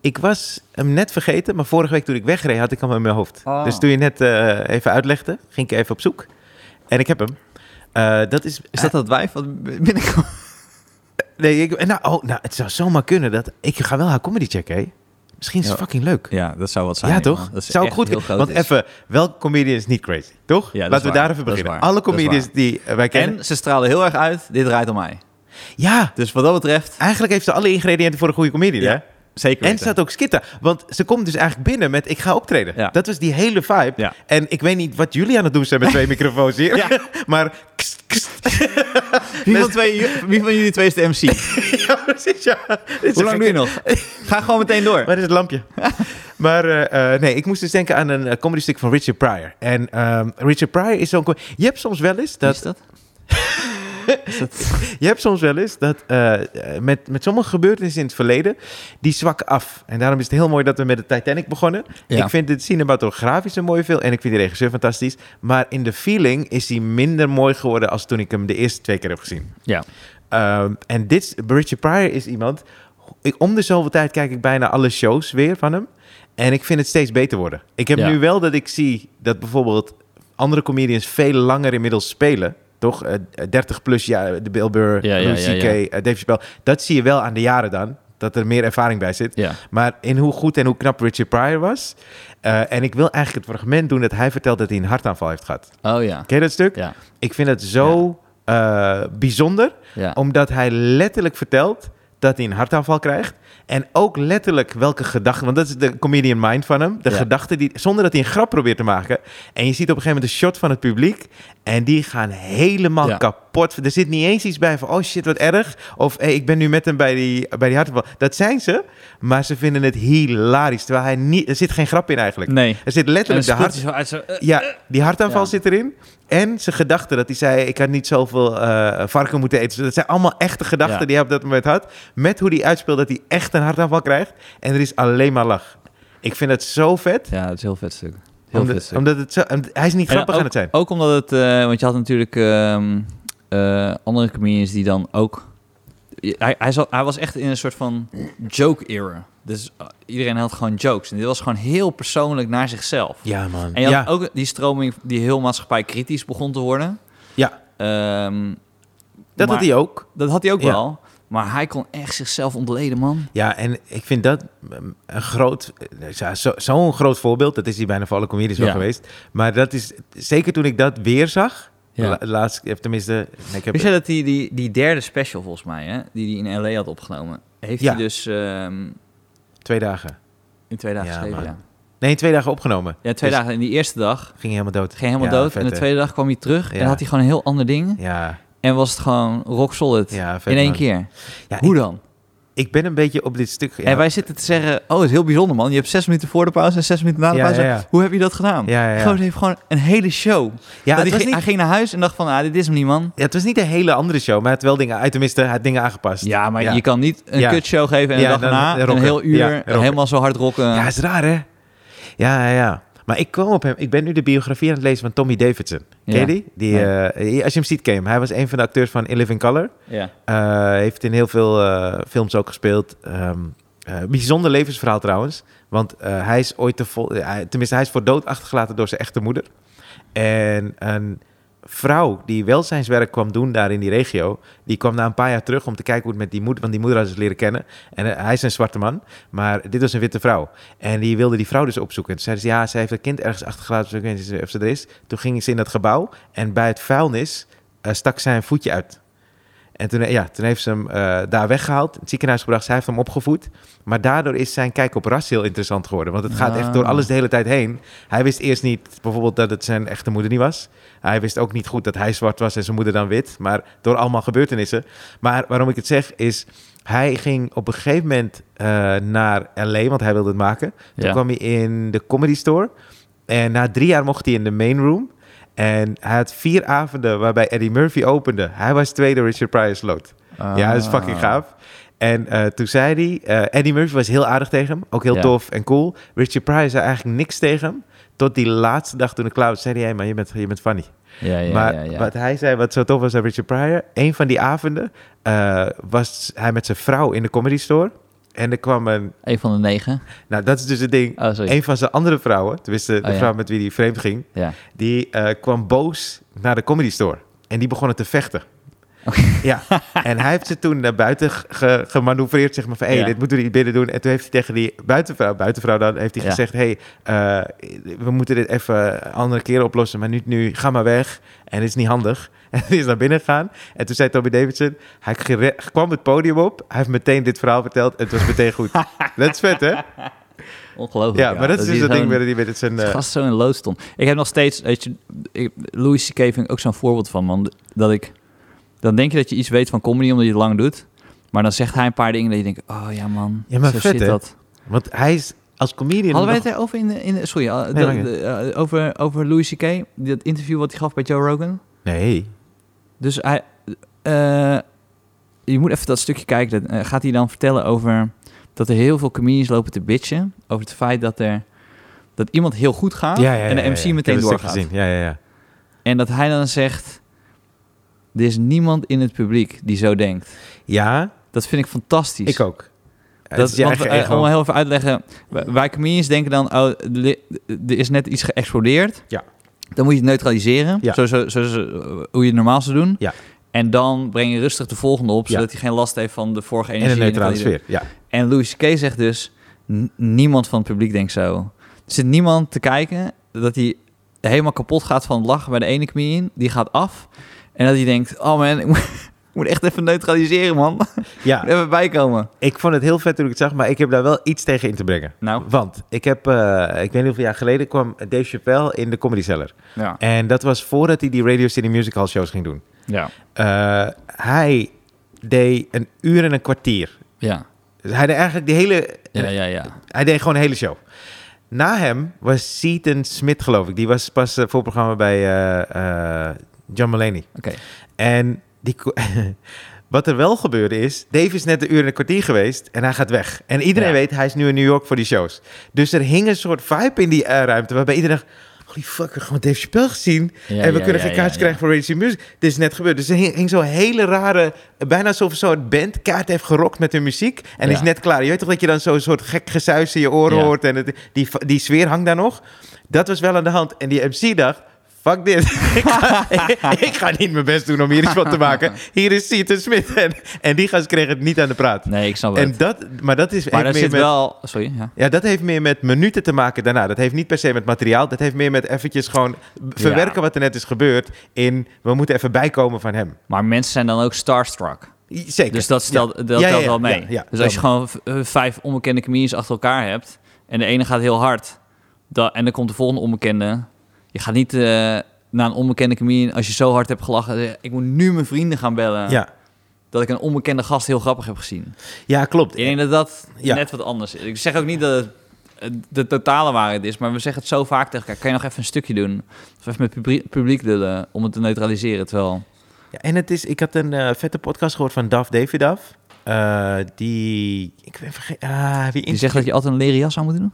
[SPEAKER 1] Ik was hem net vergeten, maar vorige week toen ik wegreed had ik hem in mijn hoofd.
[SPEAKER 2] Ah.
[SPEAKER 1] Dus toen je net eh, even uitlegde, ging ik even op zoek. En ik heb hem. Eh, dat is...
[SPEAKER 2] Is dat dat wijf wat binnenkomt?
[SPEAKER 1] Nee, ik, nou, oh, nou, het zou zomaar kunnen dat... Ik ga wel haar comedy checken, hè. Misschien is het
[SPEAKER 2] Ja.
[SPEAKER 1] fucking leuk.
[SPEAKER 2] Ja, dat zou wat zijn.
[SPEAKER 1] Ja,
[SPEAKER 2] man.
[SPEAKER 1] toch?
[SPEAKER 2] Dat is
[SPEAKER 1] Zou ik
[SPEAKER 2] echt
[SPEAKER 1] goed
[SPEAKER 2] heel
[SPEAKER 1] kunnen.
[SPEAKER 2] groot
[SPEAKER 1] Want
[SPEAKER 2] is.
[SPEAKER 1] even, welke comedian is niet crazy, toch?
[SPEAKER 2] Ja,
[SPEAKER 1] Laten
[SPEAKER 2] dat
[SPEAKER 1] we
[SPEAKER 2] is waar.
[SPEAKER 1] daar even
[SPEAKER 2] Dat is
[SPEAKER 1] beginnen.
[SPEAKER 2] waar.
[SPEAKER 1] Alle
[SPEAKER 2] Dat is
[SPEAKER 1] comedians
[SPEAKER 2] waar.
[SPEAKER 1] die eh, wij kennen.
[SPEAKER 2] En ze straalde heel erg uit, dit draait om mij.
[SPEAKER 1] Ja,
[SPEAKER 2] Dus wat dat betreft,
[SPEAKER 1] eigenlijk heeft ze alle ingrediënten voor een goede comedian,
[SPEAKER 2] Ja,
[SPEAKER 1] hè?
[SPEAKER 2] zeker
[SPEAKER 1] En
[SPEAKER 2] weten.
[SPEAKER 1] ze had ook skitta. Want ze komt dus eigenlijk binnen met ik ga optreden.
[SPEAKER 2] Ja.
[SPEAKER 1] Dat was die hele vibe.
[SPEAKER 2] Ja.
[SPEAKER 1] En ik weet niet wat jullie aan het doen zijn met twee microfoons hier.
[SPEAKER 2] Ja.
[SPEAKER 1] maar kst, kst.
[SPEAKER 2] wie, van twee, wie van jullie twee is de MC?
[SPEAKER 1] ja, precies. Ja.
[SPEAKER 2] Hoe lang doe je nog? Ga gewoon meteen door.
[SPEAKER 1] Waar is het lampje? maar eh, eh, nee, ik moest dus denken aan een eh, comedy stick van Richard Pryor. En ehm, Richard Pryor is zo'n... co- Je hebt soms wel eens
[SPEAKER 2] Wie
[SPEAKER 1] dat...
[SPEAKER 2] is dat?
[SPEAKER 1] Je hebt soms wel eens dat eh, met, met sommige gebeurtenissen in het verleden, die zwakken af. En daarom is het heel mooi dat we met de Titanic begonnen.
[SPEAKER 3] Ja.
[SPEAKER 1] Ik vind het cinematografisch een mooie film en ik vind de regisseur fantastisch. Maar in de feeling is hij minder mooi geworden als toen ik hem de eerste twee keer heb gezien.
[SPEAKER 3] Ja.
[SPEAKER 1] Ehm, en dit, is- Richard Pryor is iemand, ik, om de zoveel tijd kijk ik bijna alle shows weer van hem. En ik vind het steeds beter worden. Ik heb
[SPEAKER 3] Ja.
[SPEAKER 1] nu wel dat ik zie dat bijvoorbeeld andere comedians veel langer inmiddels spelen. Toch? Eh, 30 plus jaar, de Bill Burr,
[SPEAKER 3] Ja, ja,
[SPEAKER 1] Louis
[SPEAKER 3] ja,
[SPEAKER 1] C.K.,
[SPEAKER 3] ja.
[SPEAKER 1] eh, Dave Chappelle. Dat zie je wel aan de jaren dan, dat er meer ervaring bij zit.
[SPEAKER 3] Ja.
[SPEAKER 1] Maar in hoe goed en hoe knap Richard Pryor was. eh, en ik wil eigenlijk het fragment doen dat hij vertelt dat hij een hartaanval heeft gehad.
[SPEAKER 3] Oh ja.
[SPEAKER 1] Ken je dat stuk?
[SPEAKER 3] Ja.
[SPEAKER 1] Ik vind het zo eh, bijzonder
[SPEAKER 3] Ja.
[SPEAKER 1] omdat hij letterlijk vertelt dat hij een hartaanval krijgt. En ook letterlijk welke gedachten... Want dat is de comedian mind van hem. De
[SPEAKER 3] Ja.
[SPEAKER 1] gedachten die... Zonder dat hij een grap probeert te maken. En je ziet op een gegeven moment een shot van het publiek. En die gaan helemaal
[SPEAKER 3] Ja.
[SPEAKER 1] kapot. Er zit niet eens iets bij van... Oh shit, wat erg. Of hey, ik ben nu met hem bij die, bij die hartaanval. Dat zijn ze. Maar ze vinden het hilarisch. Terwijl hij niet... Er zit geen grap in eigenlijk.
[SPEAKER 2] Nee.
[SPEAKER 1] Er zit
[SPEAKER 2] En dan
[SPEAKER 1] letterlijk de
[SPEAKER 2] spoelt
[SPEAKER 1] hart...
[SPEAKER 2] hij zo uit zo, eh.
[SPEAKER 1] Ja, die hartaanval
[SPEAKER 2] Ja.
[SPEAKER 1] zit erin. En zijn gedachten dat hij zei: Ik had niet zoveel eh, varken moeten eten. Dus dat zijn allemaal echte gedachten
[SPEAKER 3] Ja.
[SPEAKER 1] die hij op dat moment had. Met hoe hij uitspeelt dat hij echt een hartaanval krijgt. En er is alleen maar lach. Ik vind het zo vet.
[SPEAKER 2] Ja, het is een heel vet stuk. Heel vet
[SPEAKER 1] Omdat,
[SPEAKER 2] stuk.
[SPEAKER 1] omdat het zo, omdat- hij is niet
[SPEAKER 2] En
[SPEAKER 1] grappig
[SPEAKER 2] ook,
[SPEAKER 1] aan het zijn.
[SPEAKER 2] Ook omdat het, eh, want je had natuurlijk ehm, eh, andere comedians die dan ook. Hij, hij, zat, hij was echt in een soort van joke-era. Dus eh, iedereen had gewoon jokes. En dit was gewoon heel persoonlijk naar zichzelf.
[SPEAKER 1] Ja, man.
[SPEAKER 2] En je
[SPEAKER 1] Ja,
[SPEAKER 2] had ook die stroming die heel maatschappij kritisch begon te worden.
[SPEAKER 1] ja,
[SPEAKER 2] Ehm,
[SPEAKER 1] dat
[SPEAKER 2] maar-
[SPEAKER 1] had hij ook.
[SPEAKER 2] Dat had hij ook
[SPEAKER 1] Ja.
[SPEAKER 2] wel. Maar hij kon echt zichzelf ontleden, man.
[SPEAKER 1] Ja, en ik vind dat mm, een groot, eh, ja, zo- zo'n groot voorbeeld. Dat is hij bijna voor alle comedies wel
[SPEAKER 2] Ja.
[SPEAKER 1] geweest. Maar dat is, zeker toen ik dat weer zag.
[SPEAKER 2] Ja.
[SPEAKER 1] La, laatst, eh, tenminste, nee, ik heb,
[SPEAKER 2] Wist jij dat die, die, die derde special, volgens mij, hè, die hij in L.A. had opgenomen... heeft
[SPEAKER 1] Ja.
[SPEAKER 2] hij dus ehm,
[SPEAKER 1] twee dagen.
[SPEAKER 2] in twee dagen
[SPEAKER 1] Ja,
[SPEAKER 2] geschreven,
[SPEAKER 1] man.
[SPEAKER 2] ja.
[SPEAKER 1] Nee, twee dagen opgenomen.
[SPEAKER 2] Ja, twee
[SPEAKER 1] Dus-
[SPEAKER 2] dagen. En die eerste dag
[SPEAKER 1] Ging helemaal dood.
[SPEAKER 2] ging helemaal
[SPEAKER 1] Ja,
[SPEAKER 2] dood.
[SPEAKER 1] vet,
[SPEAKER 2] en de
[SPEAKER 1] hè?
[SPEAKER 2] tweede dag kwam hij terug
[SPEAKER 1] Ja.
[SPEAKER 2] en had hij gewoon een heel ander ding.
[SPEAKER 1] Ja,
[SPEAKER 2] En was het gewoon rock solid.
[SPEAKER 1] ja vet,
[SPEAKER 2] in één
[SPEAKER 1] man.
[SPEAKER 2] keer.
[SPEAKER 1] Ja,
[SPEAKER 2] Hoe
[SPEAKER 1] ik,
[SPEAKER 2] dan?
[SPEAKER 1] ik ben een beetje op dit stuk... Ja,
[SPEAKER 2] En wij zitten te zeggen, oh, het is heel bijzonder man. Je hebt zes minuten voor de pauze en zes minuten na de
[SPEAKER 1] Ja,
[SPEAKER 2] pauze.
[SPEAKER 1] ja, ja.
[SPEAKER 2] Hoe heb je dat gedaan?
[SPEAKER 1] Ja, ja, ja.
[SPEAKER 2] Gozer heeft gewoon een hele show.
[SPEAKER 1] ja,
[SPEAKER 2] Dat
[SPEAKER 1] het,
[SPEAKER 2] hij,
[SPEAKER 1] was
[SPEAKER 2] ging,
[SPEAKER 1] niet,
[SPEAKER 2] hij ging naar huis en dacht van, ah, dit is hem niet man.
[SPEAKER 1] ja, het was niet een hele andere show, maar het wel dingen... uit- Tenminste, hij had dingen aangepast.
[SPEAKER 2] Ja, maar
[SPEAKER 1] Ja.
[SPEAKER 2] je kan niet een
[SPEAKER 1] Ja.
[SPEAKER 2] kutshow geven en
[SPEAKER 1] Ja,
[SPEAKER 2] een dag
[SPEAKER 1] dan
[SPEAKER 2] na een
[SPEAKER 1] rocken.
[SPEAKER 2] heel uur
[SPEAKER 1] Ja, rocken.
[SPEAKER 2] helemaal zo hard rocken.
[SPEAKER 1] Ja, is raar, hè? Ja, ja, ja. Maar ik kwam op hem... Ik ben nu de biografie aan het lezen van Tommy Davidson. Ken
[SPEAKER 2] Ja.
[SPEAKER 1] je die? die
[SPEAKER 2] Nee.
[SPEAKER 1] eh, als je hem ziet, ken je hem. Hij was een van de acteurs van In Living Color.
[SPEAKER 2] Ja.
[SPEAKER 1] Eh, heeft in heel veel eh, films ook gespeeld. Ehm, eh, bijzonder levensverhaal trouwens. Want eh, hij is ooit te vol. eh, hij- tenminste, hij is voor dood achtergelaten door zijn echte moeder. En een vrouw die welzijnswerk kwam doen daar in die regio. Die kwam na een paar jaar terug om te kijken hoe het met die moeder. Want die moeder had ze leren kennen. En eh, hij is een zwarte man. Maar dit was een witte vrouw. En die wilde die vrouw dus opzoeken. En toen zeiden ze, ja, zij heeft haar kind ergens achtergelaten. Dus ik weet niet of ze er is. Toen gingen ze in dat gebouw. En bij het vuilnis eh, stak zij een voetje uit. En toen, ja, toen heeft ze hem eh, daar weggehaald, in het ziekenhuis gebracht. Zij heeft hem opgevoed. Maar daardoor is zijn kijk op ras heel interessant geworden. Want het gaat echt door
[SPEAKER 2] Ah.
[SPEAKER 1] alles de hele tijd heen. Hij wist eerst niet bijvoorbeeld dat het zijn echte moeder niet was. Hij wist ook niet goed dat hij zwart was en zijn moeder dan wit. Maar door allemaal gebeurtenissen. Maar waarom ik het zeg is... Hij ging op een gegeven moment eh, naar L.A., want hij wilde het maken. Toen
[SPEAKER 2] Ja.
[SPEAKER 1] kwam hij in de Comedy Store. En na drie jaar mocht hij in de main room. En hij had vier avonden waarbij Eddie Murphy opende. Hij was tweede, Richard Pryor sloot. Ja, dat is
[SPEAKER 2] Ah.
[SPEAKER 1] fucking gaaf. En eh, toen zei hij... eh, Eddie Murphy was heel aardig tegen hem. Ook heel
[SPEAKER 2] Ja.
[SPEAKER 1] tof en cool. Richard Pryor zei eigenlijk niks tegen hem. Tot die laatste dag toen ik klaar was, zei hij... Hey man, je bent, je bent funny.
[SPEAKER 2] Ja, ja,
[SPEAKER 1] maar
[SPEAKER 2] ja, ja.
[SPEAKER 1] wat hij zei, wat zo tof was aan Richard Pryor... Een van die avonden eh, was hij met zijn vrouw in de comedy store. En er kwam een...
[SPEAKER 2] Eén van de negen.
[SPEAKER 1] Nou, dat is dus het ding.
[SPEAKER 2] Oh, sorry.
[SPEAKER 1] Een van zijn andere vrouwen, tenminste de
[SPEAKER 2] Oh, ja.
[SPEAKER 1] vrouw met wie hij vreemd ging...
[SPEAKER 2] Ja.
[SPEAKER 1] Die eh, kwam boos naar de comedy store. En die begonnen te vechten. Ja, en hij heeft ze toen naar buiten ge- ge- gemanoeuvreerd, zeg maar, van... hé,
[SPEAKER 2] Ja.
[SPEAKER 1] dit moeten we niet binnen doen. En toen heeft hij tegen die buitenvrouw, buitenvrouw dan, heeft hij
[SPEAKER 2] Ja.
[SPEAKER 1] gezegd... hé, hey, eh, we moeten dit even een andere keer oplossen, maar niet nu, ga maar weg. En het is niet handig. En hij is naar binnen gegaan. En toen zei Tommy Davidson, hij gere- kwam het podium op, hij heeft meteen dit verhaal verteld... en het was meteen goed. dat is vet, hè?
[SPEAKER 2] Oh
[SPEAKER 1] Ja,
[SPEAKER 2] Ongelooflijk.
[SPEAKER 1] maar dat is dus
[SPEAKER 2] hij
[SPEAKER 1] dat ding
[SPEAKER 2] gewoon-
[SPEAKER 1] met die met zijn...
[SPEAKER 2] Dat
[SPEAKER 1] eh,
[SPEAKER 2] gast zo in lood stond. Ik heb nog steeds, weet je, ik, Louis C.K. vind ik ook zo'n voorbeeld van, man. Dat ik, dan denk je dat je iets weet van comedy omdat je het lang doet. Maar dan zegt hij een paar dingen dat je denkt, oh ja man,
[SPEAKER 1] Ja, maar
[SPEAKER 2] zo
[SPEAKER 1] vet,
[SPEAKER 2] zit
[SPEAKER 1] hè?
[SPEAKER 2] dat.
[SPEAKER 1] want hij is als comedian...
[SPEAKER 2] Hadden wij
[SPEAKER 1] nog-
[SPEAKER 2] het erover in, de- in de- sorry, eh,
[SPEAKER 1] Nee,
[SPEAKER 2] dat-
[SPEAKER 1] maakt
[SPEAKER 2] de- eh, over, over Louis C.K., dat interview wat hij gaf bij Joe Rogan?
[SPEAKER 1] Nee,
[SPEAKER 2] Dus hij, eh, je moet even dat stukje kijken. Dat, eh, gaat hij dan vertellen over dat er heel veel comedians lopen te bitchen over het feit dat er dat iemand heel goed gaat Ah, en de MC
[SPEAKER 1] Ik
[SPEAKER 2] meteen
[SPEAKER 1] heb dat stuk
[SPEAKER 2] doorgaat.
[SPEAKER 1] gezien. Ja, ja, ja.
[SPEAKER 2] En dat hij dan zegt: er is niemand in het publiek die zo denkt.
[SPEAKER 1] Ja,
[SPEAKER 2] Dat vind ik fantastisch.
[SPEAKER 1] ik ook.
[SPEAKER 2] Dat,
[SPEAKER 1] is
[SPEAKER 2] is
[SPEAKER 1] je
[SPEAKER 2] want,
[SPEAKER 1] eigen
[SPEAKER 2] eh,
[SPEAKER 1] ego.
[SPEAKER 2] om heel even uit te leggen, wij- wij comedians denken dan, oh, er er is net iets geëxplodeerd.
[SPEAKER 1] Ja.
[SPEAKER 2] Dan moet je het neutraliseren,
[SPEAKER 1] Ja.
[SPEAKER 2] zo, zo, zo, zo- hoe je het normaal zou doen.
[SPEAKER 1] Ja.
[SPEAKER 2] En dan breng je rustig de volgende op,
[SPEAKER 1] Ja.
[SPEAKER 2] zodat hij geen last heeft van de vorige
[SPEAKER 1] En
[SPEAKER 2] energie.
[SPEAKER 1] een neutrale
[SPEAKER 2] die-
[SPEAKER 1] sfeer. Ja.
[SPEAKER 2] En Louis C.K. zegt dus, "N- niemand van het publiek denkt zo. Er zit niemand te kijken dat hij helemaal kapot gaat van het lachen bij de ene comedian. Die gaat af en dat hij denkt, oh man, ik moet, ik moet echt even neutraliseren man. Ik moet
[SPEAKER 1] ja,
[SPEAKER 2] even bijkomen.
[SPEAKER 1] ik vond het heel vet toen ik het zag, maar ik heb daar wel iets tegen in te brengen.
[SPEAKER 2] Nou,
[SPEAKER 1] Want ik heb, eh, ik weet niet hoeveel jaar geleden, kwam Dave Chappelle in de Comedy Cellar.
[SPEAKER 2] ja.
[SPEAKER 1] En dat was voordat hij die Radio City Music Hall shows ging doen.
[SPEAKER 2] Ja.
[SPEAKER 1] Eh, hij deed een uur en een kwartier.
[SPEAKER 2] Ja,
[SPEAKER 1] Dus hij deed eigenlijk die hele,
[SPEAKER 2] ja, ja. ja.
[SPEAKER 1] hij deed gewoon een hele show. Na hem was Seaton Smith, geloof ik. Die was pas eh, voorprogramma bij eh, eh, John Mulaney.
[SPEAKER 2] Oké.
[SPEAKER 1] En die, ko- wat er wel gebeurde is, Dave is net een uur en een kwartier geweest en hij gaat weg. En iedereen
[SPEAKER 2] Ja.
[SPEAKER 1] weet, hij is nu in New York voor die shows. Dus er hing een soort vibe in die eh, ruimte waarbij iedereen dacht, holy fuck, we hebben gewoon Dave Chappelle gezien.
[SPEAKER 2] Ja,
[SPEAKER 1] en we
[SPEAKER 2] ja,
[SPEAKER 1] kunnen
[SPEAKER 2] ja,
[SPEAKER 1] geen kaartjes
[SPEAKER 2] ja,
[SPEAKER 1] krijgen voor Radio City Music. Dit is net gebeurd. Dus er hing, hing zo'n hele rare, bijna alsof een soort band kaart heeft gerokt met hun muziek. En
[SPEAKER 2] Ja.
[SPEAKER 1] is net klaar. Je weet toch dat je dan zo'n soort gek gesuis in je oren
[SPEAKER 2] Ja.
[SPEAKER 1] hoort en het, die, die sfeer hangt daar nog. Dat was wel aan de hand. En die MC dacht, fuck dit. ik, ga, ik ga niet mijn best doen om hier iets van te maken. Hier is Seaton Smith. En, en die gast kreeg het niet aan de praat.
[SPEAKER 2] Nee, ik snap het.
[SPEAKER 1] En dat, maar dat is,
[SPEAKER 2] maar
[SPEAKER 1] heeft
[SPEAKER 2] er
[SPEAKER 1] meer
[SPEAKER 2] zit
[SPEAKER 1] met,
[SPEAKER 2] wel... Sorry, ja.
[SPEAKER 1] ja, dat heeft meer met minuten te maken daarna. Dat heeft niet per se met materiaal. Dat heeft meer met eventjes gewoon verwerken
[SPEAKER 2] Ja.
[SPEAKER 1] wat er net is gebeurd. In, we moeten even bijkomen van hem.
[SPEAKER 2] Maar mensen zijn dan ook starstruck.
[SPEAKER 1] I- Zeker.
[SPEAKER 2] Dus dat stelt, dat
[SPEAKER 1] Ja, ja,
[SPEAKER 2] telt
[SPEAKER 1] ja,
[SPEAKER 2] wel mee.
[SPEAKER 1] ja, ja.
[SPEAKER 2] dus als je gewoon v- eh, vijf onbekende comedians achter elkaar hebt... en de ene gaat heel hard... da- en dan komt de volgende onbekende... je gaat niet eh, naar een onbekende comedian... als je zo hard hebt gelachen... eh, ik moet nu mijn vrienden gaan bellen...
[SPEAKER 1] Ja,
[SPEAKER 2] dat ik een onbekende gast heel grappig heb gezien.
[SPEAKER 1] ja klopt.
[SPEAKER 2] Ik denk dat dat
[SPEAKER 1] Ja.
[SPEAKER 2] net wat anders is. Ik zeg ook niet dat het eh, de totale waarheid is, maar we zeggen het zo vaak tegen elkaar. Kan je nog even een stukje doen? Of even met publiek, publiek lullen om het te neutraliseren, terwijl...
[SPEAKER 1] Ja, en het is, ik had een eh, vette podcast gehoord van Daf Davidaf. Eh die, ik ben vergeten, ah, wie
[SPEAKER 2] Die zegt dat je altijd een leren jas aan moet doen?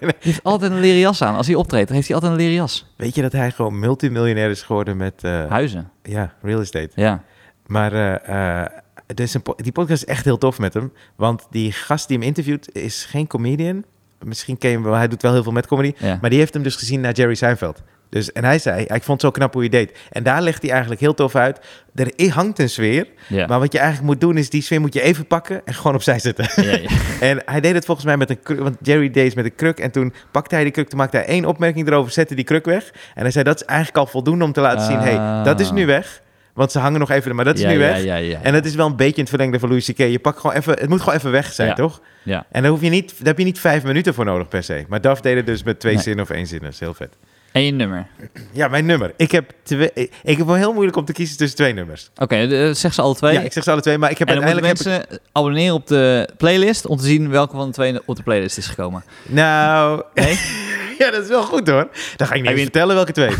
[SPEAKER 2] Die heeft altijd een leren jas aan. Als hij optreedt, heeft hij altijd een leren jas.
[SPEAKER 1] Weet je dat hij gewoon multimiljonair is geworden met eh,
[SPEAKER 2] Huizen,
[SPEAKER 1] ja, real estate?
[SPEAKER 2] ja.
[SPEAKER 1] Maar eh, eh, het is een po- die podcast is echt heel tof met hem. Want die gast die hem interviewt is geen comedian. Misschien ken je hem wel, hij doet wel heel veel met comedy.
[SPEAKER 2] ja.
[SPEAKER 1] Maar die heeft hem dus gezien naar Jerry Seinfeld. Dus, en hij zei, ik vond het zo knap hoe je deed. En daar legt hij eigenlijk heel tof uit. Er i- hangt een sfeer.
[SPEAKER 2] ja.
[SPEAKER 1] Maar wat je eigenlijk moet doen is, die sfeer moet je even pakken en gewoon opzij zetten.
[SPEAKER 2] ja, ja.
[SPEAKER 1] En hij deed het volgens mij met een kruk, want Jerry deed het met een kruk. En toen pakte hij die kruk, toen maakte hij één opmerking erover, zette die kruk weg. En hij zei, dat is eigenlijk al voldoende om te laten zien, hé, hey,
[SPEAKER 2] Ah.
[SPEAKER 1] dat is nu weg. Want ze hangen nog even, maar dat is
[SPEAKER 2] Ja,
[SPEAKER 1] nu
[SPEAKER 2] ja,
[SPEAKER 1] weg.
[SPEAKER 2] Ja, ja, ja.
[SPEAKER 1] En dat is wel een beetje in het verlengde van Louis C.K. Je pakt gewoon even, het moet gewoon even weg zijn,
[SPEAKER 2] Ja.
[SPEAKER 1] toch?
[SPEAKER 2] Ja.
[SPEAKER 1] En daar, hoef je niet, daar heb je niet vijf minuten voor nodig per se. Maar Daf deed het dus met twee
[SPEAKER 2] Nee.
[SPEAKER 1] zinnen of één zin. Dat is heel vet.
[SPEAKER 2] En je nummer.
[SPEAKER 1] Ja, mijn nummer. Ik heb, twee, ik heb wel heel moeilijk om te kiezen tussen twee nummers.
[SPEAKER 2] Oké, eh, zeg ze alle twee.
[SPEAKER 1] Ja, ik zeg ze alle twee, maar ik heb
[SPEAKER 2] en dan moeten
[SPEAKER 1] uiteindelijk... heb ik-
[SPEAKER 2] mensen abonneren op de playlist... om te zien welke van de twee op de playlist is gekomen.
[SPEAKER 1] Nou,
[SPEAKER 2] Nee?
[SPEAKER 1] ja, dat is wel goed hoor. Dan ga ik niet
[SPEAKER 2] Hij
[SPEAKER 1] eens
[SPEAKER 2] wint.
[SPEAKER 1] vertellen welke twee.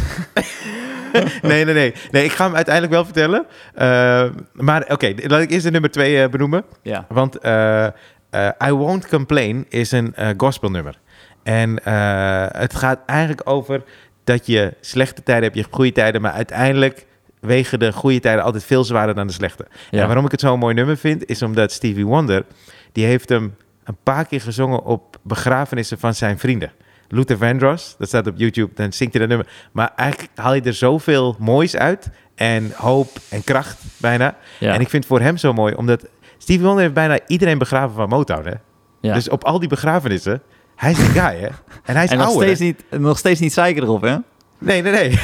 [SPEAKER 1] nee, nee, nee, nee. Ik ga hem uiteindelijk wel vertellen. Eh, maar oké, laat ik eerst de nummer twee eh, benoemen.
[SPEAKER 2] Ja.
[SPEAKER 1] Want eh, eh, I Won't Complain is een eh, gospelnummer. En eh, het gaat eigenlijk over dat je slechte tijden hebt, je hebt goede tijden, maar uiteindelijk wegen de goede tijden altijd veel zwaarder dan de slechte.
[SPEAKER 2] Ja.
[SPEAKER 1] En waarom ik het zo'n mooi nummer vind, is omdat Stevie Wonder, die heeft hem een paar keer gezongen op begrafenissen van zijn vrienden. Luther Vandross, dat staat op YouTube, dan zingt hij dat nummer. Maar eigenlijk haal je er zoveel moois uit en hoop en kracht bijna.
[SPEAKER 2] Ja.
[SPEAKER 1] En ik vind het voor hem zo mooi, omdat Stevie Wonder heeft bijna iedereen begraven van Motown, hè?
[SPEAKER 2] Ja.
[SPEAKER 1] Dus op al die begrafenissen, hij is een guy, hè? En hij is
[SPEAKER 2] en nog
[SPEAKER 1] ouder.
[SPEAKER 2] steeds,
[SPEAKER 1] hè?
[SPEAKER 2] niet, nog steeds niet zeiken erop, hè?
[SPEAKER 1] Nee, nee, nee.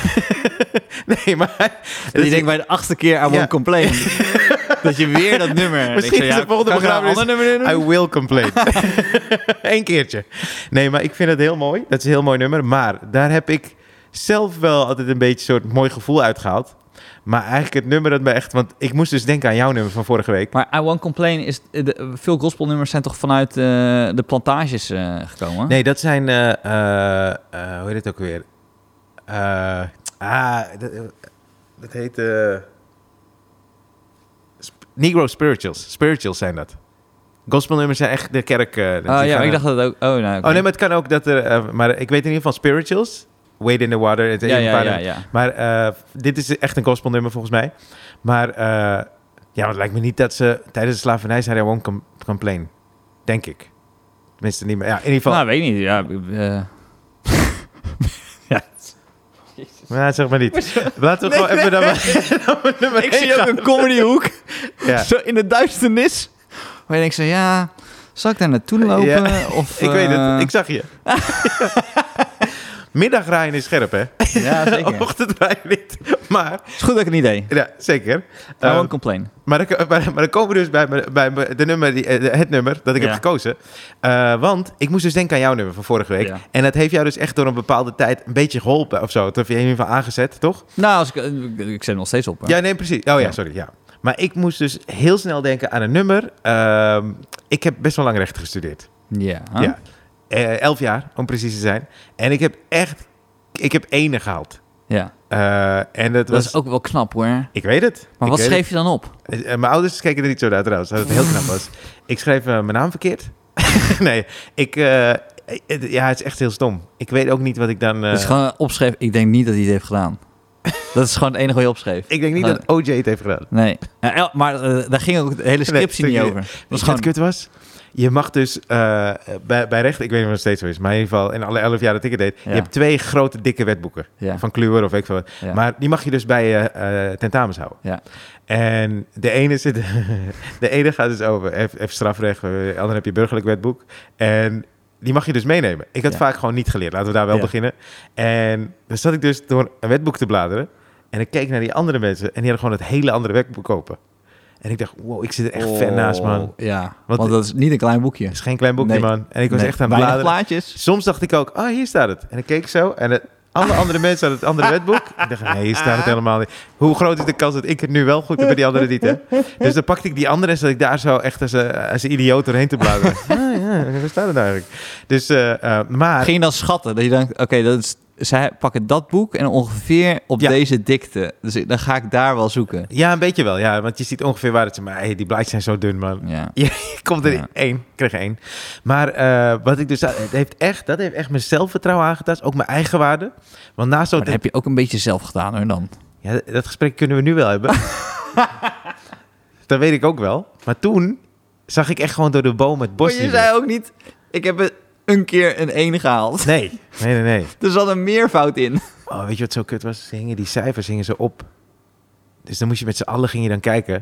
[SPEAKER 1] nee, maar... hij-
[SPEAKER 2] En
[SPEAKER 1] dus-
[SPEAKER 2] die denkt bij de achtste keer I won't
[SPEAKER 1] Ja.
[SPEAKER 2] complain. dat je weer dat nummer...
[SPEAKER 1] Misschien is de volgende begrafenis-
[SPEAKER 2] Een ander nummer doen?
[SPEAKER 1] I will complain. Eén keertje. Nee, maar ik vind het heel mooi. Dat is een heel mooi nummer. Maar daar heb ik zelf wel altijd een beetje een soort mooi gevoel uitgehaald. Maar eigenlijk het nummer dat me echt... Want ik moest dus denken aan jouw nummer van vorige week.
[SPEAKER 2] Maar I Won't Complain is... eh, de- veel gospelnummers zijn toch vanuit eh, de plantages eh, gekomen?
[SPEAKER 1] Nee, dat zijn... eh, eh, eh, hoe heet het ook weer? Eh, ah, dat, dat heet... eh, Negro spirituals. Spirituals zijn dat. Gospelnummers zijn echt de kerk... eh, die gaan
[SPEAKER 2] Oh ja, maar
[SPEAKER 1] naar-
[SPEAKER 2] ik dacht dat ook. Oh, nou, oké.
[SPEAKER 1] Oh nee, maar het kan ook dat er... eh, maar ik weet in ieder geval spirituals. Wade in the water. Het
[SPEAKER 2] ja, ja, ja, ja.
[SPEAKER 1] Maar eh, dit is echt een gospelnummer volgens mij. Maar eh, ja, want het lijkt me niet dat ze tijdens de slavernij zijn won't com complain. Denk ik. Tenminste niet meer. Ja, in ieder geval.
[SPEAKER 2] Nou, weet ik niet. Ja, eh,
[SPEAKER 1] Nou, zeg maar niet. Laten we gewoon
[SPEAKER 3] Nee,
[SPEAKER 1] even
[SPEAKER 3] nee.
[SPEAKER 1] naar mijn nummer
[SPEAKER 3] Ik
[SPEAKER 1] één
[SPEAKER 3] zie ook
[SPEAKER 1] gaan.
[SPEAKER 3] een comedyhoek.
[SPEAKER 1] Ja.
[SPEAKER 3] Zo in de duisternis. Waar je denkt zo, ja, zal ik daar naartoe lopen?
[SPEAKER 1] Ja,
[SPEAKER 3] Of,
[SPEAKER 1] Ik weet
[SPEAKER 3] eh,
[SPEAKER 1] het. Ik zag je. Middagraaien is scherp, hè?
[SPEAKER 2] ja, zeker.
[SPEAKER 1] Oh. Ochtendraaien niet. Maar,
[SPEAKER 3] Het is goed dat ik het niet deed.
[SPEAKER 1] ja, zeker.
[SPEAKER 2] I
[SPEAKER 1] Ehm,
[SPEAKER 2] won't complain.
[SPEAKER 1] Maar dan, maar, maar dan komen we dus bij, me- bij me- de nummer die, eh, het nummer dat ik
[SPEAKER 2] Ja.
[SPEAKER 1] heb gekozen. Eh, want ik moest dus denken aan jouw nummer van vorige week.
[SPEAKER 2] Ja.
[SPEAKER 1] En dat heeft jou dus echt door een bepaalde tijd een beetje geholpen of zo. Dat heb je in ieder geval aangezet, toch?
[SPEAKER 2] Nou, als ik, ik zet hem nog steeds op. hè.
[SPEAKER 1] Ja, nee, precies. Oh ja,
[SPEAKER 2] Ja.
[SPEAKER 1] sorry. Ja. Maar ik moest dus heel snel denken aan een nummer. Ehm, ik heb best wel lang rechten gestudeerd.
[SPEAKER 2] Ja.
[SPEAKER 1] Ja. Eh, elf jaar, om precies te zijn. En ik heb echt... Ik heb ene gehaald.
[SPEAKER 2] Ja.
[SPEAKER 1] Eh, en dat,
[SPEAKER 2] Dat
[SPEAKER 1] was...
[SPEAKER 2] is ook wel knap hoor. Maar
[SPEAKER 1] Ik weet het. Ik
[SPEAKER 2] wat
[SPEAKER 1] weet
[SPEAKER 2] schreef je dan op?
[SPEAKER 1] Eh, Mijn ouders keken er niet zo naar trouwens, dat het heel knap was. Ik schreef eh, mijn naam verkeerd. nee, ik... eh, het- ja, het is echt heel stom. Ik weet ook niet wat ik dan... eh,
[SPEAKER 2] Dus gewoon opschreef. Ik denk niet dat hij het heeft gedaan. dat is gewoon het enige wat je opschreef.
[SPEAKER 1] ik denk niet dat OJ het heeft gedaan.
[SPEAKER 2] Nee. Ja, el- maar eh, daar ging ook de hele scriptie
[SPEAKER 1] Nee,
[SPEAKER 2] niet
[SPEAKER 1] stukje-
[SPEAKER 2] over. Dat
[SPEAKER 1] Wat
[SPEAKER 2] was
[SPEAKER 1] gewoon...
[SPEAKER 2] gewoon...
[SPEAKER 1] kut was? Je mag dus eh, bij, bij recht, ik weet niet of het steeds zo is, maar in ieder geval in alle elf jaar dat ik het deed,
[SPEAKER 2] Ja.
[SPEAKER 1] je hebt twee grote dikke wetboeken.
[SPEAKER 2] Ja.
[SPEAKER 1] Van Kluwer of weet ik veel wat.
[SPEAKER 2] Ja.
[SPEAKER 1] Maar die mag je dus bij je eh, tentamens houden.
[SPEAKER 2] Ja.
[SPEAKER 1] En de ene, zit, de ene gaat dus over, heeft, heeft strafrecht, eh, de andere heb je burgerlijk wetboek. En die mag je dus meenemen. Ik had
[SPEAKER 2] Ja.
[SPEAKER 1] vaak gewoon niet geleerd, laten we daar wel
[SPEAKER 2] Ja.
[SPEAKER 1] beginnen. En dan zat ik dus door een wetboek te bladeren. En ik keek naar die andere mensen en die hadden gewoon het hele andere wetboek open. En ik dacht, wow, ik zit er echt ver naast, man.
[SPEAKER 2] Oh, Ja,
[SPEAKER 1] Wat-
[SPEAKER 2] want dat is niet een klein boekje.
[SPEAKER 1] Het is geen klein boekje,
[SPEAKER 2] Nee.
[SPEAKER 1] man. En ik was
[SPEAKER 2] Nee,
[SPEAKER 1] echt aan het
[SPEAKER 3] Weinig
[SPEAKER 1] bladeren.
[SPEAKER 3] plaatjes.
[SPEAKER 1] Soms dacht ik ook, ah, hier staat het. En ik keek zo en het, alle andere mensen hadden het andere wetboek. Ik dacht, nee, hier staat het helemaal niet. Hoe groot is de kans dat ik het nu wel goed heb en die andere niet, hè? Dus dan pakte ik die andere en zat ik daar zo echt als, een- als een idioot doorheen te bladeren. ah, ja, waar staat het nou eigenlijk? Dus, eh, eh, maar...
[SPEAKER 2] Ging je dan schatten? Dat je denkt, oké, dat is- zij pakken dat boek en ongeveer op
[SPEAKER 1] Ja.
[SPEAKER 2] deze dikte. Dus ik- dan ga ik daar wel zoeken.
[SPEAKER 1] Ja, een beetje wel, ja. Want je ziet ongeveer waar het is. Maar hey, die blaadjes zijn zo dun, man.
[SPEAKER 2] Ja.
[SPEAKER 1] Ik kom er
[SPEAKER 2] Ja.
[SPEAKER 1] één. Ik kreeg één. Maar eh, wat ik dus... Het heeft echt, dat heeft echt mijn zelfvertrouwen aangetast. Ook mijn eigen waarde. Want naast zo'n
[SPEAKER 2] Maar dat heb je ook een beetje zelf gedaan hoor dan.
[SPEAKER 1] Ja, d- dat gesprek kunnen we nu wel hebben. dat weet ik ook wel. Maar toen zag ik echt gewoon door de boom het bos.
[SPEAKER 3] Maar Oh, je
[SPEAKER 2] dus.
[SPEAKER 1] niet meer.
[SPEAKER 3] zei ook niet, ik heb het een keer een 1 gehaald.
[SPEAKER 1] Nee, nee, nee, nee.
[SPEAKER 3] Er zat een meervoud in.
[SPEAKER 1] Oh, weet je wat zo kut was? Ze hingen die cijfers hingen ze op. Dus dan moest je met z'n allen ging je dan kijken.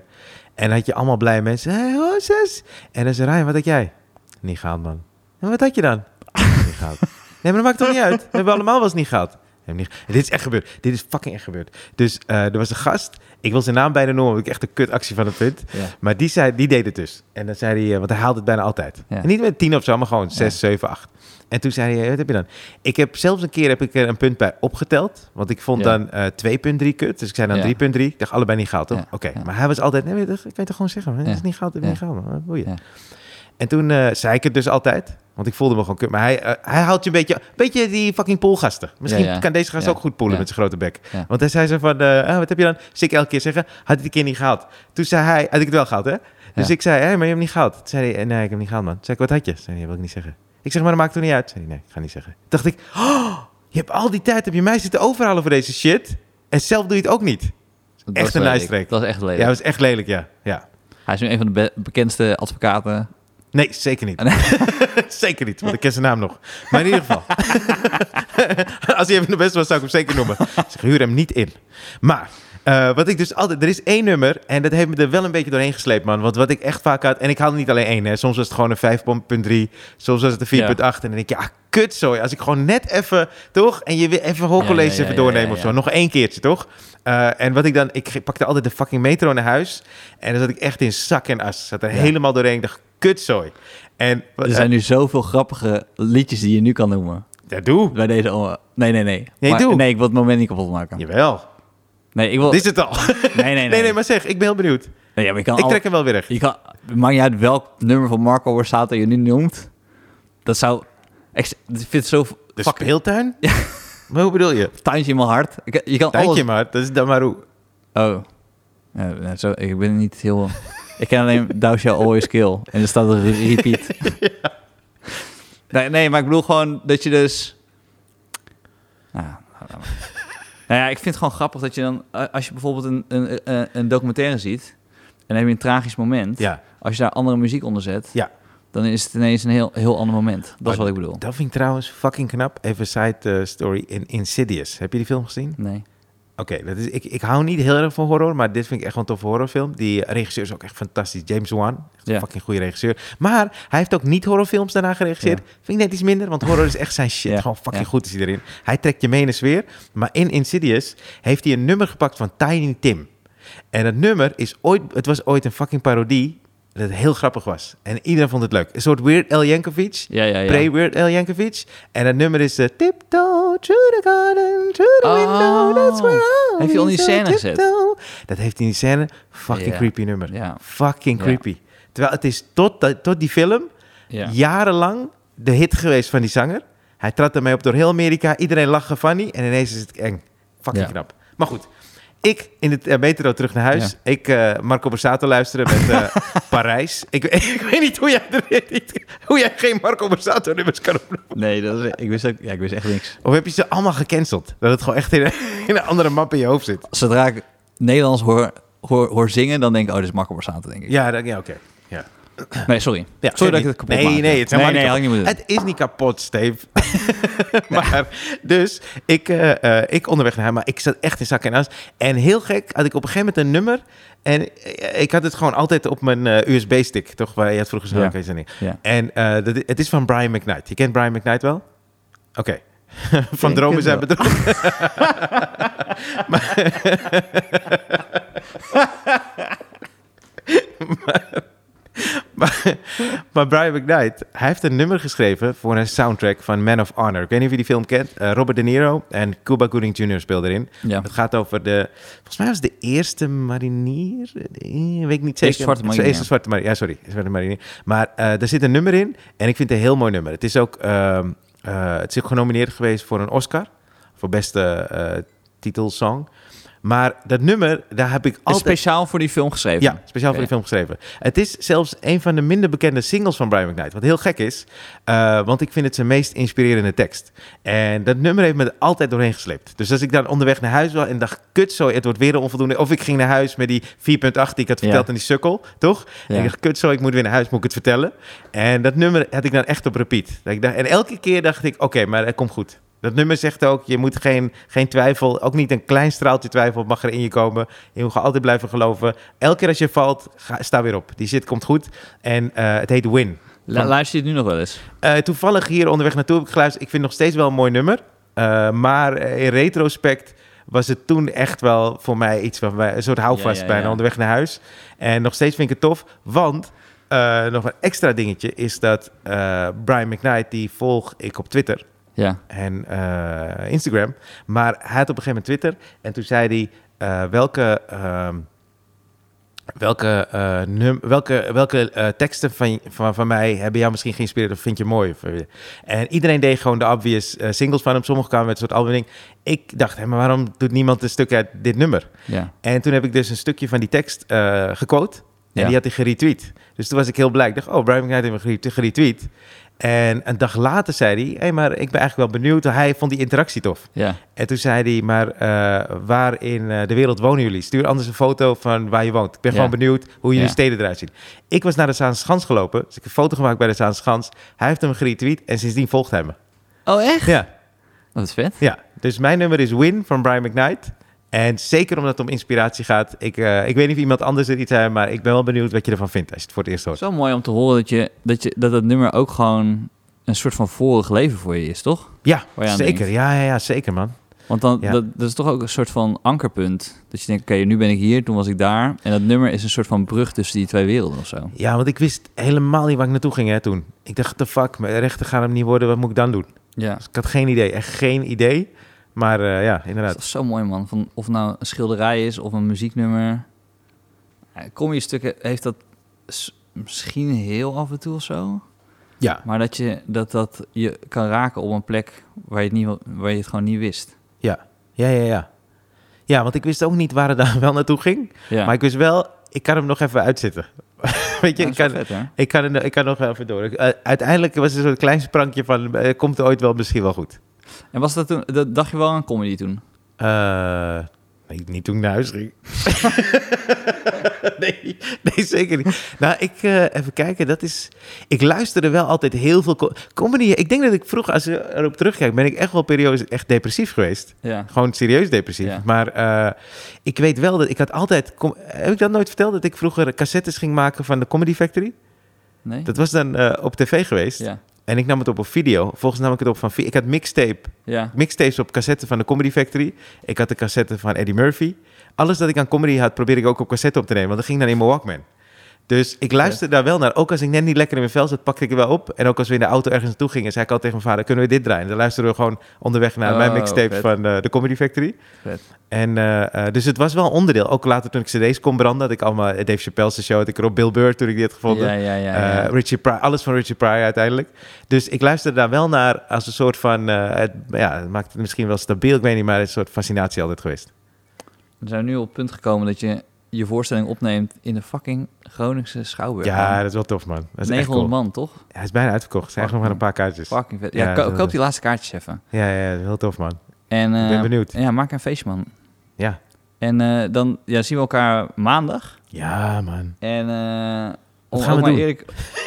[SPEAKER 1] En dan had je allemaal blije mensen. Hé, hey, oh, zes. En dan zei Ryan, wat had jij? Niet gehaald, man. En wat had je dan? niet gehaald. Nee, maar dat maakt toch niet uit? We hebben allemaal wel eens niet gehad. We hebben Niet... ge- Dit is echt gebeurd. Dit is fucking echt gebeurd. Dus eh, er was een gast. Ik wil zijn naam bijna noemen, want ik echt een kutactie van het vind.
[SPEAKER 2] Ja.
[SPEAKER 1] Maar die, zei, die deed het dus. En dan zei hij, eh, want hij haalde het bijna altijd.
[SPEAKER 2] Ja.
[SPEAKER 1] En niet met tien of zo, maar gewoon zes, zeven, acht. En toen zei hij, eh, wat heb je dan? Ik heb zelfs een keer heb ik er een punt bij opgeteld. Want ik vond
[SPEAKER 2] Ja.
[SPEAKER 1] dan eh, 2,3 kut. Dus ik zei dan
[SPEAKER 2] Ja.
[SPEAKER 1] 3,3. Ik dacht, allebei niet gehaald, toch?
[SPEAKER 2] Ja,
[SPEAKER 1] Oké.
[SPEAKER 2] ja.
[SPEAKER 1] Maar hij was altijd, nee, dat kan je toch gewoon zeggen. man? Het
[SPEAKER 2] Ja.
[SPEAKER 1] is niet gehaald, het is
[SPEAKER 2] Ja.
[SPEAKER 1] niet gehaald. man. Wat boeien.
[SPEAKER 2] Ja.
[SPEAKER 1] En toen eh, zei ik het dus altijd. Want ik voelde me gewoon kut. Maar hij, eh, hij haalt je een beetje... Beetje die fucking poolgasten. Misschien
[SPEAKER 2] ja.
[SPEAKER 1] kan deze gast
[SPEAKER 2] Ja.
[SPEAKER 1] ook goed poelen
[SPEAKER 2] Ja.
[SPEAKER 1] met zijn grote bek.
[SPEAKER 2] Ja.
[SPEAKER 1] Want hij zei zo van... eh, ah, wat heb je dan? Dus ik elke keer zeggen... Had hij het een keer niet gehaald. Toen zei hij... Had ik het wel gehaald, hè? Dus
[SPEAKER 2] Ja.
[SPEAKER 1] ik zei... Hé, maar je hebt hem niet gehaald. Toen zei hij... eh, Nee, ik heb hem niet gehaald, man. Toen zei ik... Wat had je? Zei hij... "Ja, wil ik niet zeggen. Ik zeg... Maar dat maakt toch niet uit? Zei hij... Nee, ik ga niet zeggen. Toen dacht ik... Oh, je hebt al die tijd... Heb je mij zitten overhalen voor deze shit? En zelf doe je het ook niet.
[SPEAKER 2] Dat
[SPEAKER 1] Echt
[SPEAKER 2] was
[SPEAKER 1] een
[SPEAKER 2] lelijk.
[SPEAKER 1] lijsttrek.
[SPEAKER 2] Dat is echt lelijk.
[SPEAKER 1] Ja, dat is echt lelijk, ja. Ja.
[SPEAKER 2] Hij is nu een van de be- bekendste advocaten.
[SPEAKER 1] Nee, zeker niet. zeker niet, want ik ken zijn naam nog. Maar in ieder geval. Als hij even de beste was, zou ik hem zeker noemen. Dus ik huur hem niet in. Maar, eh, wat ik dus altijd... Er is één nummer en dat heeft me er wel een beetje doorheen gesleept, man. Want wat ik echt vaak had... En ik haalde niet alleen één, hè. Soms was het gewoon een 5.3. Soms was het een 4.8. En dan denk je, ah, kut zo. Als ik gewoon net even, toch? En je wil even hoorcollege
[SPEAKER 2] Ja, ja, ja,
[SPEAKER 1] even
[SPEAKER 2] ja,
[SPEAKER 1] doornemen
[SPEAKER 2] ja,
[SPEAKER 1] of
[SPEAKER 2] ja.
[SPEAKER 1] zo. Nog één keertje, toch? Eh, en wat ik dan... Ik pakte altijd de fucking metro naar huis. En dan zat ik echt in zak en as. Zat er
[SPEAKER 2] Ja.
[SPEAKER 1] helemaal doorheen. Ik dacht, kutzooi. En... eh,
[SPEAKER 2] Er zijn nu zoveel grappige liedjes die je nu kan noemen.
[SPEAKER 1] Ja, doe.
[SPEAKER 2] Bij deze... oh, nee, nee, nee.
[SPEAKER 1] Nee,
[SPEAKER 2] Maar-
[SPEAKER 1] doe.
[SPEAKER 2] Nee, ik wil het moment niet kapot maken.
[SPEAKER 1] Jawel.
[SPEAKER 2] Nee, ik wil...
[SPEAKER 1] Dit is het al. Nee,
[SPEAKER 2] Nee, nee, nee.
[SPEAKER 1] nee, maar zeg, ik ben heel benieuwd.
[SPEAKER 2] Nee, ja, maar je kan
[SPEAKER 1] Ik
[SPEAKER 2] al-
[SPEAKER 1] trek hem wel weer recht.
[SPEAKER 2] Je kan, maakt niet uit welk nummer van Marco Borsato je nu noemt. Dat zou... Ik s- ik vind het zo...
[SPEAKER 1] De
[SPEAKER 2] fucking
[SPEAKER 1] speeltuin? Maar hoe bedoel je?
[SPEAKER 2] tuintje in mijn hart. Ik- je kan
[SPEAKER 1] Dank
[SPEAKER 2] alles...
[SPEAKER 1] je maar, dat is Damaru.
[SPEAKER 2] Oh. Ja, zo, ik ben niet heel...
[SPEAKER 3] Ik ken alleen Thou Shall Always Kill. En er staat er repeat. nee, nee, maar ik bedoel gewoon dat je dus... Nou, ja, laat maar. nou ja, ik vind het gewoon grappig dat je dan... eh, Als je bijvoorbeeld een, een, eh, een documentaire ziet... En dan heb je een tragisch moment.
[SPEAKER 1] Ja,
[SPEAKER 3] Als je daar andere muziek onder zet...
[SPEAKER 1] Ja.
[SPEAKER 3] Dan is het ineens een heel, heel ander moment. Dat
[SPEAKER 1] Maar-
[SPEAKER 3] is wat ik bedoel.
[SPEAKER 1] dat vind ik trouwens fucking knap. Even side eh, story in Insidious. Heb je die film gezien?
[SPEAKER 3] Nee.
[SPEAKER 1] Oké, dat is. ik, ik hou niet heel erg van horror, maar dit vind ik echt wel een toffe horrorfilm. Die regisseur is ook echt fantastisch, James Wan. Echt een
[SPEAKER 3] Ja.
[SPEAKER 1] fucking goede regisseur. Maar hij heeft ook niet horrorfilms daarna geregisseerd.
[SPEAKER 3] Ja.
[SPEAKER 1] Vind ik net iets minder, want horror is echt zijn shit.
[SPEAKER 3] Ja,
[SPEAKER 1] Gewoon fucking
[SPEAKER 3] ja.
[SPEAKER 1] goed is hij erin. Hij trekt je mee in de sfeer. Maar in Insidious heeft hij een nummer gepakt van Tiny Tim. En dat nummer is ooit, het was ooit een fucking parodie dat heel grappig was. En iedereen vond het leuk. Een soort Weird Al Yankovic.
[SPEAKER 2] Ja, ja, ja.
[SPEAKER 1] Pre-Weird Al Yankovic. En dat nummer is eh, Tiptoe through the garden, through the window, that's where I'll
[SPEAKER 2] Oh. Heeft hij
[SPEAKER 1] be
[SPEAKER 2] onder die
[SPEAKER 1] so
[SPEAKER 2] scène gezet?
[SPEAKER 1] tiptoe. Dat heeft hij in die scène. Fucking
[SPEAKER 2] Ja.
[SPEAKER 1] creepy nummer.
[SPEAKER 2] Ja.
[SPEAKER 1] Fucking
[SPEAKER 2] Ja.
[SPEAKER 1] creepy. Terwijl het is tot, dat- tot die film
[SPEAKER 2] Ja.
[SPEAKER 1] jarenlang de hit geweest van die zanger. Hij trad ermee op door heel Amerika. Iedereen lachte van die. En ineens is het eng. Fucking
[SPEAKER 2] Ja.
[SPEAKER 1] knap. Maar goed. Ik in het eh, metro terug naar huis. Ik eh, Marco Borsato luisteren met eh, Parijs. Ik, ik weet niet hoe jij, er, niet- hoe jij geen Marco Borsato nummers kan opnoemen.
[SPEAKER 3] Nee, dat is, ik, wist ook, ja, ik wist echt niks.
[SPEAKER 1] Of heb je ze allemaal gecanceld? Dat het gewoon echt in, een- in een andere map in je hoofd zit.
[SPEAKER 3] Zodra ik Nederlands hoor, hoor, hoor zingen, dan denk ik, oh, dit is Marco Borsato, denk ik.
[SPEAKER 1] Ja, dat- ja oké. Ja.
[SPEAKER 3] Nee, sorry.
[SPEAKER 1] Ja,
[SPEAKER 3] sorry dat
[SPEAKER 1] geef
[SPEAKER 3] ik het kapot
[SPEAKER 1] niet. nee,
[SPEAKER 3] maak.
[SPEAKER 1] Nee, het is
[SPEAKER 3] nee,
[SPEAKER 1] helemaal
[SPEAKER 3] nee, had ik
[SPEAKER 1] niet
[SPEAKER 3] niet
[SPEAKER 1] kapot.
[SPEAKER 3] moeten
[SPEAKER 1] Het is niet kapot, Steve. maar, dus, ik, eh, eh, ik onderweg naar hem, maar ik zat echt in zak en as. En heel gek, had ik op een gegeven moment een nummer. En eh, ik had het gewoon altijd op mijn eh, USB-stick, toch? Waar je had vroeger zo'n
[SPEAKER 3] Ja.
[SPEAKER 1] locatie ding.
[SPEAKER 3] doen. Ja.
[SPEAKER 1] En eh, dat, het is van Brian McKnight. Je kent Brian McKnight wel? Oké. van
[SPEAKER 3] Ik ken
[SPEAKER 1] dromen zijn
[SPEAKER 3] wel.
[SPEAKER 1] bedrogen. maar, maar, maar Brian McKnight, hij heeft een nummer geschreven voor een soundtrack van Man of Honor. Ik weet niet of je die film kent. Eh, Robert De Niro en Cuba Gooding Jr. speelden erin.
[SPEAKER 3] Ja.
[SPEAKER 1] Het gaat over de, volgens mij was het de eerste marinier, eh, weet ik niet zeker.
[SPEAKER 3] Eerste zwarte marinier.
[SPEAKER 1] Eerste zwarte marinier, ja sorry, eerste zwarte marinier. Maar eh daar zit een nummer in en ik vind het een heel mooi nummer. Het is ook, ehm, eh, het is ook genomineerd geweest voor een Oscar, voor beste eh, titelsong. Maar dat nummer, daar heb ik
[SPEAKER 3] Is
[SPEAKER 1] altijd...
[SPEAKER 3] speciaal voor die film geschreven.
[SPEAKER 1] Ja, speciaal voor
[SPEAKER 3] Oké.
[SPEAKER 1] die film geschreven. Het is zelfs een van de minder bekende singles van Brian McKnight. Wat heel gek is, eh, want ik vind het zijn meest inspirerende tekst. En dat nummer heeft me er altijd doorheen gesleept. Dus als ik dan onderweg naar huis was en dacht, kut zo, het wordt weer een onvoldoende. Of ik ging naar huis met die 4.8 die ik had verteld
[SPEAKER 3] Ja.
[SPEAKER 1] aan die sukkel, toch? En
[SPEAKER 3] Ja.
[SPEAKER 1] ik dacht, kut zo, ik moet weer naar huis, moet ik het vertellen? En dat nummer had ik dan echt op repeat. Dat ik dacht, en elke keer dacht ik, oké, maar het komt goed. Dat nummer zegt ook, je moet geen, geen twijfel, ook niet een klein straaltje twijfel mag er in je komen. Je moet altijd blijven geloven. Elke keer als je valt, ga, sta weer op. Die shit komt goed. En eh, het heet Win.
[SPEAKER 2] Lu- Luister je het nu nog wel eens?
[SPEAKER 1] Eh, toevallig hier onderweg naartoe heb ik geluisterd. Ik vind het nog steeds wel een mooi nummer. Eh, maar eh, in retrospect was het toen echt wel voor mij iets van een soort houvast
[SPEAKER 2] Ja, ja,
[SPEAKER 1] bijna
[SPEAKER 2] ja.
[SPEAKER 1] onderweg naar huis. En nog steeds vind ik het tof, want eh, nog een extra dingetje is dat eh, Brian McKnight, die volg ik op Twitter
[SPEAKER 2] Ja.
[SPEAKER 1] en eh, Instagram. Maar hij had op een gegeven moment Twitter. En toen zei hij eh, welke, ehm, welke, eh, num- welke, welke eh, teksten van, van, van mij hebben jou misschien geïnspireerd of vind je mooi? Of, eh, En iedereen deed gewoon de obvious eh, singles van hem. Sommigen kwamen met een soort albumding. Ik dacht, hè, maar waarom doet niemand een stuk uit dit nummer?
[SPEAKER 2] Ja.
[SPEAKER 1] En toen heb ik dus een stukje van die tekst eh gequote. En
[SPEAKER 2] Ja.
[SPEAKER 1] die had hij geretweet. Dus toen was ik heel blij. Ik dacht, oh, Brian McKnight heeft me gere- geretweet. En een dag later zei hij, hé, hey, maar ik ben eigenlijk wel benieuwd. Hij vond die interactie tof.
[SPEAKER 2] Ja.
[SPEAKER 1] En toen zei hij, maar eh, waar in eh, de wereld wonen jullie? Stuur anders een foto van waar je woont. Ik ben
[SPEAKER 2] Ja.
[SPEAKER 1] gewoon benieuwd hoe jullie
[SPEAKER 2] Ja.
[SPEAKER 1] steden eruit zien. Ik was naar de Zaanse Schans gelopen. Dus ik heb een foto gemaakt bij de Zaanse Schans. Hij heeft hem geretweet en sindsdien volgt hij me.
[SPEAKER 2] Oh, echt?
[SPEAKER 1] Ja.
[SPEAKER 2] Wat vet.
[SPEAKER 1] Ja, dus mijn nummer is Win van Brian McKnight. En zeker omdat het om inspiratie gaat. Ik, eh, ik weet niet of iemand anders er iets aan heeft, maar ik ben wel benieuwd wat je ervan vindt als je het voor het eerst
[SPEAKER 2] Het
[SPEAKER 1] hoort.
[SPEAKER 2] is wel mooi om te horen dat, je, dat, je, dat dat nummer ook gewoon een soort van vorig leven voor je is, toch?
[SPEAKER 1] Ja,
[SPEAKER 2] Waar je aan
[SPEAKER 1] zeker.
[SPEAKER 2] denkt.
[SPEAKER 1] Ja, ja, ja, zeker man.
[SPEAKER 2] Want dan,
[SPEAKER 1] Ja.
[SPEAKER 2] dat, dat is toch ook een soort van ankerpunt. Dat je denkt, oké, nu ben ik hier, toen was ik daar. En dat nummer is een soort van brug tussen die twee werelden of zo.
[SPEAKER 1] Ja, want ik wist helemaal niet waar ik naartoe ging hè, toen. Ik dacht, the fuck, mijn rechten gaan hem niet worden. Wat moet ik dan doen?
[SPEAKER 2] Ja.
[SPEAKER 1] Dus ik had geen idee. Echt geen idee. Maar eh, ja,
[SPEAKER 2] Dat
[SPEAKER 1] inderdaad.
[SPEAKER 2] is zo mooi, man. Van, of het nou een schilderij is of een muzieknummer. Ja, Kom je stukken, heeft dat s- misschien heel af en toe of zo.
[SPEAKER 1] Ja.
[SPEAKER 2] Maar dat je, dat, dat je kan raken op een plek waar je het, niet, wa- waar je het gewoon niet wist.
[SPEAKER 1] Ja, ja, ja. Ja, want ik wist ook niet waar het dan wel naartoe ging.
[SPEAKER 2] Ja.
[SPEAKER 1] Maar ik wist wel, ik kan hem nog even uitzitten. Weet je,
[SPEAKER 2] Ja,
[SPEAKER 1] ik,
[SPEAKER 2] dat is wel
[SPEAKER 1] kan,
[SPEAKER 2] vet, hè?
[SPEAKER 1] ik, kan, ik kan nog even door. Eh, uiteindelijk was het zo'n klein sprankje van... eh, komt het ooit wel misschien wel goed?
[SPEAKER 2] En was dat toen, dat dacht je wel aan comedy toen?
[SPEAKER 1] Eh, nee, niet toen ik naar huis ging. nee, nee, zeker niet. Nou, ik eh, even kijken. Dat is. Ik luisterde wel altijd heel veel co- comedy. Ik denk dat ik vroeg, als je erop terugkijkt, ben ik echt wel periodes echt depressief geweest.
[SPEAKER 2] Ja.
[SPEAKER 1] Gewoon serieus depressief.
[SPEAKER 2] Ja.
[SPEAKER 1] Maar eh, ik weet wel dat ik had altijd. com- Heb ik dat nooit verteld dat ik vroeger cassettes ging maken van de Comedy Factory?
[SPEAKER 2] Nee?
[SPEAKER 1] Dat was dan eh, op tv geweest.
[SPEAKER 2] Ja.
[SPEAKER 1] En ik nam het op op video. Volgens nam ik het op van. vi- Ik had mixtape
[SPEAKER 2] Ja.
[SPEAKER 1] mixtapes op cassette van de Comedy Factory. Ik had de cassette van Eddie Murphy. Alles dat ik aan comedy had, probeerde ik ook op cassette op te nemen. Want dat ging dan in mijn Walkman. Dus ik luisterde daar wel naar. Ook als ik net niet lekker in mijn vel zat, pakte ik het wel op. En ook als we in de auto ergens naartoe gingen, zei ik altijd tegen mijn vader... kunnen we dit draaien? Dan luisterden we gewoon onderweg naar mijn
[SPEAKER 2] Oh,
[SPEAKER 1] mixtape
[SPEAKER 2] vet.
[SPEAKER 1] van eh, de Comedy Factory.
[SPEAKER 2] Vet.
[SPEAKER 1] En, eh, eh, dus het was wel een onderdeel. Ook later toen ik cd's kon branden, had ik allemaal... eh, Dave Chappelle's show had ik erop, Bill Burr toen ik die had gevonden.
[SPEAKER 2] Ja, ja, ja.
[SPEAKER 1] Eh,
[SPEAKER 2] ja.
[SPEAKER 1] Richie Pryor, alles van Richie Pryor uiteindelijk. Dus ik luisterde daar wel naar als een soort van... eh, het, ja, het maakt het misschien wel stabiel, ik weet niet, maar het is een soort fascinatie altijd geweest.
[SPEAKER 2] We zijn nu op het punt gekomen dat je je voorstelling opneemt in de fucking Groningse Schouwburg.
[SPEAKER 1] Ja,
[SPEAKER 2] man.
[SPEAKER 1] dat is wel tof, man. Dat is
[SPEAKER 2] 900
[SPEAKER 1] echt cool.
[SPEAKER 2] man, toch?
[SPEAKER 1] Ja, hij is bijna uitverkocht. Er zijn echt nog maar een paar kaartjes.
[SPEAKER 2] Fucking vet. Ja,
[SPEAKER 1] Ja,
[SPEAKER 2] ko-
[SPEAKER 1] dat-
[SPEAKER 2] koop die laatste kaartjes even.
[SPEAKER 1] Ja, ja, heel tof, man.
[SPEAKER 2] En,
[SPEAKER 1] Ik ben
[SPEAKER 2] eh,
[SPEAKER 1] benieuwd.
[SPEAKER 2] Ja, maak een feestje, man.
[SPEAKER 1] Ja.
[SPEAKER 2] En eh, dan ja, zien we elkaar maandag.
[SPEAKER 1] Ja, man.
[SPEAKER 2] En eh om
[SPEAKER 1] gaan
[SPEAKER 2] ook
[SPEAKER 1] we
[SPEAKER 2] maar
[SPEAKER 1] doen?
[SPEAKER 2] eerlijk...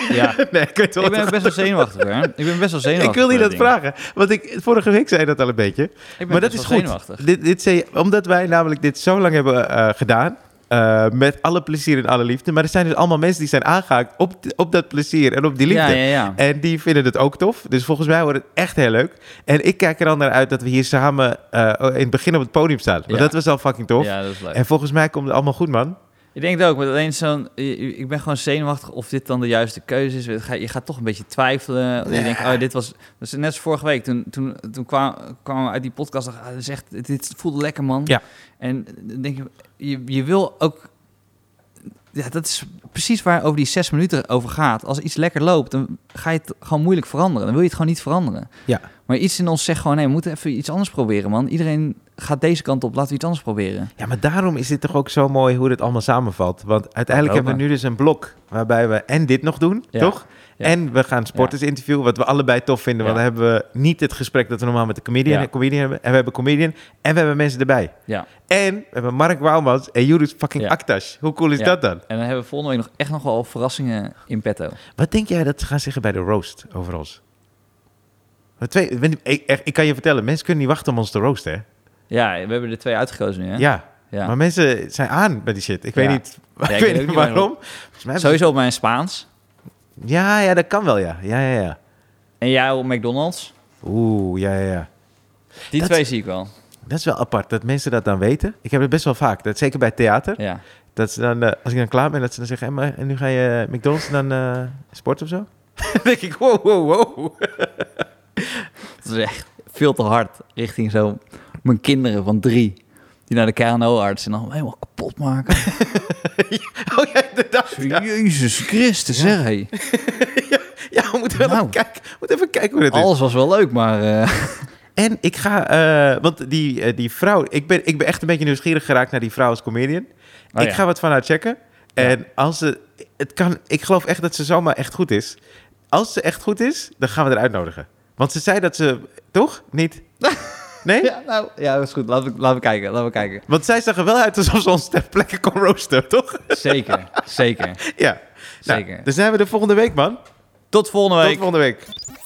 [SPEAKER 2] Ja,
[SPEAKER 1] Nee, ik weet wel
[SPEAKER 2] ik
[SPEAKER 1] wat-
[SPEAKER 2] ben best wel zenuwachtig, hè. Ik ben best wel zenuwachtig.
[SPEAKER 1] Ik wil
[SPEAKER 2] voor
[SPEAKER 1] niet dat
[SPEAKER 2] ding.
[SPEAKER 1] vragen, want ik, vorige week zei je dat al een beetje.
[SPEAKER 2] Ik ben
[SPEAKER 1] maar dat
[SPEAKER 2] best
[SPEAKER 1] is
[SPEAKER 2] wel
[SPEAKER 1] goed.
[SPEAKER 2] zenuwachtig.
[SPEAKER 1] Dit, dit zei, je- omdat wij namelijk dit zo lang hebben eh, gedaan. eh, met alle plezier en alle liefde. Maar er zijn dus allemaal mensen die zijn aangehaakt op, d- op dat plezier en op die liefde.
[SPEAKER 2] Ja, ja, ja.
[SPEAKER 1] En die vinden het ook tof. Dus volgens mij wordt het echt heel leuk. En ik kijk er dan naar uit dat we hier samen eh, in het begin op het podium staan. Want
[SPEAKER 2] Ja.
[SPEAKER 1] dat was al fucking tof.
[SPEAKER 2] Ja, dat is leuk.
[SPEAKER 1] En volgens mij komt het allemaal goed, man.
[SPEAKER 2] Ik denk het ook, maar alleen zo'n... i- i- Ik ben gewoon zenuwachtig of dit dan de juiste keuze is. Je gaat- Je gaat toch een beetje twijfelen. Je denkt, oh, dit was... Dus net als vorige week, toen, toen, toen kwam- kwamen we uit die podcast... dacht ik, ah, dit, is echt, dit voelde lekker, man.
[SPEAKER 1] Ja.
[SPEAKER 2] En dan denk je, je, je wil ook... Ja, dat is precies waar over die zes minuten over gaat. Als iets lekker loopt, dan ga je het gewoon moeilijk veranderen. Dan wil je het gewoon niet veranderen.
[SPEAKER 1] Ja.
[SPEAKER 2] Maar iets in ons zegt gewoon, nee, we moeten even iets anders proberen, man. Iedereen gaat deze kant op, laten we iets anders proberen.
[SPEAKER 1] Ja, maar daarom is dit toch ook zo mooi hoe dit allemaal samenvalt. Want uiteindelijk
[SPEAKER 2] Ja, wel,
[SPEAKER 1] hebben we nu dus een blok waarbij we en dit nog doen,
[SPEAKER 2] Ja.
[SPEAKER 1] toch?
[SPEAKER 2] Ja.
[SPEAKER 1] En we gaan sporters interviewen, wat we allebei tof vinden.
[SPEAKER 2] Ja.
[SPEAKER 1] Want dan hebben we niet het gesprek dat we normaal met de comedian,
[SPEAKER 2] Ja.
[SPEAKER 1] comedian hebben. En we hebben comedian en we hebben mensen erbij.
[SPEAKER 2] Ja.
[SPEAKER 1] En we hebben Mark Wouwmans en Jurus fucking
[SPEAKER 2] Ja.
[SPEAKER 1] Aktas. Hoe cool is
[SPEAKER 2] Ja.
[SPEAKER 1] dat dan?
[SPEAKER 2] En dan hebben we volgende week nog echt nog wel verrassingen in petto.
[SPEAKER 1] Wat denk jij dat ze gaan zeggen bij de roast over ons? Want Twee, ik, echt, ik kan je vertellen, mensen kunnen niet wachten om ons te roosten, hè?
[SPEAKER 2] Ja, we hebben er twee uitgekozen nu, hè?
[SPEAKER 1] Ja.
[SPEAKER 2] Ja.
[SPEAKER 1] Maar mensen zijn aan bij die shit. Ik weet
[SPEAKER 2] Ja.
[SPEAKER 1] niet,
[SPEAKER 2] ik
[SPEAKER 1] ik
[SPEAKER 2] weet
[SPEAKER 1] weet
[SPEAKER 2] ook
[SPEAKER 1] niet
[SPEAKER 2] niet
[SPEAKER 1] waarom.
[SPEAKER 2] waarom.
[SPEAKER 1] Volgens mij hebben ze-
[SPEAKER 2] Sowieso op mijn Spaans.
[SPEAKER 1] Ja, ja, dat kan wel, ja. Ja, ja, ja.
[SPEAKER 2] En jou op McDonald's.
[SPEAKER 1] Oeh, ja, ja, ja.
[SPEAKER 2] Die
[SPEAKER 1] Dat-
[SPEAKER 2] twee zie ik wel.
[SPEAKER 1] Dat is wel apart, dat mensen dat dan weten. Ik heb het best wel vaak, dat, zeker bij theater.
[SPEAKER 2] Ja.
[SPEAKER 1] Dat ze dan, eh, als ik dan klaar ben, dat ze dan zeggen... "Hé, maar, en nu ga je McDonald's en dan eh, sport of zo? dan denk ik, wow, wow, wow.
[SPEAKER 2] Het is echt veel te hard richting zo mijn kinderen van drie. Die naar de KNO-arts en dan helemaal kapot maken.
[SPEAKER 1] Oh ja, inderdaad. Ja,
[SPEAKER 2] Jezus Christus, zeg hé.
[SPEAKER 1] ja we moeten wel
[SPEAKER 2] Nou.
[SPEAKER 1] even kijken, we moeten even kijken hoe dat is.
[SPEAKER 2] Alles was wel leuk, maar... eh,
[SPEAKER 1] En ik ga, eh, want die, eh, die vrouw, ik ben, ik ben echt een beetje nieuwsgierig geraakt naar die vrouw als comedian.
[SPEAKER 2] Oh
[SPEAKER 1] ik
[SPEAKER 2] ja.
[SPEAKER 1] ga wat van haar checken. En als ze, het kan, ik geloof echt dat ze zomaar echt goed is. Als ze echt goed is, dan gaan we haar uitnodigen. Want ze zei dat ze, toch? Niet? Nee?
[SPEAKER 2] ja, nou, ja, dat is goed. Laten we, laten we kijken, laten we kijken.
[SPEAKER 1] Want zij zag er wel uit alsof ze ons ter plekke kon roosteren, toch?
[SPEAKER 2] Zeker, zeker.
[SPEAKER 1] Ja. Nou,
[SPEAKER 2] Zeker.
[SPEAKER 1] Dan zijn we er volgende week, man.
[SPEAKER 2] Tot volgende week.
[SPEAKER 1] Tot volgende week.